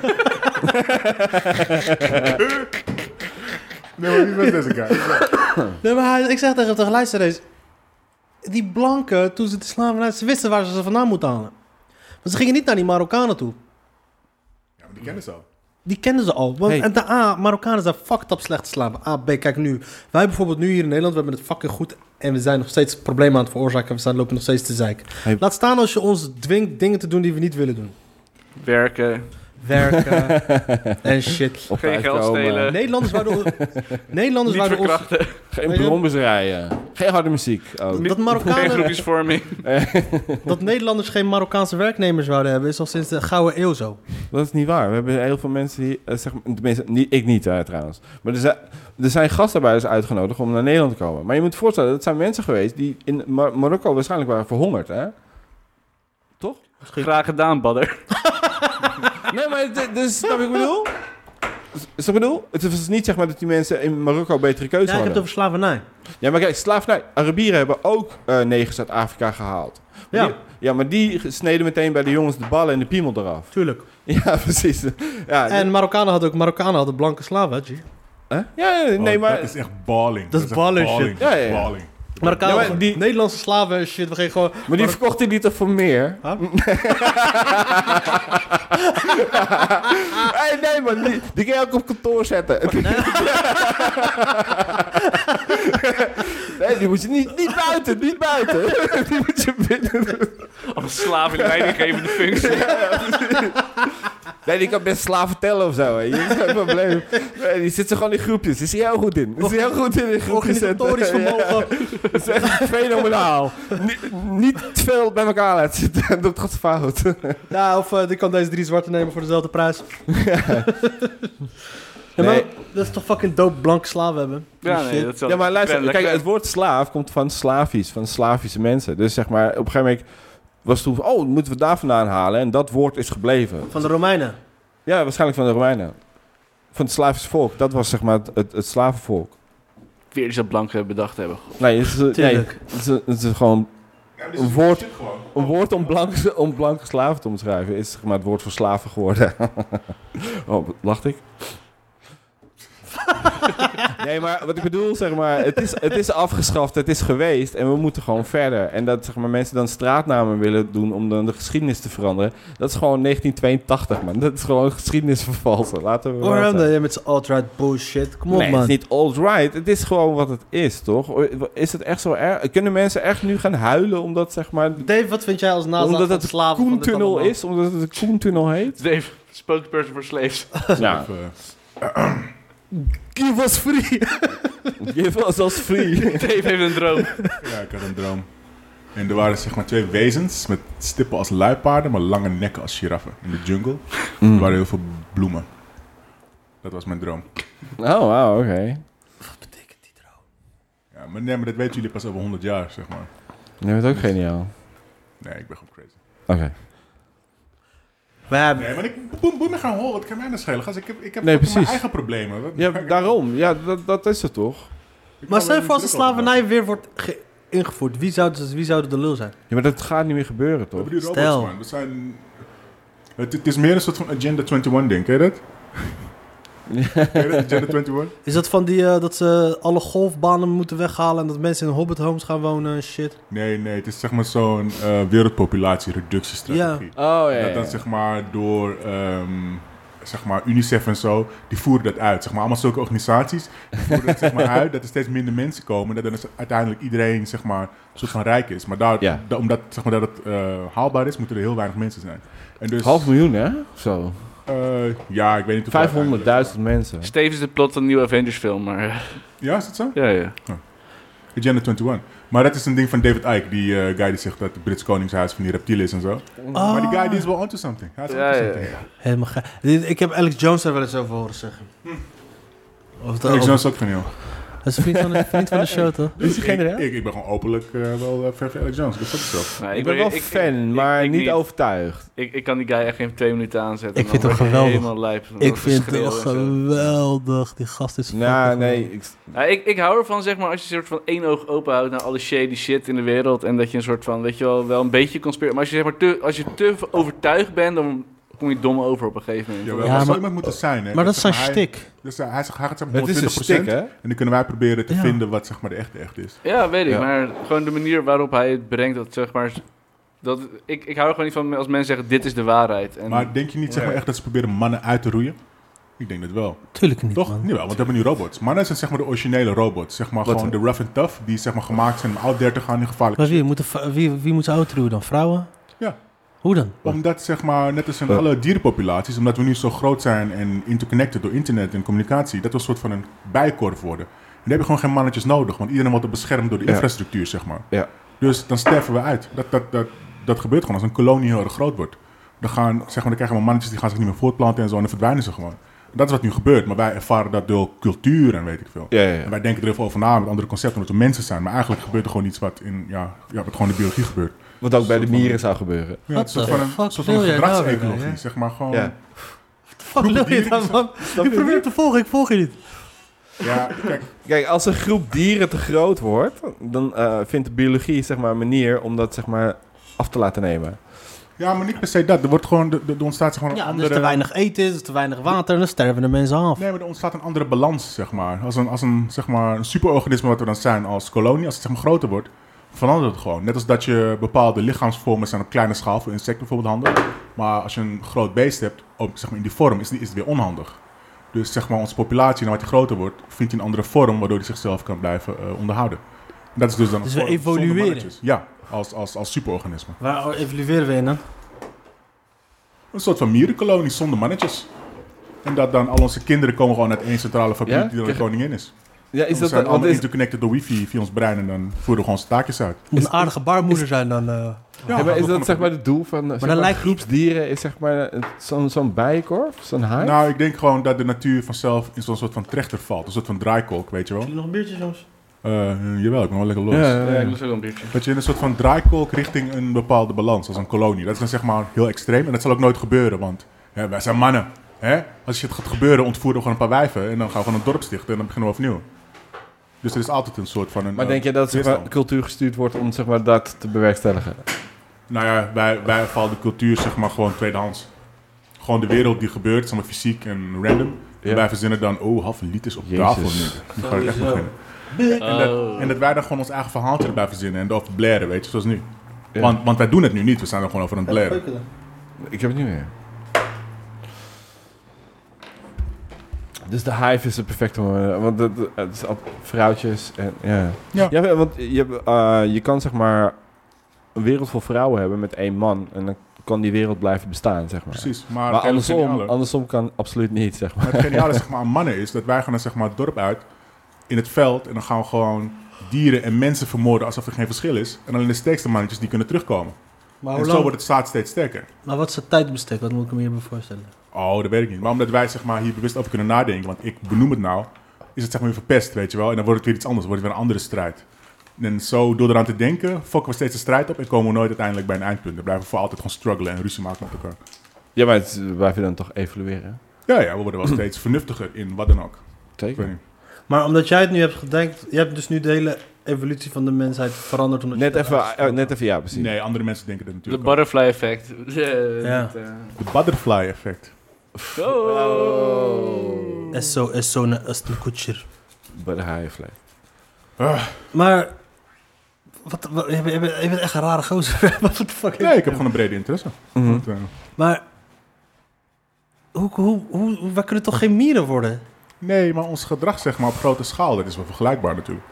Nee, maar wie was deze guy? [LAUGHS] Nee, maar hij- ik zeg tegen hem, tegen luister eens. Die blanken, toen ze de slavernij, ze wisten waar ze ze vandaan moeten halen. Maar ze gingen niet naar die Marokkanen toe. Ja, maar die kennen ze al. Die kenden ze al. Want, Hey. En de A, Marokkanen zijn fucked up slecht te slaven. A, B, kijk nu. Wij bijvoorbeeld nu hier in Nederland, we hebben het fucking goed. En we zijn nog steeds problemen aan het veroorzaken. We zijn, lopen nog steeds te zeiken. Hey. Laat staan als je ons dwingt dingen te doen die we niet willen doen. Werken. [LAUGHS] Werken en shit. Op Geen geld uitkomen. stelen. Nederlanders [LAUGHS] waardoor... Nederlanders Niet waardoor ons... verkrachten. Geen brommers rijden. Geen harde muziek. ook. Dat Geen Marokkanen... groepjesvorming. [LAUGHS] Dat Nederlanders geen Marokkaanse werknemers zouden hebben, is al sinds de Gouden Eeuw zo. Dat is niet waar. We hebben heel veel mensen hier, eh, zeg maar, tenminste, niet, ik niet eh, trouwens. Maar er zijn, er zijn gastarbeiders uitgenodigd om naar Nederland te komen. Maar je moet voorstellen, dat zijn mensen geweest die in Mar- Marokko waarschijnlijk waren verhongerd, hè? Graag gedaan, badder. Nee, maar dit- dus, snap je wat ik bedoel? S- Snap je wat ik bedoel? Het is dus niet zeg maar dat die mensen in Marokko betere keuze Ja, ik heb hadden. het over slavernij. Ja, maar kijk, slavernij. Arabieren hebben ook eh negers uit Afrika gehaald. Maar Ja. Die, ja, maar die sneden meteen bij de jongens de ballen en de piemel eraf. [LAUGHS] Tuurlijk. Ja, precies. Ja, En Marokkanen hadden ook Marokkanen hadden blanke slaven, hè, G. Hè? ja ja, nee, Oh, maar... Dat is echt balling. Dat is balling shit. Dat Ja, is ja, ja. balling. Marokkanen, Ja, maar die- Nederlandse slaven en shit, we gingen gewoon... Maar die verkochten die toch voor meer? Huh? [LAUGHS] hey, nee, man. Die, die kan je ook op kantoor zetten. [LAUGHS] nee, die moet je niet, niet buiten. Niet buiten. [LAUGHS] die moet je binnen doen. Als slaaf in leidinggevende functie. Nee, die kan best slaven tellen of zo. Hè. Je hebt geen probleem. Nee, die zit er gewoon in groepjes. Die is hier heel goed in. Die is hier heel goed in. in groepjes zetten. [LAUGHS] Organisatorisch vermogen. Dat is echt fenomenaal. Niet- niet te veel bij elkaar laten zitten. Dat gaat fout. Ja, of eh ik kan deze drie zwarte nemen voor dezelfde prijs. [LAUGHS] Ja, maar Nee. dat is toch fucking dope blanke slaven hebben? Ja, Die nee, shit. dat zal Ja, maar luister, Kennelijk. kijk, het woord slaaf komt van Slavisch, van Slavische mensen. Dus zeg maar, op een gegeven moment was toen, van, oh, moeten we daar vandaan halen? En dat woord is gebleven. Van de Romeinen. Ja, waarschijnlijk van de Romeinen. Van het Slavische volk. Dat was zeg maar het, het, het slavenvolk. Weer iets dat blanken bedacht hebben. Nee, het is, nee, Tuurlijk. het is, het is gewoon een woord, Shit gewoon. een woord om, blanke, om blanke slaven te omschrijven. Is zeg [LAUGHS] maar het woord voor slaven geworden. oh, lacht ik? [LAUGHS] Nee, maar wat ik bedoel, zeg maar, het is, het is afgeschaft, het is geweest en we moeten gewoon verder. En dat zeg maar, mensen dan straatnamen willen doen om dan de geschiedenis te veranderen, dat is gewoon 1982, man. Dat is gewoon geschiedenis vervalsen. Laten we. Waarom laten. dan? Jij met z'n alt-right bullshit. Kom op, nee, man. het is niet alt-right. Het is gewoon wat het is, toch? Is het echt zo erg? Kunnen mensen echt nu gaan huilen omdat, zeg maar, Dave, wat vind jij als NASA omdat het het de slaven van dit Koentunnel allemaal? is? Omdat het de Koentunnel heet? Dave, spokesperson voor slaves. [LAUGHS] Ja. Of, eh, [CLEARS THROAT] Give us free. [LAUGHS] Give us als free. [LAUGHS] Dave heeft een droom. ja, ik had een droom. En er waren zeg maar twee wezens met stippen als luipaarden, maar lange nekken als giraffen in de jungle. Mm. Er waren heel veel bloemen. Dat was mijn droom. [LAUGHS] Oh, wow, oké. Ja, maar, nee, maar dat weten jullie pas over 100 jaar, zeg maar. Nee, dat is ook geniaal. Nee, ik ben gewoon crazy. Oké. We hebben... Nee, maar ik boem, boem, ik ga hol. Wat kan mij nou schelen? Gast, ik heb, ik heb Nee, fucking mijn precies. eigen problemen. Wat- Ja, [LAUGHS] ik- daarom. Ja, dat, dat is het toch? ik Maar ga stel je me voor als de niet druk over maken. slavernij weer wordt ge- ingevoerd. Wie zou, dus- wie zou de lul zijn? Ja, maar dat gaat niet meer gebeuren, We toch? hebben die robots, Stel. man. We zijn... Het, het is meer een soort van Agenda 21, denk je [LAUGHS] dat? Ken je dat, Agenda 21? Is dat van die eh, dat ze alle golfbanen moeten weghalen en dat mensen in hobbit homes gaan wonen en shit? Nee, nee, het is zeg maar zo'n eh wereldpopulatiereductiestrategie. Oh, ja, Dat dan zeg maar door ehm, zeg maar UNICEF en zo, die voeren dat uit. Zeg maar allemaal zulke organisaties die voeren dat [LAUGHS] zeg maar uit dat er steeds minder mensen komen. Dat dan is uiteindelijk iedereen zeg maar een soort van rijk is. Maar daar, Ja. da- omdat zeg maar dat het eh, haalbaar is, moeten er heel weinig mensen zijn. En dus, Half miljoen, hè? Of Zo. eh, ja, ik weet niet of 500.000 mensen. Steve is de plot van een nieuwe Avengers film, maar... eh, Ja, is dat zo? Ja, ja. Agenda 21. Maar dat is een ding van David Icke, die eh, guy die zegt dat het Brits Koningshuis van die reptielen is en zo. Oh. Maar die guy die is wel onto something. Hij is Ja, onto ja, something. Helemaal ga- Dit- Ik heb Alex Jones daar wel eens over horen zeggen. Of dat, Ik of- zou het ook van heel. Hij is een vriend van, de, vriend van de show, toch? Dus die ik, generaal? ik, ik ben gewoon openlijk eh, wel eh, ver van Alex Jones. Dat is ook zo. Nou, Ik, ben wel fan, ik- maar ik niet overtuigd. Ik, ik kan die guy echt geen twee minuten aanzetten. Ik Dan vind hem word geweldig. Helemaal lijp. van Ik dat vind geschreeuw hem en zo. geweldig. Die gast is Nou, fucking nee. Ik, Ja, ik, ik hou ervan, zeg maar, als je een soort van één oog open houdt naar alle shady shit in de wereld. En dat je een soort van, weet je wel, wel een beetje kan spelen. Maar als je, zeg maar, te, als je te overtuigd bent, dan kom je dom over op een gegeven moment. Jawel, Ja, dat zou maar- iemand moeten zijn. Hè? Maar dat is zeg hij- zijn stik. Dus, eh, hij zegt, hij gaat zeggen het is een 120 stik, hè? En dan kunnen wij proberen te Ja. vinden wat zeg maar de echte echt is. Ja, weet ik. Ja. Maar gewoon de manier waarop hij het brengt, dat zeg maar... Dat, ik, ik hou er gewoon niet van als mensen zeggen, dit is de waarheid. En, Maar denk je niet zeg maar, echt dat ze proberen mannen uit te roeien? Ik denk dat wel. Tuurlijk niet, Toch? man. Jawel, want we hebben nu robots. Mannen zijn zeg maar de originele robots. Zeg maar gewoon de rough and tough. Die zeg maar gemaakt zijn om oud 30 gaan in gevaarlijk. Maar wie moet, de, v- wie, wie moet ze outroeren dan? Vrouwen? Ja. Hoe dan? Omdat, zeg maar, net als in Eh. alle dierenpopulaties, omdat we nu zo groot zijn en interconnected door internet en communicatie, dat we een soort van een bijkorf worden. En dan heb je gewoon geen mannetjes nodig, want iedereen wordt beschermd door de infrastructuur, zeg maar. Ja. Dus dan sterven we uit. Dat, dat, dat, dat gebeurt gewoon als een kolonie heel erg groot wordt. Dan, gaan, zeg maar, dan krijgen we mannetjes die gaan zich niet meer voortplanten en zo, en dan verdwijnen ze gewoon. Dat is wat nu gebeurt, maar wij ervaren dat door cultuur en weet ik veel. ja, ja, ja. En wij denken er heel veel over na met andere concepten, omdat we mensen zijn. Maar eigenlijk gebeurt er gewoon iets wat in, ja, ja, wat gewoon in de biologie gebeurt. Wat ook bij de mieren zou gebeuren. Ja, What het is een the soort van fuck een, soort van wil jij nou weer, gedragsecologie, hè? zeg maar gewoon. Ja. Ja, Fuck, lul je dan, man? Ik probeer te volgen, ik volg je niet. kijk, Kijk, als een groep dieren te groot wordt, dan eh, vindt de biologie zeg maar, een manier om dat zeg maar, af te laten nemen. ja, maar niet per se dat. Er, wordt gewoon, er, er ontstaat gewoon een Ja, dus andere... te weinig eten, is, te weinig water, dan sterven de mensen af. Nee, maar er ontstaat een andere balans, zeg maar. Als een, als een, zeg maar, een superorganisme wat we dan zijn als kolonie, als het zeg maar groter wordt, verandert het gewoon. Net als dat je bepaalde lichaamsvormen zijn op kleine schaal, voor insecten bijvoorbeeld handig. Maar als je een groot beest hebt, ook zeg maar in die vorm, is, die- is het weer onhandig. Dus zeg maar, onze populatie, naarmate die groter wordt, vindt die een andere vorm waardoor die zichzelf kan blijven eh, onderhouden. En dat is dus dan een Dus we vorm zonder evolueren. mannetjes. Ja, als, als, als superorganisme. Waar evalueren we in dan? Een soort van mierenkolonie zonder mannetjes. En dat dan al onze kinderen komen gewoon uit één centrale fabriek Ja? die dan de Kijk. koningin is. Ja, Is is we dat zijn dan, want allemaal is, interconnected door wifi via ons brein en dan voeren we gewoon onze taakjes uit. Moet een aardige baarmoeder zijn dan. eh. Ja, ja, maar is dat gewoon- zeg maar het doel van eh, zeg dan maar, lijkt- groepsdieren? Is zeg maar eh, zo'n zo'n bijenkorf? Zo'n haai? Nou, ik denk gewoon dat de natuur vanzelf in zo'n soort van trechter valt. Een soort van draaikolk, weet je wel. Nog een biertje soms? Eh, jawel, ik ben wel lekker los. Ja, ja, ja, ja. ik lust ook wel een biertje. Dat je in een soort van draaikolk richting een bepaalde balans, als een kolonie. Dat is dan zeg maar heel extreem en dat zal ook nooit gebeuren, want hè, wij zijn mannen. Hè? Als je het gaat gebeuren, ontvoeren we gewoon een paar wijven en dan gaan we gewoon een dorp stichten en dan beginnen we opnieuw. Dus er is altijd een soort van... Een, Maar eh, denk je dat zeg maar, weerstand. cultuur gestuurd wordt om zeg maar, dat te bewerkstelligen? Nou ja, wij, wij vallen de cultuur zeg maar gewoon tweedehands. Gewoon de wereld die gebeurt, zeg maar fysiek en random. En wij verzinnen dan, oh, half een liter is op Jezus. tafel nu. Dan ga ik echt Sowieso. Oh. beginnen. En dat, en dat wij dan gewoon ons eigen verhaaltje erbij verzinnen en of blaren, weet je, zoals nu. Want, want wij doen het nu niet, we zijn er gewoon over aan het blaren. Ik heb het niet meer. Dus de hive is het perfecte moment. Want het, het is al vrouwtjes en ja. Ja. want je, hebt, eh, je kan zeg maar een wereld vol vrouwen hebben met één man. En dan kan die wereld blijven bestaan, zeg maar. Precies, maar, Maar het hele andersom, geniale- andersom kan absoluut niet, zeg maar. Maar het geniale zeg maar, aan mannen is dat wij gaan dan, zeg maar, het dorp uit in het veld en dan gaan we gewoon dieren en mensen vermoorden alsof er geen verschil is. En alleen de sterkste mannetjes die kunnen terugkomen. Maar, en hoe zo lang, wordt het staat steeds sterker. maar wat is het tijdbestek? Wat moet ik me hierbij voorstellen? Oh, dat weet ik niet. Maar omdat wij zeg maar, hier bewust over kunnen nadenken, want ik benoem het nou, is het zeg maar weer verpest, weet je wel. En dan wordt het weer iets anders, wordt het weer een andere strijd. En zo, door eraan te denken, fokken we steeds de strijd op en komen we nooit uiteindelijk bij een eindpunt. Dan blijven we voor altijd gewoon struggelen en ruzie maken met elkaar. Ja, maar het blijven dan toch evolueren. Ja, ja, we worden wel steeds vernuftiger in wat dan ook. Ik weet Zeker. niet. Maar omdat jij het nu hebt gedenkt, je hebt dus nu de hele evolutie van de mensheid veranderd. Omdat Net je even, eh, net even ja, precies. Nee, andere mensen denken dat De natuurlijk ook. butterfly effect. Eh, Ja. dat, eh. De butterfly effect. Oh. Esso, esso, ne, esto, kutscher. Bij de hive. like. Maar, wat, wat, je, bent- je bent- je bent echt een rare gozer. [LAUGHS] wat de fuck Ja, ik heb gewoon een brede interesse. Want, eh, Maar, hoe, hoe, hoe, wij kunnen toch geen mieren worden? nee, maar ons gedrag zeg maar op grote schaal, dat is wel vergelijkbaar natuurlijk.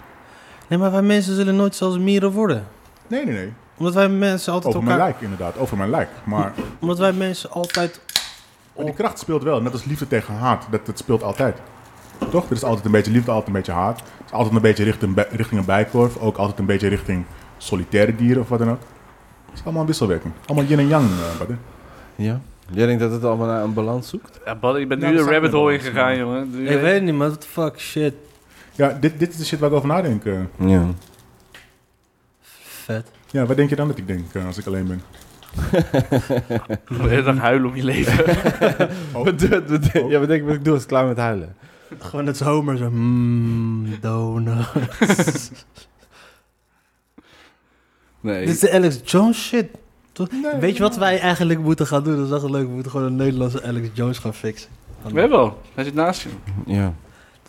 Nee, maar wij mensen zullen nooit zoals mieren worden. Nee, nee, nee. Omdat wij mensen altijd Over mijn elkaar... lijk inderdaad, over mijn lijk. Maar, Omdat wij mensen altijd... maar die kracht speelt wel, net als liefde tegen haat, dat, dat speelt altijd. Toch? Er is altijd een beetje liefde, altijd een beetje haat. Het is altijd een beetje richting, bij- richting een bijkorf, ook altijd een beetje richting solitaire dieren of wat dan ook. Het is allemaal een wisselwerking. Allemaal yin en yang, eh, buddy. Ja. Jij denkt dat het allemaal naar een balans zoekt? Ja, Badder, je bent Nou, nu dat de staat rabbit er wel hole eens, ingegaan, ja. jongen. Dus- Ik weet het niet, maar what the fuck, shit. Ja, dit, dit is de shit waar ik over nadenk. eh. Ja. Vet. Ja, wat denk je dan dat ik denk eh, als ik alleen ben? Je moet de hele dag huilen om je [LAUGHS] leven. Oh. Wat doe- wat doe- Ja, wat denk je wat ik doe als ik klaar met huilen? Gewoon het Homer zo... Mmm, "Mm, [LAUGHS] donuts. Nee. Dit is de Alex Jones shit. Toch? Nee, Weet je wat wij eigenlijk moeten gaan doen? Dat is echt leuk. We moeten gewoon een Nederlandse Alex Jones gaan fixen. We hebben al. Hij zit naast je. Ja.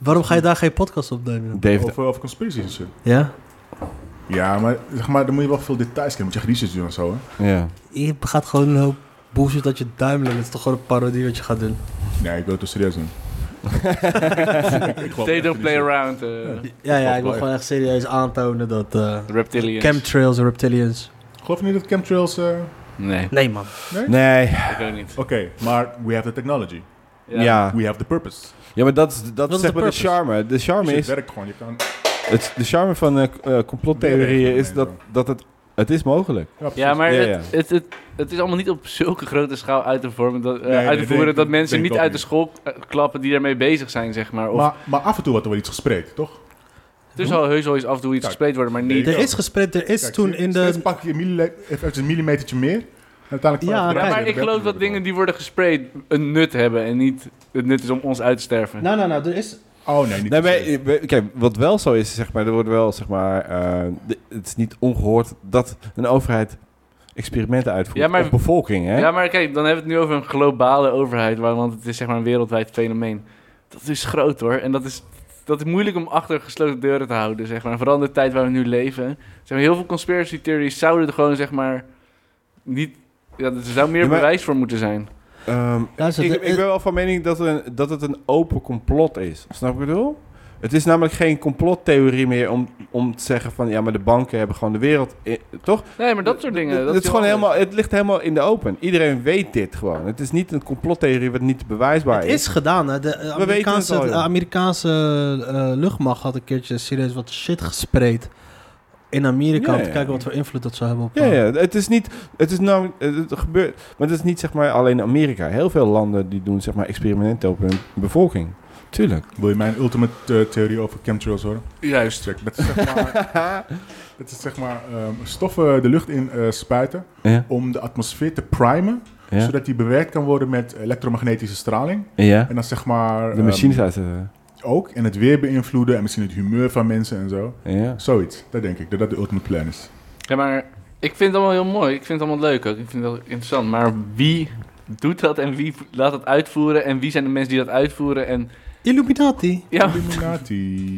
Waarom ga je daar geen podcast opnemen? dan? David. Over, over conspiracies en shit. Ja? Ja, maar zeg maar, dan moet je wel veel details kennen. Moet je echt research doen en zo, hè? Ja. Je gaat gewoon een hoop bullshit dat je duimelen. Dat is toch gewoon een parodie wat je gaat doen? Nee, ik wil het toch serieus doen. They don't play around. eh, Ja, ja, wel ik wil leuk. gewoon echt serieus aantonen dat... eh reptilians. chemtrails en reptilians. Geloof je niet dat chemtrails... eh, [LAUGHS] Nee, Nee, man. Nee. ik ook niet. Oké, maar we have the technology. Ja. Ja. We have the purpose. Ja, maar dat is, dat is is zeg de maar de purpose. charme. De charme Shit is, werkt gewoon. Je kan... het, de charme van eh, k- eh, complottheorieën Werken, is nee, dat, zo. dat het, het is mogelijk. Ja, precies. Ja, maar Ja, het, Het, het, het is allemaal niet op zulke grote schaal uit te, vormen, dat, eh, Nee, uit te dat voeren denk- dat mensen denk ik niet ook uit de niet. school eh, klappen die daarmee bezig zijn, zeg maar. Of, maar, maar af en toe wordt er wel iets gespreekt, toch? er zal heus wel eens af en toe iets Kijk, gespeeld worden, maar niet. denk Er ook. is gespreid, er is Kijk, toen steeds- in steeds de... pak je een millile- even een millimetertje meer. En uiteindelijk... Ja, Ja, maar ik geloof dat dingen die worden gespreid een nut hebben en niet het nut is om ons uit te sterven. Nou, nou, nou, er is... Oh, nee, niet Nee, per se. maar, we- kijk, wat wel zo is, zeg maar, er wordt wel, zeg maar, eh, de- het is niet ongehoord dat een overheid experimenten uitvoert Ja, maar- op bevolking, hè? Ja, maar kijk, dan hebben we het nu over een globale overheid, waar- want het is zeg maar een wereldwijd fenomeen. Dat is groot hoor, en dat is, dat is moeilijk om achter gesloten deuren te houden, zeg maar. Vooral in de tijd waar we nu leven. Zeg maar, heel veel conspiracy theories zouden er gewoon, zeg maar, niet... Ja, er zou meer Ja, maar- bewijs voor moeten zijn. Ehm, Luister, ik, de- ik ben wel van mening dat, een, dat het een open complot is. Snap je wat ik bedoel? Het is namelijk geen complottheorie meer om, om te zeggen van ja, maar de banken hebben gewoon de wereld. i- toch? Nee, maar dat soort dingen. Het- dat het, is gewoon heel helemaal, anders. het ligt helemaal in de open. Iedereen weet dit gewoon. Het is niet een complottheorie wat niet bewijsbaar Het is. is gedaan. Hè. De eh, We weten Amerikaanse, het al, joh. de Amerikaanse eh, luchtmacht had een keertje serieus wat shit gespreid in Amerika. Ja, om te ja. kijken wat voor invloed dat zou hebben op. eh, Ja, ja, het is niet. Het is nou. Het gebeurt. Maar het is niet zeg maar alleen Amerika. Heel veel landen die doen zeg maar experimenten op hun bevolking. Tuurlijk. Wil je mijn ultimate eh, theorie over chemtrails horen? Juist. Check, Dat is zeg maar, [LAUGHS] dat is zeg maar ehm, stoffen de lucht in eh, spuiten Ja. om de atmosfeer te primen, Ja. zodat die bewerkt kan worden met elektromagnetische straling. Ja. En dan zeg maar... De ehm, machines eh, uitzetten. ook. En het weer beïnvloeden en misschien het humeur van mensen en zo. Ja. Zoiets. Dat denk ik, dat dat de ultimate plan is. Ja, maar ik vind het allemaal heel mooi. Ik vind het allemaal leuk ook. Ik vind het wel interessant. Maar wie doet dat en wie laat dat uitvoeren en wie zijn de mensen die dat uitvoeren en Illuminati. [LAUGHS] ja, Illuminati.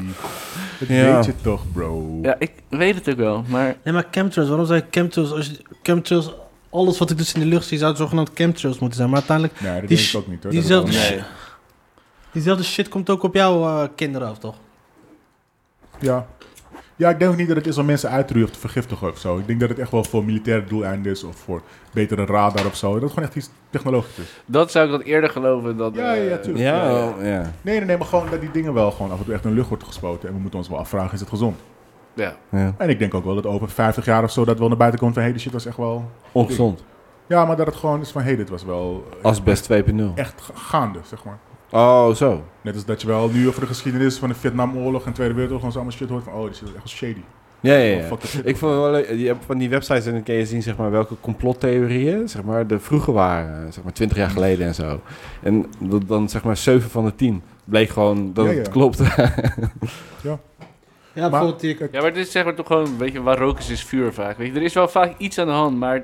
Dat Ja. weet je toch, bro. ja ik weet het ook wel, maar Nee, maar chemtrails, waarom zijn chemtrails, als je, chemtrails, alles wat ik dus in de lucht zie, zou het zogenaamd chemtrails moeten zijn. Maar uiteindelijk, Nee, dat Die denk ik sh- ook niet hoor. Dat diezelfde, kan shit- diezelfde shit komt ook op jouw eh, kinderen af, toch? niet. Ja. ja, ik denk ook niet dat het is om mensen uit te roeien of te vergiftigen of zo. Ik denk dat het echt wel voor militaire doeleinden is of voor betere radar of zo. Dat het gewoon echt iets technologisch is. dat zou ik dat eerder geloven dat Ja, eh, ja, tuurlijk. Ja, Ja, ja. wel, ja. Nee, nee, nee, maar gewoon dat die dingen wel gewoon af en toe echt in de lucht wordt gespoten. En we moeten ons wel afvragen, is het gezond? ja. En ik denk ook wel dat over 50 jaar of zo dat wel naar buiten komt van... hé, hey, die shit was echt wel... Ongezond. Ja, maar dat het gewoon is van... hé, hey, dit was wel Oh. eh, Asbest 2.0. echt ga- gaande, zeg maar. Oh, zo. Net als dat je wel nu over de geschiedenis van de Vietnamoorlog en Tweede Wereldoorlog... en zo allemaal shit hoort van... oh, die shit was echt wel shady. Ja, ja, Oh, ja. fuck the shit. Ik vond het wel leuk, je hebt van die websites en dan kun je zien zeg maar, welke complottheorieën zeg maar, er vroeger waren, zeg maar 20 Mm. jaar geleden en zo. En dat dan zeg maar 7 van de 10 bleek gewoon dat Ja, ja. [LAUGHS] het klopt. Ja, bijvoorbeeld die... Ja, maar dit is zeg maar toch gewoon, weet je, waar rook is, is vuur vaak. Weet je, er is wel vaak iets aan de hand, maar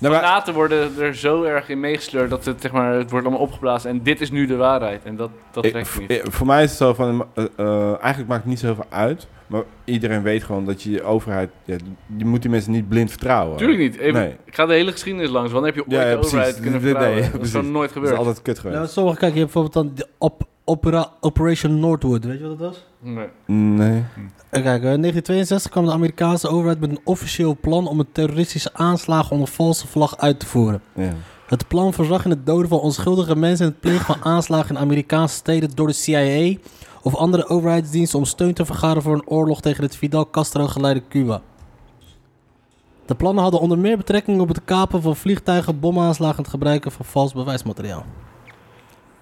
Nou, maar- later worden er zo erg in meegesleurd dat het, zeg maar, het wordt allemaal opgeblazen en dit is nu de waarheid. En dat, dat Ik- trekt v- niet. eh, voor mij is het zo van, eh, eh, eigenlijk maakt het niet zoveel uit, maar iedereen weet gewoon dat je de overheid, ja, je moet die mensen niet blind vertrouwen. Tuurlijk niet. Even, Nee. Ik ga de hele geschiedenis langs. Wanneer heb je ooit Ja, ja, de precies. overheid kunnen Nee, nee, vertrouwen? ja, dat is precies. gewoon nooit Dat is gebeurd. altijd kut Nou, geweest. met sommige, kijk, je hebt bijvoorbeeld dan de op, opera, Operation Northwood, weet je wat dat was? Eh, Nee. Nou- Nee. En Kijk, eh, in 1962 kwam de Amerikaanse overheid met een officieel plan om een terroristische aanslag onder valse vlag uit te voeren. Ja. Het plan voorzag in het doden van onschuldige mensen en het plegen van aanslagen in Amerikaanse steden door de CIA of andere overheidsdiensten om steun te vergaren voor een oorlog tegen het Fidel Castro geleide Cuba. De plannen hadden onder meer betrekking op het kapen van vliegtuigen, bomaanslagen en het gebruiken van vals bewijsmateriaal.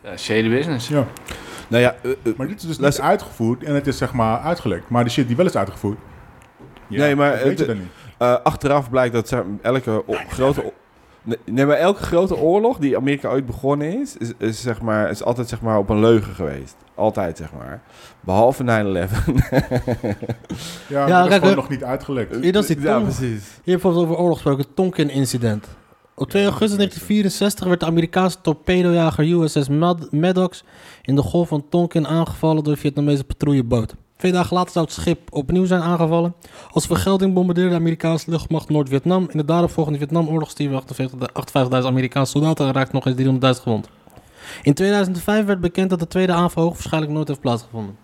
Ja, shady business. Ja. Nou ja, eh, eh, Maar dit is dus Luister- niet uitgevoerd en het is zeg maar uitgelekt. Maar de shit die wel is uitgevoerd... ja, Nee, maar dat weet het- je dan niet. Eh, achteraf blijkt dat zeg, elke o- grote... o- Nee, Nee, maar elke grote oorlog die Amerika ooit begonnen is, is, is zeg maar, is altijd zeg maar, op een leugen geweest. Altijd, zeg maar. Behalve 9-11. Ja, Ja, dat is kijk, gewoon eh, nog niet uitgelekt. Hier, dat is die Ja, Tonga- precies. Hier hebben we het over oorlog gesproken, het Tonkin-incident. Op 2 augustus 1964 werd de Amerikaanse torpedojager USS Mad- Maddox in de golf van Tonkin aangevallen door een Vietnamese patrouilleboot. Twee dagen later zou het schip opnieuw zijn aangevallen. Als vergelding bombardeerde de Amerikaanse luchtmacht Noord-Vietnam. In de daaropvolgende Vietnamoorlog stierven 58 58.000 Amerikaanse soldaten en raakten nog eens 300.000 gewond. In 2005 werd bekend dat de tweede aanval waarschijnlijk nooit heeft plaatsgevonden.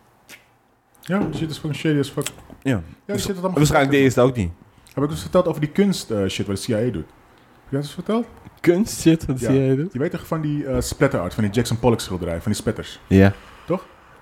Ja, die shit is gewoon shady as fuck. Ja. Ja, die shit had allemaal Waarschijnlijk de eerste ook niet. Heb ik eens verteld over die kunst eh, shit wat de CIA doet? Heb je dat eens verteld? Kunst shit, wat Ja. Je weet toch van die eh splatterart, van die Jackson Pollock schilderij, van die spetters? Ja.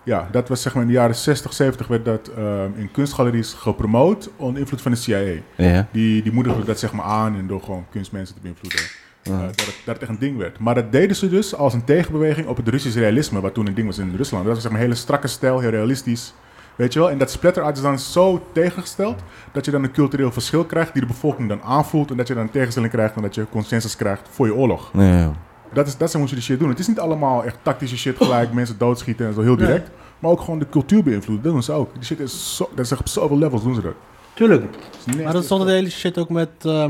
Ja, dat was zeg maar in de jaren 60, 70 werd dat ehm, in kunstgaleries gepromoot onder invloed van de CIA. Ja. Die, die moedigden dat zeg maar aan en door gewoon kunstmensen te beïnvloeden. eh, dat, het, dat het echt een ding werd. Maar dat deden ze dus als een tegenbeweging op het Russisch realisme, wat toen een ding was in Rusland. Dat was zeg maar een hele strakke stijl, heel realistisch. Weet je wel? En dat splatterart is dan zo tegengesteld dat je dan een cultureel verschil krijgt die de bevolking dan aanvoelt. En dat je dan een tegenstelling krijgt en dat je consensus krijgt voor je oorlog. Ja. Dat is, dat zijn hoe ze die shit doen. Het is niet allemaal echt tactische shit gelijk, mensen doodschieten en zo heel direct. Maar ook gewoon de cultuur beïnvloeden. Dat doen ze ook. Die shit is zo, dat is echt op zoveel levels doen ze dat. Tuurlijk. Het is nasty Maar dat as stond de fuck. hele shit ook met. eh,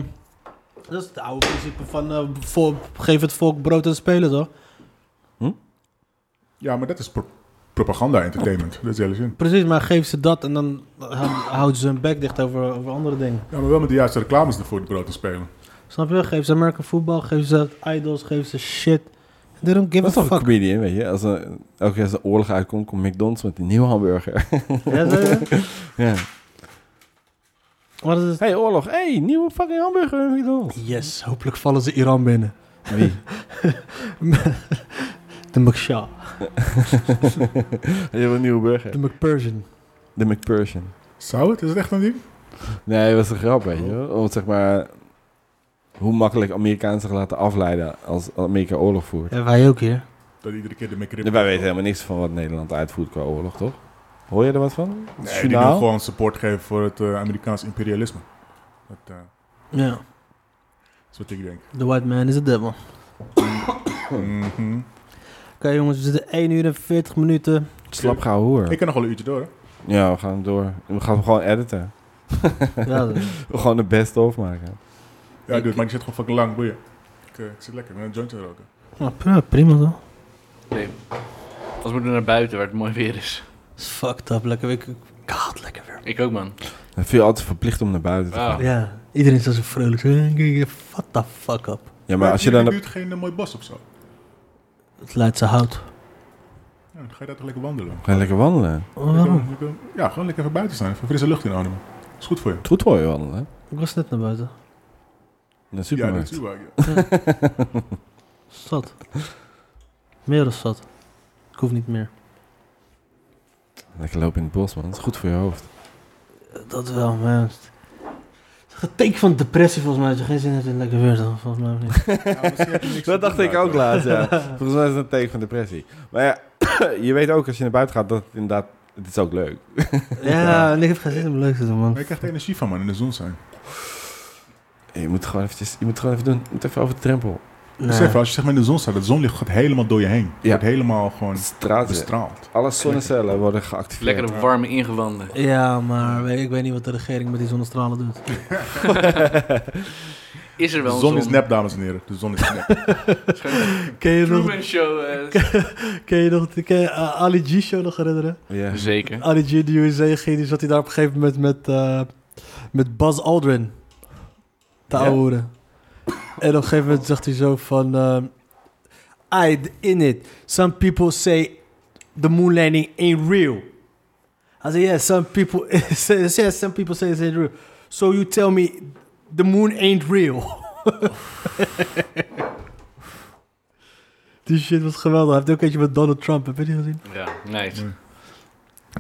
dat is het oude principe van. eh, voor- geef het volk brood en spelen, toch? Ja, maar dat is pro- propaganda entertainment. Dat is de hele zin. Precies, maar geef ze dat en dan hou- houden ze hun bek dicht over, over andere dingen. Ja, maar wel met de juiste reclames ervoor die brood te spelen. Snap je? Geef ze American voetbal, geef ze idols, geef ze shit. They don't give Dat is a toch een fuck. comedian, weet je? Als een, elke keer als de oorlog uitkomt, komt McDonald's met een nieuwe hamburger. Ja, zei je? ja. Maar dat is- Hey, oorlog. Hey, nieuwe fucking hamburger [LAUGHS] McDonald's. Yes, hopelijk vallen ze Iran binnen. [LAUGHS] Wie? De McShaw, Heel een nieuwe burger. de McPersian. De McPersian. Zou het? Is het echt een ding? Nee, dat was een grap, weet je wel. Want zeg maar, hoe makkelijk Amerikanen zich laten afleiden als Amerika oorlog voert. Ja, wij ook hier. Dat iedere keer de McRib... Wij weten helemaal niks van wat Nederland uitvoert qua oorlog, toch? Hoor je er wat van? Het Nee, die doen journaal? gewoon support geven voor het eh, Amerikaans imperialisme. Dat eh, Ja, is wat ik [COUGHS] denk. the white man is the devil. Oké Mhm. jongens, we zitten 1 uur en 40 minuten. Slap gauw hoor. Ik kan nog wel een uurtje door, hè? Ja, we gaan hem door. We gaan hem gewoon editen. Ja, dat- [LAUGHS] We gaan gewoon de beste of maken. Ja, dude, maar die zit gewoon fucking lang, boeien. Ik Ik, eh, ik zit lekker, ik ben een jointje aan het roken. prima, Ah, prima toch? Nee. Als we doen naar buiten waar het mooi weer is. Is fucked up, lekker weer. Ik haat lekker weer. Ik ook, man. Dan voel je altijd verplicht om naar buiten te Wauw. gaan. Ja, iedereen is zo vrolijk. What the fuck up. Ja, maar als je Heb dan... in de op- buurt geen eh, mooi bos of zo? Het Leidse hout. Oh, Ja, dan ga je daar toch lekker wandelen? Ga je lekker wandelen. Waarom? Lekker- lekker- ja, gewoon lekker even buiten staan. Even frisse lucht inademen. Is goed voor je. Goed hoor je wandelen. Ik was net naar buiten. Ja, Ja, dat supermarkt. is waar. ja. Zat. Meer dan zat. Ik hoef niet meer. Lekker lopen in het bos, man. Dat is goed voor je hoofd. Dat wel, man. Het is een teken van depressie volgens mij. Dat je geen zin hebt in lekker weer dan, volgens mij of niet. Ja, misschien heb je niks [LAUGHS] Dat te dacht doen ik nou ook buiten. laatst, [LAUGHS] ja. Volgens mij is dat een teken van depressie. Maar ja, [CLEARS THROAT] je weet ook als je naar buiten gaat dat het inderdaad... Het is ook leuk. [LAUGHS] Ja, en ik heb geen zin om leuk te doen, man. Maar je krijgt er energie van, man, in de zon zijn. En je moet gewoon eventjes... Je moet gewoon even doen. Je moet even over de drempel. Besef, wel, als je zeg maar in de zon staat, dat zonlicht gaat helemaal door je heen. Het Ja. Wordt helemaal gewoon Straten. bestraald. Alle zonnecellen worden geactiveerd. Lekkere warme ingewanden. Ja, maar weet- ik weet niet wat de regering met die zonnestralen doet. Is er De wel een zon is nep, dames en heren. De zon is nep. Ken je nog, Truman Show. [LAUGHS] eh, ken je nog ken je, eh, Ali G show nog herinneren? Ja. Zeker. Ali G in de USA ging, die zat hij daar op een gegeven moment met, eh, met Buzz Aldrin te Ja. ouwen. En op een gegeven moment zegt hij zo van... ehm, I in it. Some people say the moon landing ain't real. I say, yeah, some people [LAUGHS] say, yeah, some people say it's ain't real. So you tell me the moon ain't real. [LAUGHS] Die shit was geweldig. Hij heeft ook eentje met Donald Trump. Heb je die gezien? Ja, nice.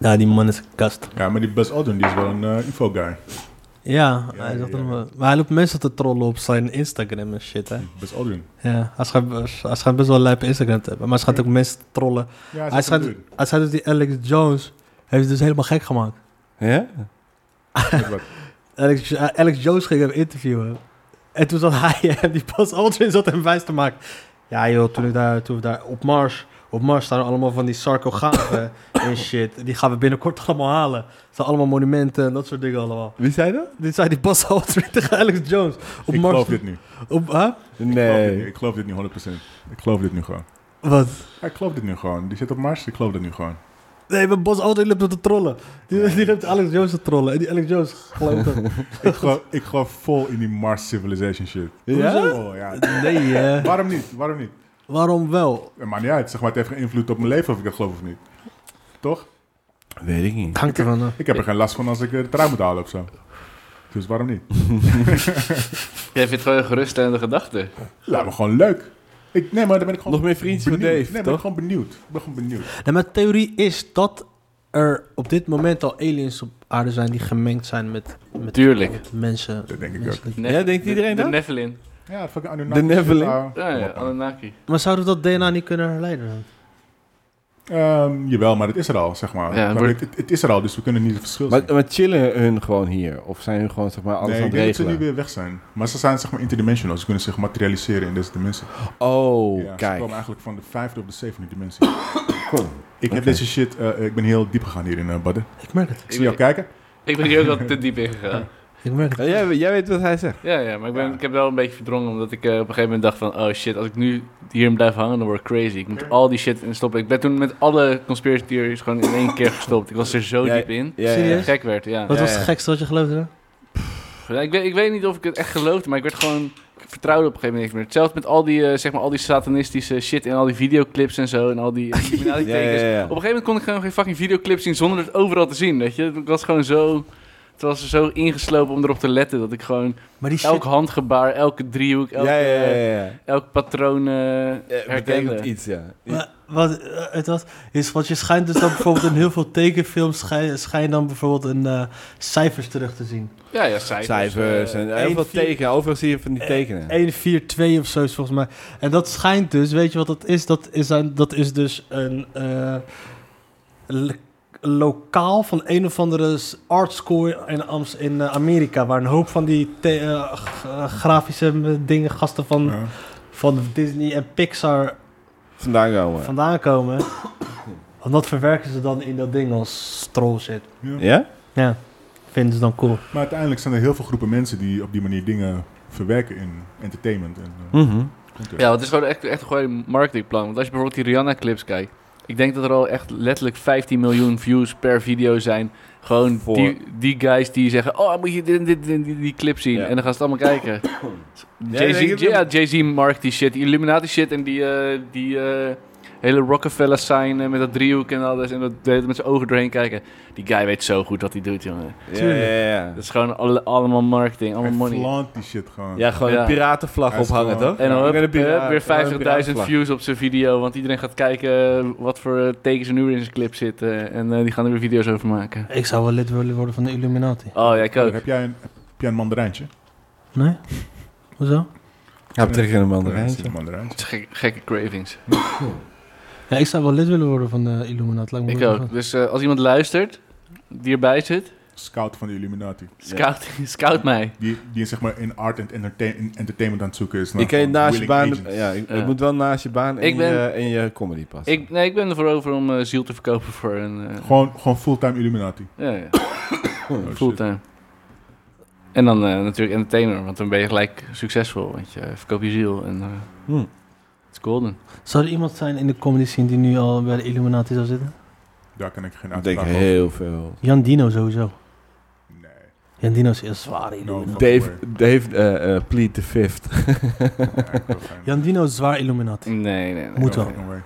Ja, die man is een kast. ja, maar die Buzz Aldrin, die is wel een eh, info-guy. Ja, Ja, hij zat ja, er ja. Hm. maar- maar hij loopt mensen te trollen op zijn Instagram en shit, hè. Buzz Aldrin. Ja, hij schijnt, hij schijnt best wel lijp Instagram te hebben. Maar hij schijnt ook mensen te trollen. Ja, Hij is schijnt, een dude. hij schijnt dat die Alex Jones heeft dus helemaal gek gemaakt. Ja? Met wat. Alex, eh, Alex Jones ging hem interviewen. En toen zat hij [LAUGHS] hem, die Bas Aldrin zat hem wijs te maken. Ja joh, toen ik daar, toen we daar op Mars, op Mars staan allemaal van die [COUGHS] sarcogaven en shit. Die gaan we binnenkort allemaal halen. Het zijn allemaal monumenten en dat soort dingen allemaal. Wie zei dat? Dit zei die Bas Aldrin tegen Alex Jones. Op Ik Mars. geloof dit nu. Ik Op, hè? geloof dit nu. Nee. Ik geloof dit nu 100%. Ik geloof dit nu gewoon. Wat? Ja, ik geloof dit nu gewoon. Die zit op Mars, ik geloof dit nu gewoon. Nee, maar Bas Aldrin loopt hem te trollen. Die, die loopt Alex Jones te trollen. En die Alex Jones gelooft hem. Ik geloof, ik geloof vol in die Mars Civilization shit. Ja? Oh, ja. [LAUGHS] Nee, hè? Waarom niet? Waarom niet? Waarom wel? Het maakt niet uit. Zeg maar, het heeft geen invloed op mijn leven of ik dat geloof of niet. Toch? Weet ik niet. Hangt ervan Ik heb er geen last van als ik eh, het eruit moet halen of zo. Dus waarom niet? Jij vindt gewoon een geruststellende gedachte. Laat me gewoon leuk. Ik, nee, maar dan ben ik gewoon Nog meer vriendjes voor benieuwd. Dave, Nee, ben ik toch? gewoon benieuwd. Ik ben gewoon benieuwd. Nee, mijn theorie is dat er op dit moment al aliens op aarde zijn die gemengd zijn met, met Tuurlijk. mensen. Dat denk ik menselijk. Ne- Ja, denkt de- iedereen De dat? Nephilim. Ja, fucking De Anunnaki. Nephilim? Ja, Ja, ja, Anunnaki. Maar zouden we dat DNA niet kunnen herleiden? Ehm, jawel, maar het is er al, zeg maar. Ja, maar wordt- het, het is er al, dus we kunnen niet het verschil zien. Maar, maar chillen hun gewoon hier? Of zijn hun gewoon zeg maar alles nee, aan ik het denk dat ze regelen? nu weer weg zijn. Maar ze zijn zeg maar interdimensional. Ze kunnen zich materialiseren in deze dimensie. Oh, Ja, Ze kijk. komen eigenlijk van de vijfde op de zevende dimensie. ik heb deze shit... eh, ik ben heel diep gegaan hier in eh Badden. Ik merk het. Ik zie jou kijken. Ik ben hier ook wel te diep in gegaan. [LAUGHS] Ik merk Ja, het. jij, jij weet wat hij zegt. Ja, ja, maar ik, ben, ik heb wel een beetje verdrongen, omdat ik eh, op een gegeven moment dacht van, oh shit, als ik nu hierin blijf hangen, dan word ik crazy. Ik moet al die shit in stoppen. Ik ben toen met alle conspiracy theories gewoon in één keer gestopt. Ik was er zo Ja, diep in. Ja, ja, Serieus? Dat ik Gek werd, ja. Wat Ja, was ja. het gekste wat je geloofde? Ja, ik, weet, ik weet niet of ik het echt geloofde, maar ik werd gewoon... Ik vertrouwde op een gegeven moment niks meer. Hetzelfde met al die, eh, zeg maar, al die satanistische shit en al die videoclips en zo en [LAUGHS] al die eh, Ja, criminalitekens. ja, ja. Op een gegeven moment kon ik gewoon geen fucking videoclip zien zonder het overal te zien, weet je. Ik was gewoon zo... Het was er zo ingeslopen om erop te letten dat ik [LAUGHS] gewoon... Maar die shit, Elk handgebaar, elke driehoek, elke, Ja, ja, ja, ja, ja. elk patroon eh, Ja, betekent herkende. iets, ja. maar wat eh, het was, is, want je schijnt dus dan bijvoorbeeld in heel veel tekenfilms, schijn, schijn dan bijvoorbeeld een eh, cijfers terug te zien. Ja, ja, cijfers. Cijfers eh, en heel één, veel vier- tekenen. Overal zie je van die Eh, tekenen. 1, 4, 2 of zo is volgens mij. En dat schijnt dus, weet je wat dat is? Dat is, een, dat is dus een eh, lo- lokaal van een of andere s- art school in, Ams in eh, Amerika. Waar een hoop van die te- eh, g- eh, grafische m- dingen, gasten van, Mm. Ja. van Disney en Pixar Vandaan komen. vandaan komen. En dat verwerken ze dan in dat ding als troll shit. Ja? Ja, vinden ze dan cool. Maar uiteindelijk zijn er heel veel groepen mensen die op die manier dingen verwerken in entertainment. En, eh, Mhm. Ja, want het is gewoon echt, echt een goede marketingplan. Want als je bijvoorbeeld die Rihanna-clips kijkt... Ik denk dat er al echt letterlijk 15 miljoen views per video zijn. Gewoon Voor- die, die guys die zeggen... Oh, moet je dit, dit, dit- die, die clip zien? Ja. En dan gaan ze het allemaal kijken. [COUGHS] Ja, ik denk Jay-Z dat- ja, Jay markt die shit. Die Illuminati shit en die, eh, die eh, hele Rockefeller sign eh, met dat driehoek en alles. En dat de hele tijd met zijn ogen doorheen kijken. Die guy weet zo goed wat hij doet, jongen. Ja, ja, ja. Dat is gewoon alle- allemaal marketing, Hij allemaal money. flaunt die shit gewoon. Ja, gewoon Ja. een piratenvlag Hij is ophangen, gewoon- toch? En dan Ik hup, ben een piraat. hup, Ik ben een weer 50.000 piratenvlag. views op zijn video. Want iedereen gaat kijken wat voor eh, tekens er nu weer in zijn clip zitten. En eh, die gaan er weer video's over maken. Ik zou wel lid willen worden van de Illuminati. Oh ja, ik ook. Heb jij een, heb jij een mandarijntje? Nee? Hoezo? Hij betrekt een Ja, mandarijntje. zit een mandarijntje. Het is gek- gekke cravings. Ja, ik zou wel lid willen worden van de Illuminati. Lijkt me Ik wel ook. interessant. Dus eh, als iemand luistert, die erbij zit, Scout van de Illuminati. scout, [LAUGHS] scout mij. Die, die zeg maar in art en entertain, in entertainment aan het zoeken is. naar Ik kan je gewoon naast je willing baan... agents. Ja, ik- Ja. het moet wel naast je baan en, Ik ben- je, en je comedy passen. Ik, nee, ik ben ervoor over om eh, ziel te verkopen voor een eh, Gewoon, gewoon fulltime Illuminati. ja, ja, Oh, shit. fulltime. En dan eh, natuurlijk entertainer, want dan ben je gelijk succesvol. Want je verkoopt je ziel en eh, Hmm. het is golden. Zou er iemand zijn in de comedy scene die nu al bij de Illuminati zou zitten? Daar kan ik geen Ik denk uitspraak over. heel veel. Jan Dino sowieso. Nee. Jan Dino is een zware Illuminati. No. Dave, Dave eh, eh, plead the fifth. [LAUGHS] [LAUGHS] Ja, Jan Dino is zwaar Illuminati. Nee, nee, nee. Moet wel. Hij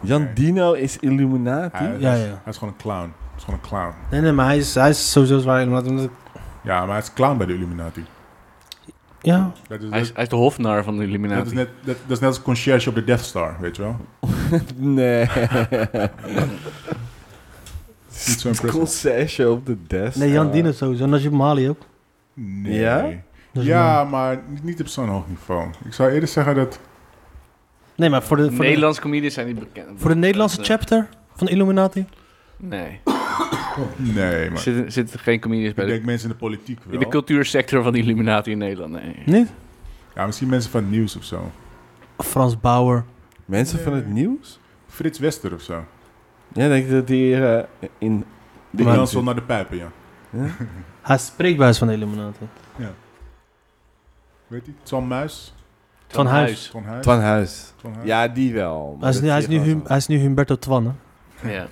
Jan Nee. Dino is Illuminati? hij is, Ja, ja. hij is gewoon een clown. Hij is gewoon een clown. Nee, nee, maar hij is, hij is sowieso zwaar Illuminati. omdat ik- Ja, maar hij is clown bij de Illuminati. Ja, Dat is, Hij is, dat, hij is de hofnar van de dat is Illuminati. net, dat, dat is net als concierge op de Death Star, weet je wel? Nee. [LAUGHS] Niet zo impressive. Concession op de desk. Ah. nee, Jan Dino sowieso. En Najib Mali ook. Nee. Ja? Dat is Ja, maar niet- niet op zo'n hoog niveau. Ik zou eerder zeggen dat... Nee, maar voor de, voor, de, Nederlandse comedians zijn niet bekend. voor de Nederlandse Dat, eh, chapter van de Illuminati? Nee, Nee, er maar... zitten zitten geen comedians bij Ik de, denk mensen in de politiek in de wel. cultuursector van de Illuminati in Nederland. Nee. Niet? Ja, misschien mensen van het nieuws of zo. Frans Bauer. Mensen van het nieuws? Frits Wester of zo. Ja, denk ik dat die hier eh, in... Die Maar- danst wel naar de pijpen, ja. Hij spreekt bij ons van de Illuminati. Weet je? Twan Muis. Van Huis. Twan Huis. Van Huis. Twan Huis. Ja, die wel. maar Hij is, dat nu, hij, is zie nu je hum, gewoon hij is nu Humberto Twan, hè? Ja. zo.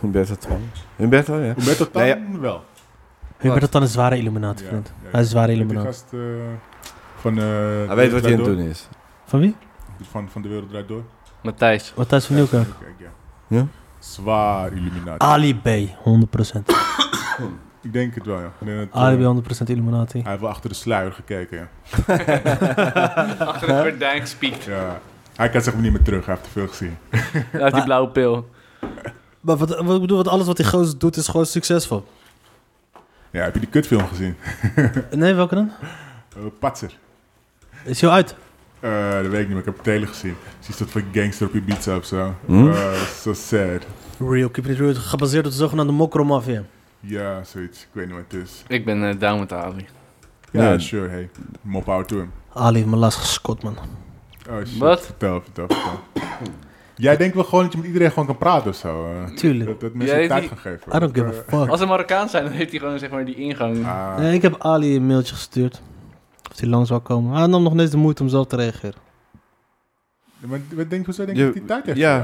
Humberto Twan. Humberto, ja. Humberto Tan Nee, wel. Humberto Twan is zware Illuminati, Ja, vriend. ja, ja. Hij is zware Die Illuminati. gast eh, van... eh, Hij weet wat hij aan het doen is. Van wie? Dus Van, van De Wereld Draait Door. Matthijs. Matthijs van Nieuwkerk. Kijk, ja. Ja? Zwaar Illuminati. Ali B, 100%. Ik denk het wel, ja. Ik denk dat, eh, Ali B, 100% Illuminati. hij heeft wel achter de sluier gekeken, ja. Achter de gordijn gespiekt. Ja. Hij kan zeg maar niet meer terug, hij heeft te veel gezien. Uit die Maar- blauwe pil. Maar wat, wat ik bedoel, wat alles wat die gozer doet is gewoon succesvol. Ja, heb je die kutfilm gezien? Nee, welke dan? Eh, Patser. Is hij al uit? Eh, dat weet ik niet, maar ik heb het hele gezien. Ze is dat van gangster op Ibiza of zo. Hm? Eh, so sad. Real Keep It Real, gebaseerd op de zogenaamde mokromafia. Ja, zoiets. Ik weet niet wat het is. Ik ben eh, down met Ali. Ja, Nee. sure, hey. More power to him. Ali heeft me laatst gescot, man. Oh shit. Wat? Vertel, vertel, vertel. Jij denkt wel gewoon dat je met iedereen gewoon kan praten of zo. eh? Tuurlijk. dat, dat mensen Jij tijd die- gaan geven. I don't give a Eh. Eh, fuck. Als ze Marokkaan zijn, dan heeft hij gewoon zeg maar die ingang. ah, Nee, ik heb Ali een mailtje gestuurd. Of hij lang zou komen. Hij nam nog niet eens de moeite om zelf te reageren. maar wat denk, hoezo denk je Je- dat die tijd heeft? ja. voor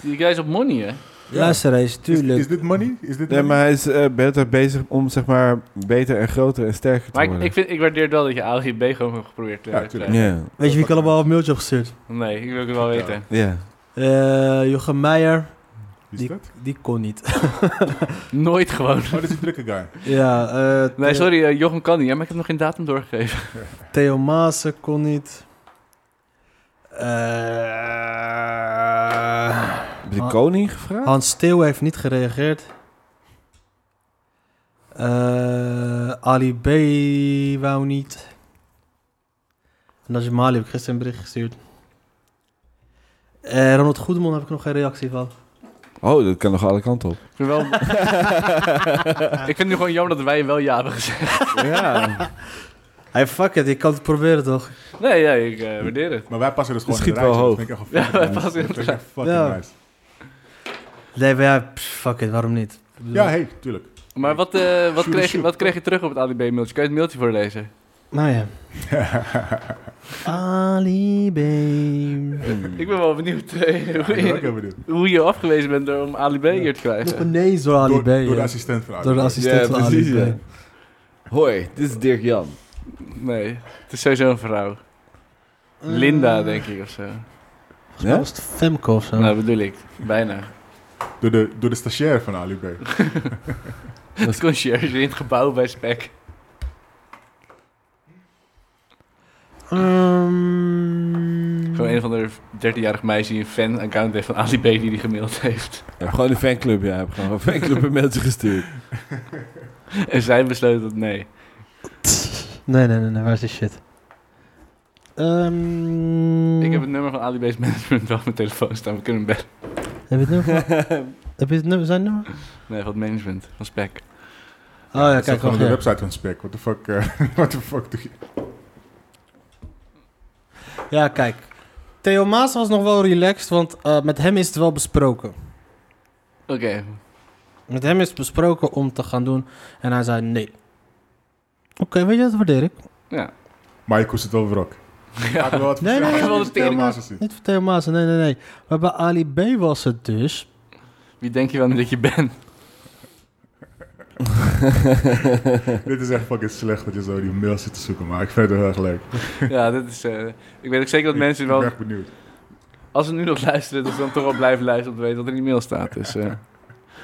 jou? Die guy is op money, hè? Luister eens, Is, tuurlijk. is dit money? Is dit Nee, money? maar hij is eh, beter bezig om, zeg maar, beter en groter en sterker te Maar ik, worden. ik, vind, ik waardeer wel dat je Ali B gewoon hebt geprobeerd te Ja, tuurlijk. krijgen. Ja, Weet je wie ik allemaal een mailtje heb gestuurd? Nee, ik wil het wel weten. ja. Eh Jochem Meijer, Wie is dat? die kon niet. Nooit gewoon. Oh, dat is die drukke guy. ja, eh, Nee, sorry, eh, Jochem kan niet, hè, maar ik heb nog geen datum doorgegeven. Theo Maassen kon niet. Eh, Heb je de koning gevraagd? Hans Steeuw heeft niet gereageerd. Eh, Ali B. wou niet. En Najib Mali heb ik gisteren een bericht gestuurd. Eh Ronald Goedemond heb ik nog geen reactie van. Oh, dat kan nog alle kanten op. Ik vind, wel... [LAUGHS] ik vind het nu gewoon jammer dat wij wel ja hebben gezegd. [LAUGHS] ja. Hey, fuck it, ik kan het proberen toch? Nee, ja, ik eh, waardeer het. Maar wij passen dus gewoon schiet in het wel rijtje. Dat vind ik echt Ja, wel fucking wij passen in nice. Dat het vind ik echt fucking Ja. nice. Nee, maar ja, pff, fuck it, waarom niet? Ja, hey, tuurlijk. Maar wat, eh, wat, Shoot the kreeg, je- shoot. wat kreeg je terug op het Ali B mailtje? Kan je het mailtje voorlezen? Nou ja. Ali B. Ik ben wel benieuwd eh, hoe, Ik ben ook je, heel benieuwd. hoe je afgewezen bent door om Ali B hier te Nog krijgen. een nee door Ali Door, B. door de ja. assistent van Door de Ajax. assistent van Ali B. ja. Hoi, dit is Dirk Jan. Nee, het is sowieso een vrouw. Linda, denk ik, of zo. Volgens mij was het Femke of zo. Nou, bedoel ik. Bijna. Door de, door de stagiair van Ali Oh, B. Dat conciërge in het gebouw bij Spek. Ehm, Gewoon een van de 13-jarig meisje die een fan-account heeft van Ali B die die gemaild heeft. Ja, gewoon een fanclub, ja. Ik heb gewoon een fanclub en mensen gestuurd. En zij besloot dat nee. Nee, nee, nee, nee, waar is die shit? Ehm, Ik heb het nummer van Ali B's management wel op mijn telefoon staan. We kunnen hem bellen. heb je het [LAUGHS] nummer? van- heb je het nummer? Zijn nummer? Nee, van het management van Spek. Oh ja, Dat is kijk, gewoon wacht, op de ja. website van Spec. What the fuck, eh, [LAUGHS] what the fuck doe je? Ja, kijk. Theo Maas was nog wel relaxed, want eh, met hem is het wel besproken. Oké, Met hem is het besproken om te gaan doen. En hij zei nee. Oké, weet je, dat waardeer ik. Maar je koest het wel weer ook. Ja. Had er wel wat Nee, nee, verschil nee, nee, in de nee. thema's gezien. Niet voor Theo Maas, nee, nee, nee. Maar bij Ali B was het dus... wie denk je wel nu dat je bent? Dit is echt fucking slecht dat je zo die mail zit te zoeken. Maar ik vind het wel heel erg leuk. ja, dit is... eh, ik weet ook zeker dat mensen Ik ben wel... echt benieuwd. Als ze nu nog luisteren, dat ze dan toch wel blijven luisteren om te weten wat er in die mail staat. Dus eh,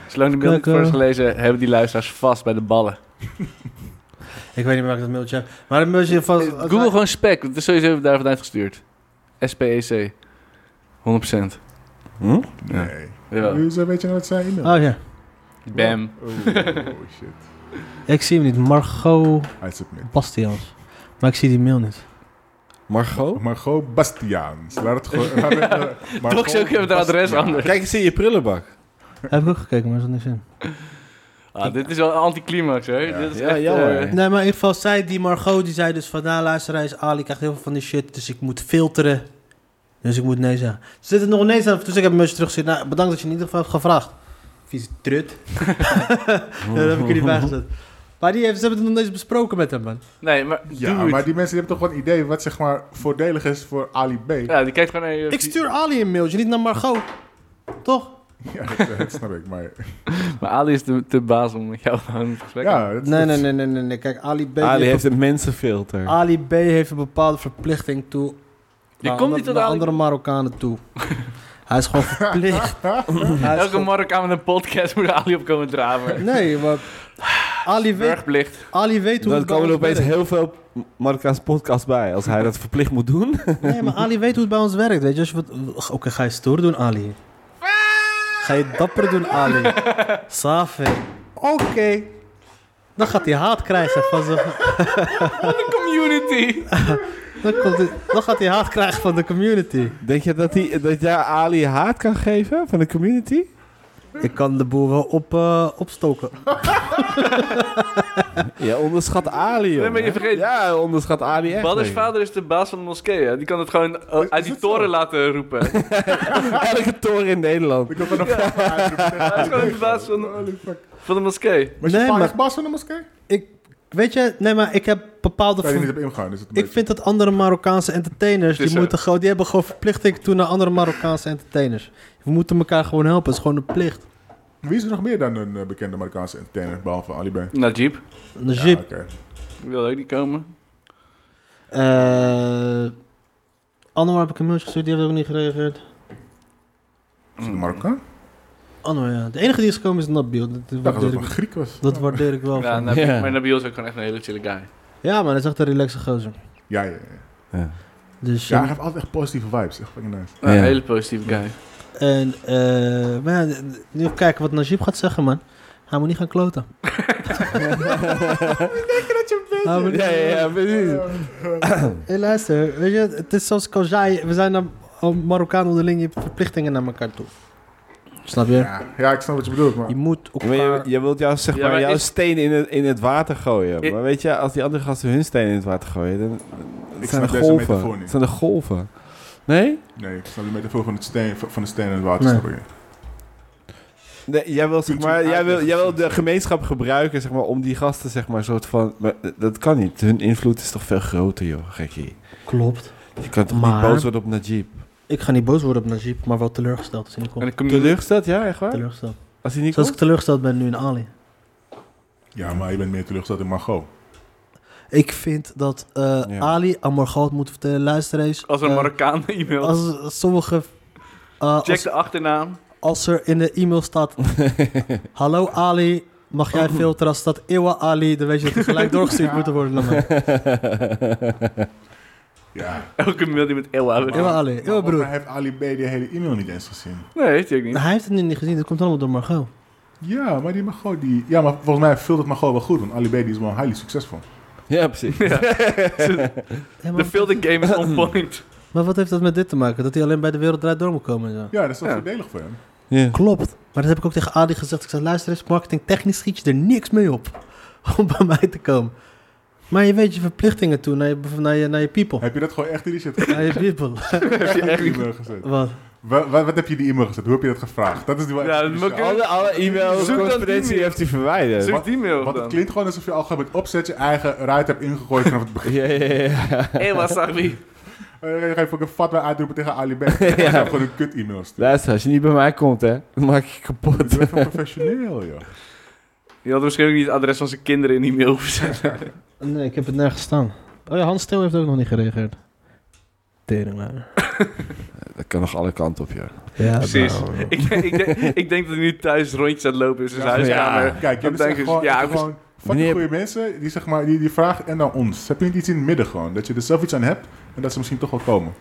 zolang de mail niet Kijk, voor is eh. gelezen, hebben die luisteraars vast bij de ballen. Ik weet niet meer waar ik dat mailtje heb. Maar dat mailtje van... Oh, Google gewoon Spek. Dat is sowieso daar vanuit gestuurd. E S-P-E-C. 100%. Hm? Ja. Nee. Jawel. Hoezo weet je nou wat zijn e-mail? Oh ja. Bam. Oh, oh, shit. Ik zie hem niet. Margot Hij zit niet. Bastiaans. Maar ik zie die mail niet. Margot? Margot Bastiaans. Laat het gewoon... laat het, [LAUGHS] eh, Margot Toch zo even de adres Bastiaans. anders. Kijk eens in je prullenbak. heb ik ook gekeken, maar er zat niks in. Ah, dit is wel een anticlimax, hè? Dit is Ja, echt, jammer. eh, Nee, maar in ieder geval zei die Margot, die zei dus van... Nou, luister eens, Ali krijgt heel veel van die shit, dus ik moet filteren. Dus ik moet nee zeggen. Ze zitten nog nee aan, dus ik heb een mailtje teruggezien. Nou, bedankt dat je in ieder geval hebt gevraagd. Vieze trut. [LAUGHS] Ja, dat heb ik er niet bij gezet. Maar die heeft, ze hebben het nog niet eens besproken met hem, man. nee, maar Ja, dude. maar die mensen die hebben toch wel een idee wat zeg maar voordelig is voor Ali B. Ja, die kijkt gewoon naar je... Ik stuur Ali een mailtje, niet naar Margot. Toch? [LAUGHS] Ja, dat, dat snap ik. Maar Maar Ali is de, de baas om met jou aan het gesprek ja, dat, dat- Nee, nee, nee, nee, nee. nee. Kijk, Ali B, Ali heeft, heeft een mensenfilter. Ali B heeft een bepaalde verplichting toe... Je naar komt ander- niet tot naar Ali- andere Marokkanen toe. [LAUGHS] Hij is gewoon verplicht. Hij is Elke gewoon- Marokkaan met een podcast [LAUGHS] moet Ali op komen draven. Nee, maar... Ali weet Burgplicht. Ali weet hoe Dan het bij komen er ons opeens werkt. heel veel Marokkaanse podcasts bij. Als hij dat verplicht moet doen. [LAUGHS] Nee, maar Ali weet hoe het bij ons werkt. Weet je, als je wat... Oké, ga je stoer doen, Ali? Ga je dapper doen, Ali? Safi. Oké. Dan gaat hij haat krijgen van zijn... Community. Dan, komt hij... Dan gaat hij haat krijgen van de community. Denk je dat, hij, dat jij Ali haat kan geven van de community? Ik kan de boel wel op, eh, opstoken. [LAUGHS] Ja, onderschat Ali, Nee, maar je jongen. vergeet- Ja, onderschat Ali echt. Badders denk ik. vader is de baas van de moskee, hè? Die kan het gewoon Oh, eh, uit die toren laten roepen. Hij Elke toren in Nederland. Ik wil [LAUGHS] van een vraag [LAUGHS] is gewoon de baas van, Holy fuck. van de moskee. Was je Nee, vader maar- echt baas van de moskee? Ik... Weet je, nee, maar ik heb bepaalde... Kan je ver- niet op ingaan. Is het een Ik beetje- vind dat andere Marokkaanse entertainers, is die, zo. moeten gewoon, die hebben gewoon verplichting toe naar andere Marokkaanse entertainers. We moeten elkaar gewoon helpen, het is gewoon een plicht. Wie is er nog meer dan een eh, bekende Marokkaanse entertainer, behalve Ali B? Ja, Najib. Najib, oké. Wil ook niet komen. Eh Anwar heb ik een mailtje gestuurd, die hebben ook niet gereageerd. Is het een Marokkaan? Anwar, ja. De enige die is gekomen is Nabil. Dat, Ik dacht dat waardeer, het een ik, Griek was. dat waardeer ik wel. Ja, van. Nabil, Ja. Maar Nabil is ook gewoon echt een hele chille guy. Ja, maar dat is echt een relaxe gozer. Ja, ja, ja. Dus, Ja, hij ja. heeft altijd echt positieve vibes. Echt fucking nice. Een Ja. hele positieve guy. En, eh maar ja, nu even kijken wat Najib gaat zeggen, man. Hij moet niet gaan kloten. Hij moet- Ja, ja, ja, precies. Hey, luister, weet je, het is zoals ik al zei, we zijn dan al Marokkaan onderling, je hebt verplichtingen naar elkaar toe. Snap je? Ja, ja, ik snap wat je bedoelt, maar... Je moet Maar je, elkaar... je wilt juist, zeg Ja, maar, maar jouw is- steen in het, in het water I- gooien. Maar weet je, als die andere gasten hun steen in het water gooien, dan Ik zijn snap er deze metafoor golven. niet. Het zijn er golven. Nee? Nee, ik snap de metafoor van, het steen, van de steen en het water. Nee. snap ik niet. Nee, jij wil, zeg Kunt u maar, jij, wil, uitleggen, jij wil de gemeenschap gebruiken zeg maar, om die gasten, zeg maar, soort van. Maar eh, dat kan niet. Hun invloed is toch veel groter, joh, gekkie. Klopt. Je kan toch Maar- niet boos worden op Najib? Ik ga niet boos worden op Najib, maar wel teleurgesteld als hij niet En komt. de commu- Teleurgesteld, ja, echt waar? Teleurgesteld. Als hij niet komt? Zoals ik teleurgesteld ben nu in Ali. Ja, maar je bent meer teleurgesteld in Margot. Ik vind dat eh, Ja. Ali aan Margot moet vertellen, luister eens. Als een eh, Marokkaan [LAUGHS] e-mail. als, als sommige... eh, Check als, de achternaam. als er in de e-mail staat... Hallo Ali, mag jij filteren? Als staat Ewa Ali, dan weet je dat die gelijk doorgestuurd moet worden naar mij. Ja. Elke mail die met Ewa hebben. Ewa Ali, Ewa Maar broer. Nou, hij heeft Ali B die hele e-mail niet eens gezien. Nee, weet ik niet. Hij heeft het nu niet gezien, dat komt allemaal door Margot. Ja, maar die Margot die... Ja, maar volgens mij vult het Margot wel goed. Want Ali B die is wel highly succesvol. Ja, precies. [LAUGHS] Hé, De maar, field game is on point. maar wat heeft dat met dit te maken? Dat hij alleen bij de wereld draait door moet komen en zo. Ja, dat is wel Ja. voordelig voor hem. Ja. Klopt. Maar dat heb ik ook tegen Adi gezegd. Ik zei, luister eens, marketingtechnisch schiet je er niks mee op. [LAUGHS] Om bij mij te komen. Maar je weet je verplichtingen toe naar je, naar je, naar je people. Heb je dat gewoon echt in die shit gezet? Naar je people. [LAUGHS] [LAUGHS] Heb je echt in die e-mail gezet? Wat? Wat, wat, wat heb je in die e-mail gezet? Hoe heb je dat gevraagd? Dat is die waar Ja, echt dat speciaal- moet Alle, alle e-mails, Zoek dat correspondentie e-mail. heeft hij verwijderd. Zoek die mail Want het dan. klinkt gewoon alsof je al gewoon met opzet je eigen ruit hebt ingegooid vanaf [LAUGHS] het begin. Ja, ja, ja, ja. [LAUGHS] Ewa Sagbi. Eh, Ga je ook een fatwa uitroepen tegen Ali [LAUGHS] B. Dat is gewoon een kut e-mail. sturen. Luister, als je niet bij mij komt, hè, dan maak ik je kapot. Dat is wel professioneel, joh. Je had waarschijnlijk niet het adres van zijn kinderen in die mail verzet. Nee, ik heb het nergens staan. Oh ja, Hans Steeuw heeft ook nog niet gereageerd. Teringlaar. Dat kan nog alle kanten op, joh. Ja, nou. Precies. Ik, denk- ik, denk, ik denk dat hij nu thuis rondjes aan het lopen is in zijn [LAUGHS] Ja, huiskamer. ja. Kijk, Dan jullie zijn denk ik, gewoon, ja, ja, ik was- gewoon fucking Meneer- goede mensen die, zeg maar, die, die vragen en dan ons. Heb je niet iets in het midden gewoon? Dat je er zelf iets aan hebt en dat ze misschien toch wel komen.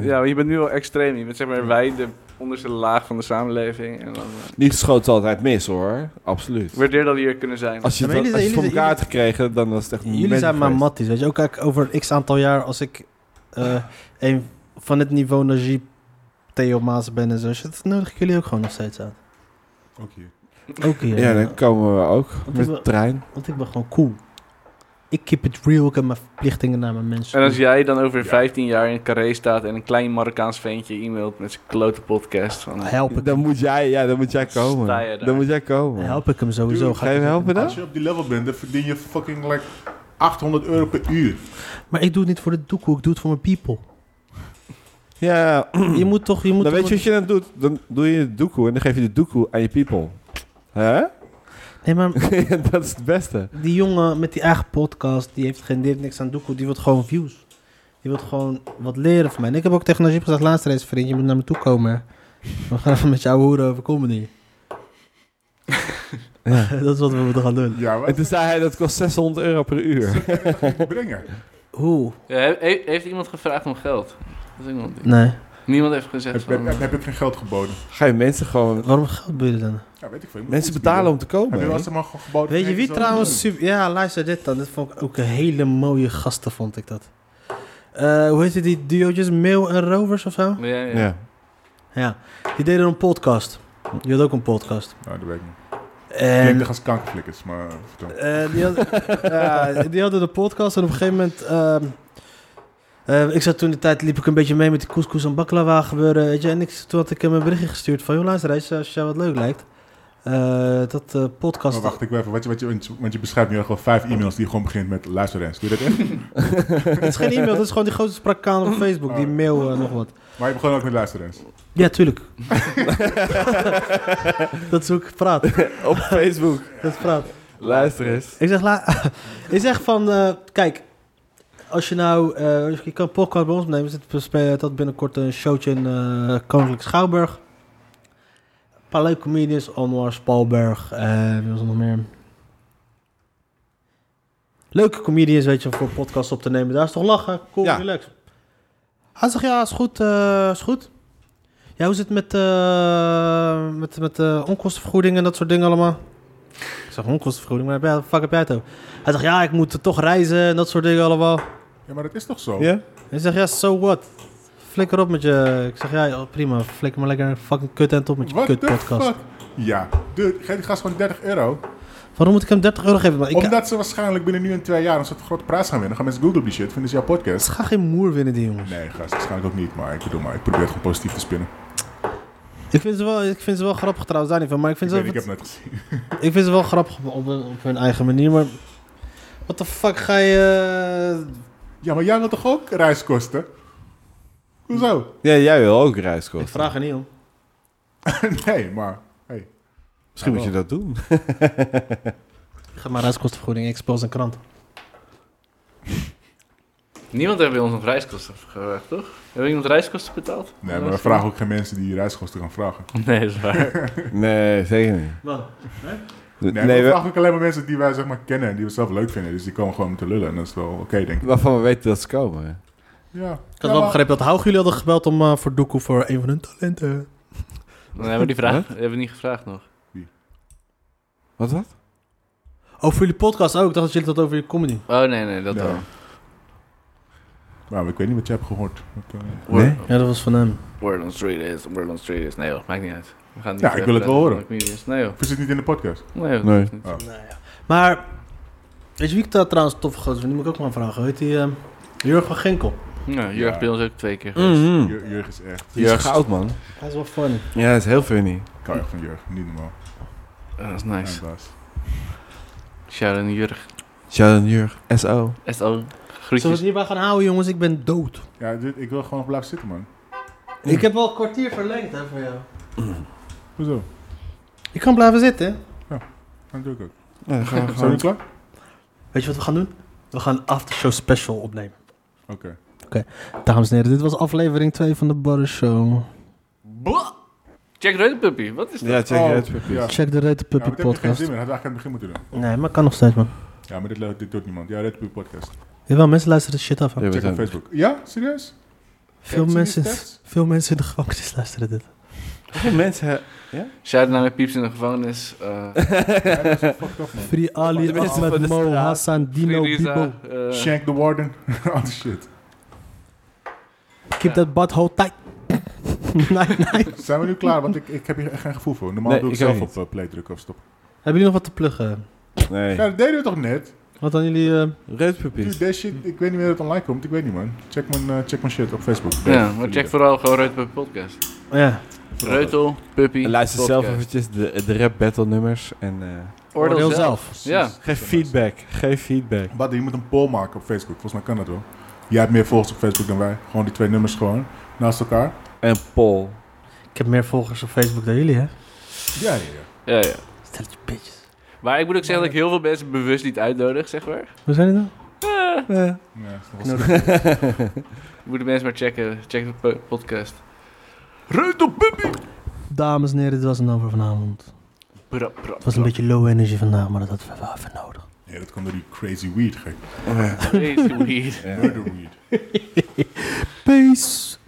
Ja, maar je bent nu wel extreem. Je bent zeg maar wij, de onderste laag van de samenleving. En dan, eh, Niet schoot altijd mis, hoor. Absoluut. ik waardeer dat we hier kunnen zijn. Als je, Ja, maar dat, jullie- als je het voor jullie- elkaar had gekregen, dan was het echt niet Jullie zijn maar matties, weet je. Ook kijk, over x aantal jaar, als ik eh, een van het niveau Najib, Theo Maas ben en zo, shit, nodig ik jullie ook gewoon nog steeds aan. Ook hier. Ook hier. Ja, dan komen we ook Want met ik wil- de trein. Want ik ben gewoon cool. Ik keep it real. Ik heb mijn verplichtingen naar mijn mensen. En als jij dan over Ja. 15 jaar in Carré staat en een klein Marokkaans ventje e-mailt met zijn klote podcast. Van, eh, help, ik, Dan moet jij, ja, dan moet jij Sta je komen. daar. Dan moet jij komen. help ik hem sowieso. Tuurlijk, Ga Ga ik je me het helpen dan? Als je op die level bent, dan verdien je fucking like 800 euro per uur. doen. Maar ik doe het niet voor de doekoe. Ik doe het voor mijn people. Ja, Je moet toch... Je moet dan toch- weet je wat je dan doet. Dan doe je de doekoe en dan geef je de doekoe aan je people. Hè? [LAUGHS] Nee, maar dat is het beste. die jongen met die eigen podcast... Die heeft, geen, die heeft niks aan doekoe. Die wil gewoon views. Die wil gewoon wat leren van mij. En ik heb ook tegen Najib gezegd... Laatste race, vriend. Je moet naar me toe komen. hè. We gaan even met jou hoeren over [LAUGHS] comedy. [LAUGHS] Dat is wat we moeten gaan doen. Ja, En wat toen zei hij, dat kost 600 euro per [LAUGHS] uur. [LAUGHS] brengen? Hoe? ja, he- he- heeft iemand gevraagd om geld? Dat is ook nog een ding. Nee. Niemand heeft gezegd Heb, van... heb, heb, heb ik geen geld geboden? Ga je mensen gewoon... Waarom geld bieden dan? Ja, weet ik veel. je moet Mensen iets betalen om bieden. te Heb je komen. wel hè? eens maar gewoon geboden? Weet je nee, wie dat is wel trouwens niet super... Ja, luister dit dan. Dit vond ik ook een hele mooie gasten, vond ik dat. Eh, hoe heette die duootjes? Mail en Rovers of zo? Ja, ja. Ja. Ja. Die deden een podcast. Je had ook een podcast. doen. Nou, dat weet ik niet. En... Eh, Klinkt echt als kankerflikkers, maar... vertel. eh, die, had, [LAUGHS] ja, die hadden de podcast en op een gegeven moment... ehm, eh, ik zat toen de tijd, liep ik een beetje mee met de couscous en baklava gebeuren, weet je. En ik, toen had ik hem een berichtje gestuurd van... Joh, luister eens, als jou wat leuk lijkt. eh, dat eh, podcast... Maar Oh, wacht, ik wil even, wat je, wat je, want je- want je beschrijft nu al gewoon vijf e-mails die gewoon begint met luister eens. Doe je [LAUGHS] dat echt? [LAUGHS] Het is geen e-mail, dat is gewoon die grote spraakkaan op Facebook. Die mail eh, nog wat. maar je begon ook met luister eens. Ja, tuurlijk. [LAUGHS] dat is hoe ik praat. Op Facebook. [LAUGHS] Dat is praat. Luister eens. Ik zeg, la- [LAUGHS] ik zeg van, eh, kijk, als je nou, eh, je kan een podcast bij ons nemen, zit we spelen dat binnenkort een showtje in eh, Koninklijk Schouwburg. Een paar leuke comedians, Anwar Spalberg, eh wie was er nog meer? Leuke comedians, weet je, om voor podcasts op te nemen. Daar is toch lachen, cool, Ja. relax. Hij zegt, ja, is goed, eh, is goed. Ja, hoe zit het met, eh met, met eh, onkostenvergoeding en dat soort dingen allemaal? Ik zeg onkostenvergoeding, maar waar heb jij- fuck heb jij het over? Hij zegt, ja, ik moet toch reizen en dat soort dingen allemaal. Ja, maar dat is toch zo? Ja? Hij zegt, ja, so what? Flikker op met je... Ik zeg, ja, joh, prima, flikker maar lekker een fucking kut en op met je What kut the podcast. fuck? Ja, dude, geef die gast gewoon 30 euro. Waarom moet ik hem 30 euro geven? Maar ik, Omdat ze waarschijnlijk binnen nu en twee jaar een soort grote prijs gaan winnen. Dan gaan mensen googlen op die shit, vinden ze jouw podcast. ze gaan geen moer winnen, die jongens. Nee, gast, waarschijnlijk ook niet. Maar ik bedoel maar, ik probeer het gewoon positief te spinnen. Ik Ik vind ze wel, ik vind ze wel grappig trouwens, daar niet van. Maar ik vind, ze, weet, wel- ik heb net gezien. ik vind ze wel grappig op, op, op hun eigen manier. Maar wat de fuck ga je... eh, Ja, maar jij wil toch ook reiskosten? Hoezo? [LAUGHS] Ja, jij wil ook Ik reiskosten. vraag er niet om. nee, maar... Misschien Ja, moet je dat doen. Ga maar reiskostenvergoeding, expos en krant. Niemand heeft bij ons nog reiskosten gevraagd, toch? Hebben iemand reiskosten betaald? Nee, maar we vragen ook geen mensen die reiskosten gaan vragen. [LAUGHS] Nee, dat [LAUGHS] is waar. Nee, zeker niet. Nee, Nee, maar we we- vragen ook alleen maar mensen die wij zeg maar kennen en die we zelf leuk vinden. Dus die komen gewoon om te lullen en dat is wel oké, denk ik. waarvan we weten dat ze komen. Ja. Ik had wel begrepen dat Haug jullie hadden gebeld om eh, voor Doekoe voor een van hun talenten. Dan hebben we die vraag hebben we niet gevraagd nog. Wat wat? Over jullie podcast ook. Ik dacht dat jullie dat over je comedy. Oh nee, nee, dat Ja. wel. Maar ik weet niet wat je hebt gehoord. Wat, eh, Nee? Ja, dat was van hem. Word on street is, word on street is. Nee joh, maakt niet uit. We gaan niet Ja, ik wil het wel horen. verder praten over comedians. Nee joh, Of is het niet in de podcast? nee joh. Nee. Maar, weet je wie ik daar trouwens tof gozer vind? Die moet ik ook maar vragen. Heet die eh Jurgen van Ginkel? Nou, Jurg bij ons ook twee keer Mm. geweest. Mhm. Jur- Jurg is echt. Die is goud, man. Hij is wel funny. Ja, dat is heel funny. Ik hou echt van Jurg. Niet normaal. Ah, dat is Mijn nice. baas. Shout out Jurg. Shout out Jurg. S.O. SO, Zullen we groetjes. het hierbij gaan houden, jongens? Ik ben dood. Ja, dit, ik wil gewoon nog blijven zitten, man. Ik heb wel een kwartier verlengd, hè, voor jou. Hoezo? Ik kan blijven zitten, hè? Dat doe ik ook. [LAUGHS] Ja, dan gaan we Zijn we gewoon... klaar? Weet je wat we gaan doen? We gaan een aftershow special opnemen. Oké. Dames en heren, dit was aflevering 2 van de Barre Show. Blah! Jack Reuter Puppy, wat is dat? Ja, check Oh, it out. Ja. Check de Rete Ja, maar Puppy dit heb je geen podcast. zin meer. Dat had ik eigenlijk aan het begin moeten doen. Nee, maar kan nog steeds, man. Ja, maar dit, lu- dit doet niemand. Ja, Red Bull podcast. Jawel, mensen luisteren de shit af. hè. Ja, we Check op zijn- Facebook. Ja? Serieus? Veel Zie je mensen, die stats? [LAUGHS] veel mensen in de gevangenis luisteren dit. Hoeveel mensen... he- Shout out naar mijn pieps in de gevangenis. eh Ja, dat is fucked up, man. Free Ali, De mensen van Ahmed, de Mo, straat. Hassan, Dino, Frieza, Bibo. eh, Shank the Warden. [LAUGHS] All the shit. Keep that butthole tight. [LAUGHS] nee, nee. Zijn we nu klaar? Want ik, ik heb hier echt geen gevoel voor. Normaal Nee, doe ik, ik ook zelf op niet. eh, play drukken of stop. Hebben jullie nog wat te pluggen? Nee. Ja, dat deden we toch net? Wat dan jullie... eh, Red Dude, Puppies. dat shit, ik weet niet meer dat het online komt. Ik weet niet, man. Check mijn, eh, check mijn shit op Facebook. Ja, maar check vooral gewoon Reuter Puppy podcast. Oh ja. Reutel, Puppy, En Luister zelf podcast. eventjes de, de rap battle nummers en eh, Oordeel zelf. Ja. geef feedback. Geef feedback. Badde, je moet een poll maken op Facebook. Volgens mij kan dat wel. Jij hebt meer volgers op Facebook dan wij. Gewoon die twee nummers gewoon naast elkaar. En Paul. Ik heb meer volgers op Facebook dan jullie, hè? Ja, ja, ja. Ja, ja. Stel je bitches. Maar ik moet ook zeggen dat ik heel veel mensen bewust niet uitnodig, zeg maar. Hoe zijn die dan? ja dat [LAUGHS] was- Nodig. Moeten mensen maar checken. Check de po- podcast. Dames en heren, dit was een over vanavond. Bra, bra, Het was een beetje low energy vandaag, maar dat hadden we wel even nodig. Nee, dat kwam door die crazy weed, gek. beetje... Murder weed. Peace.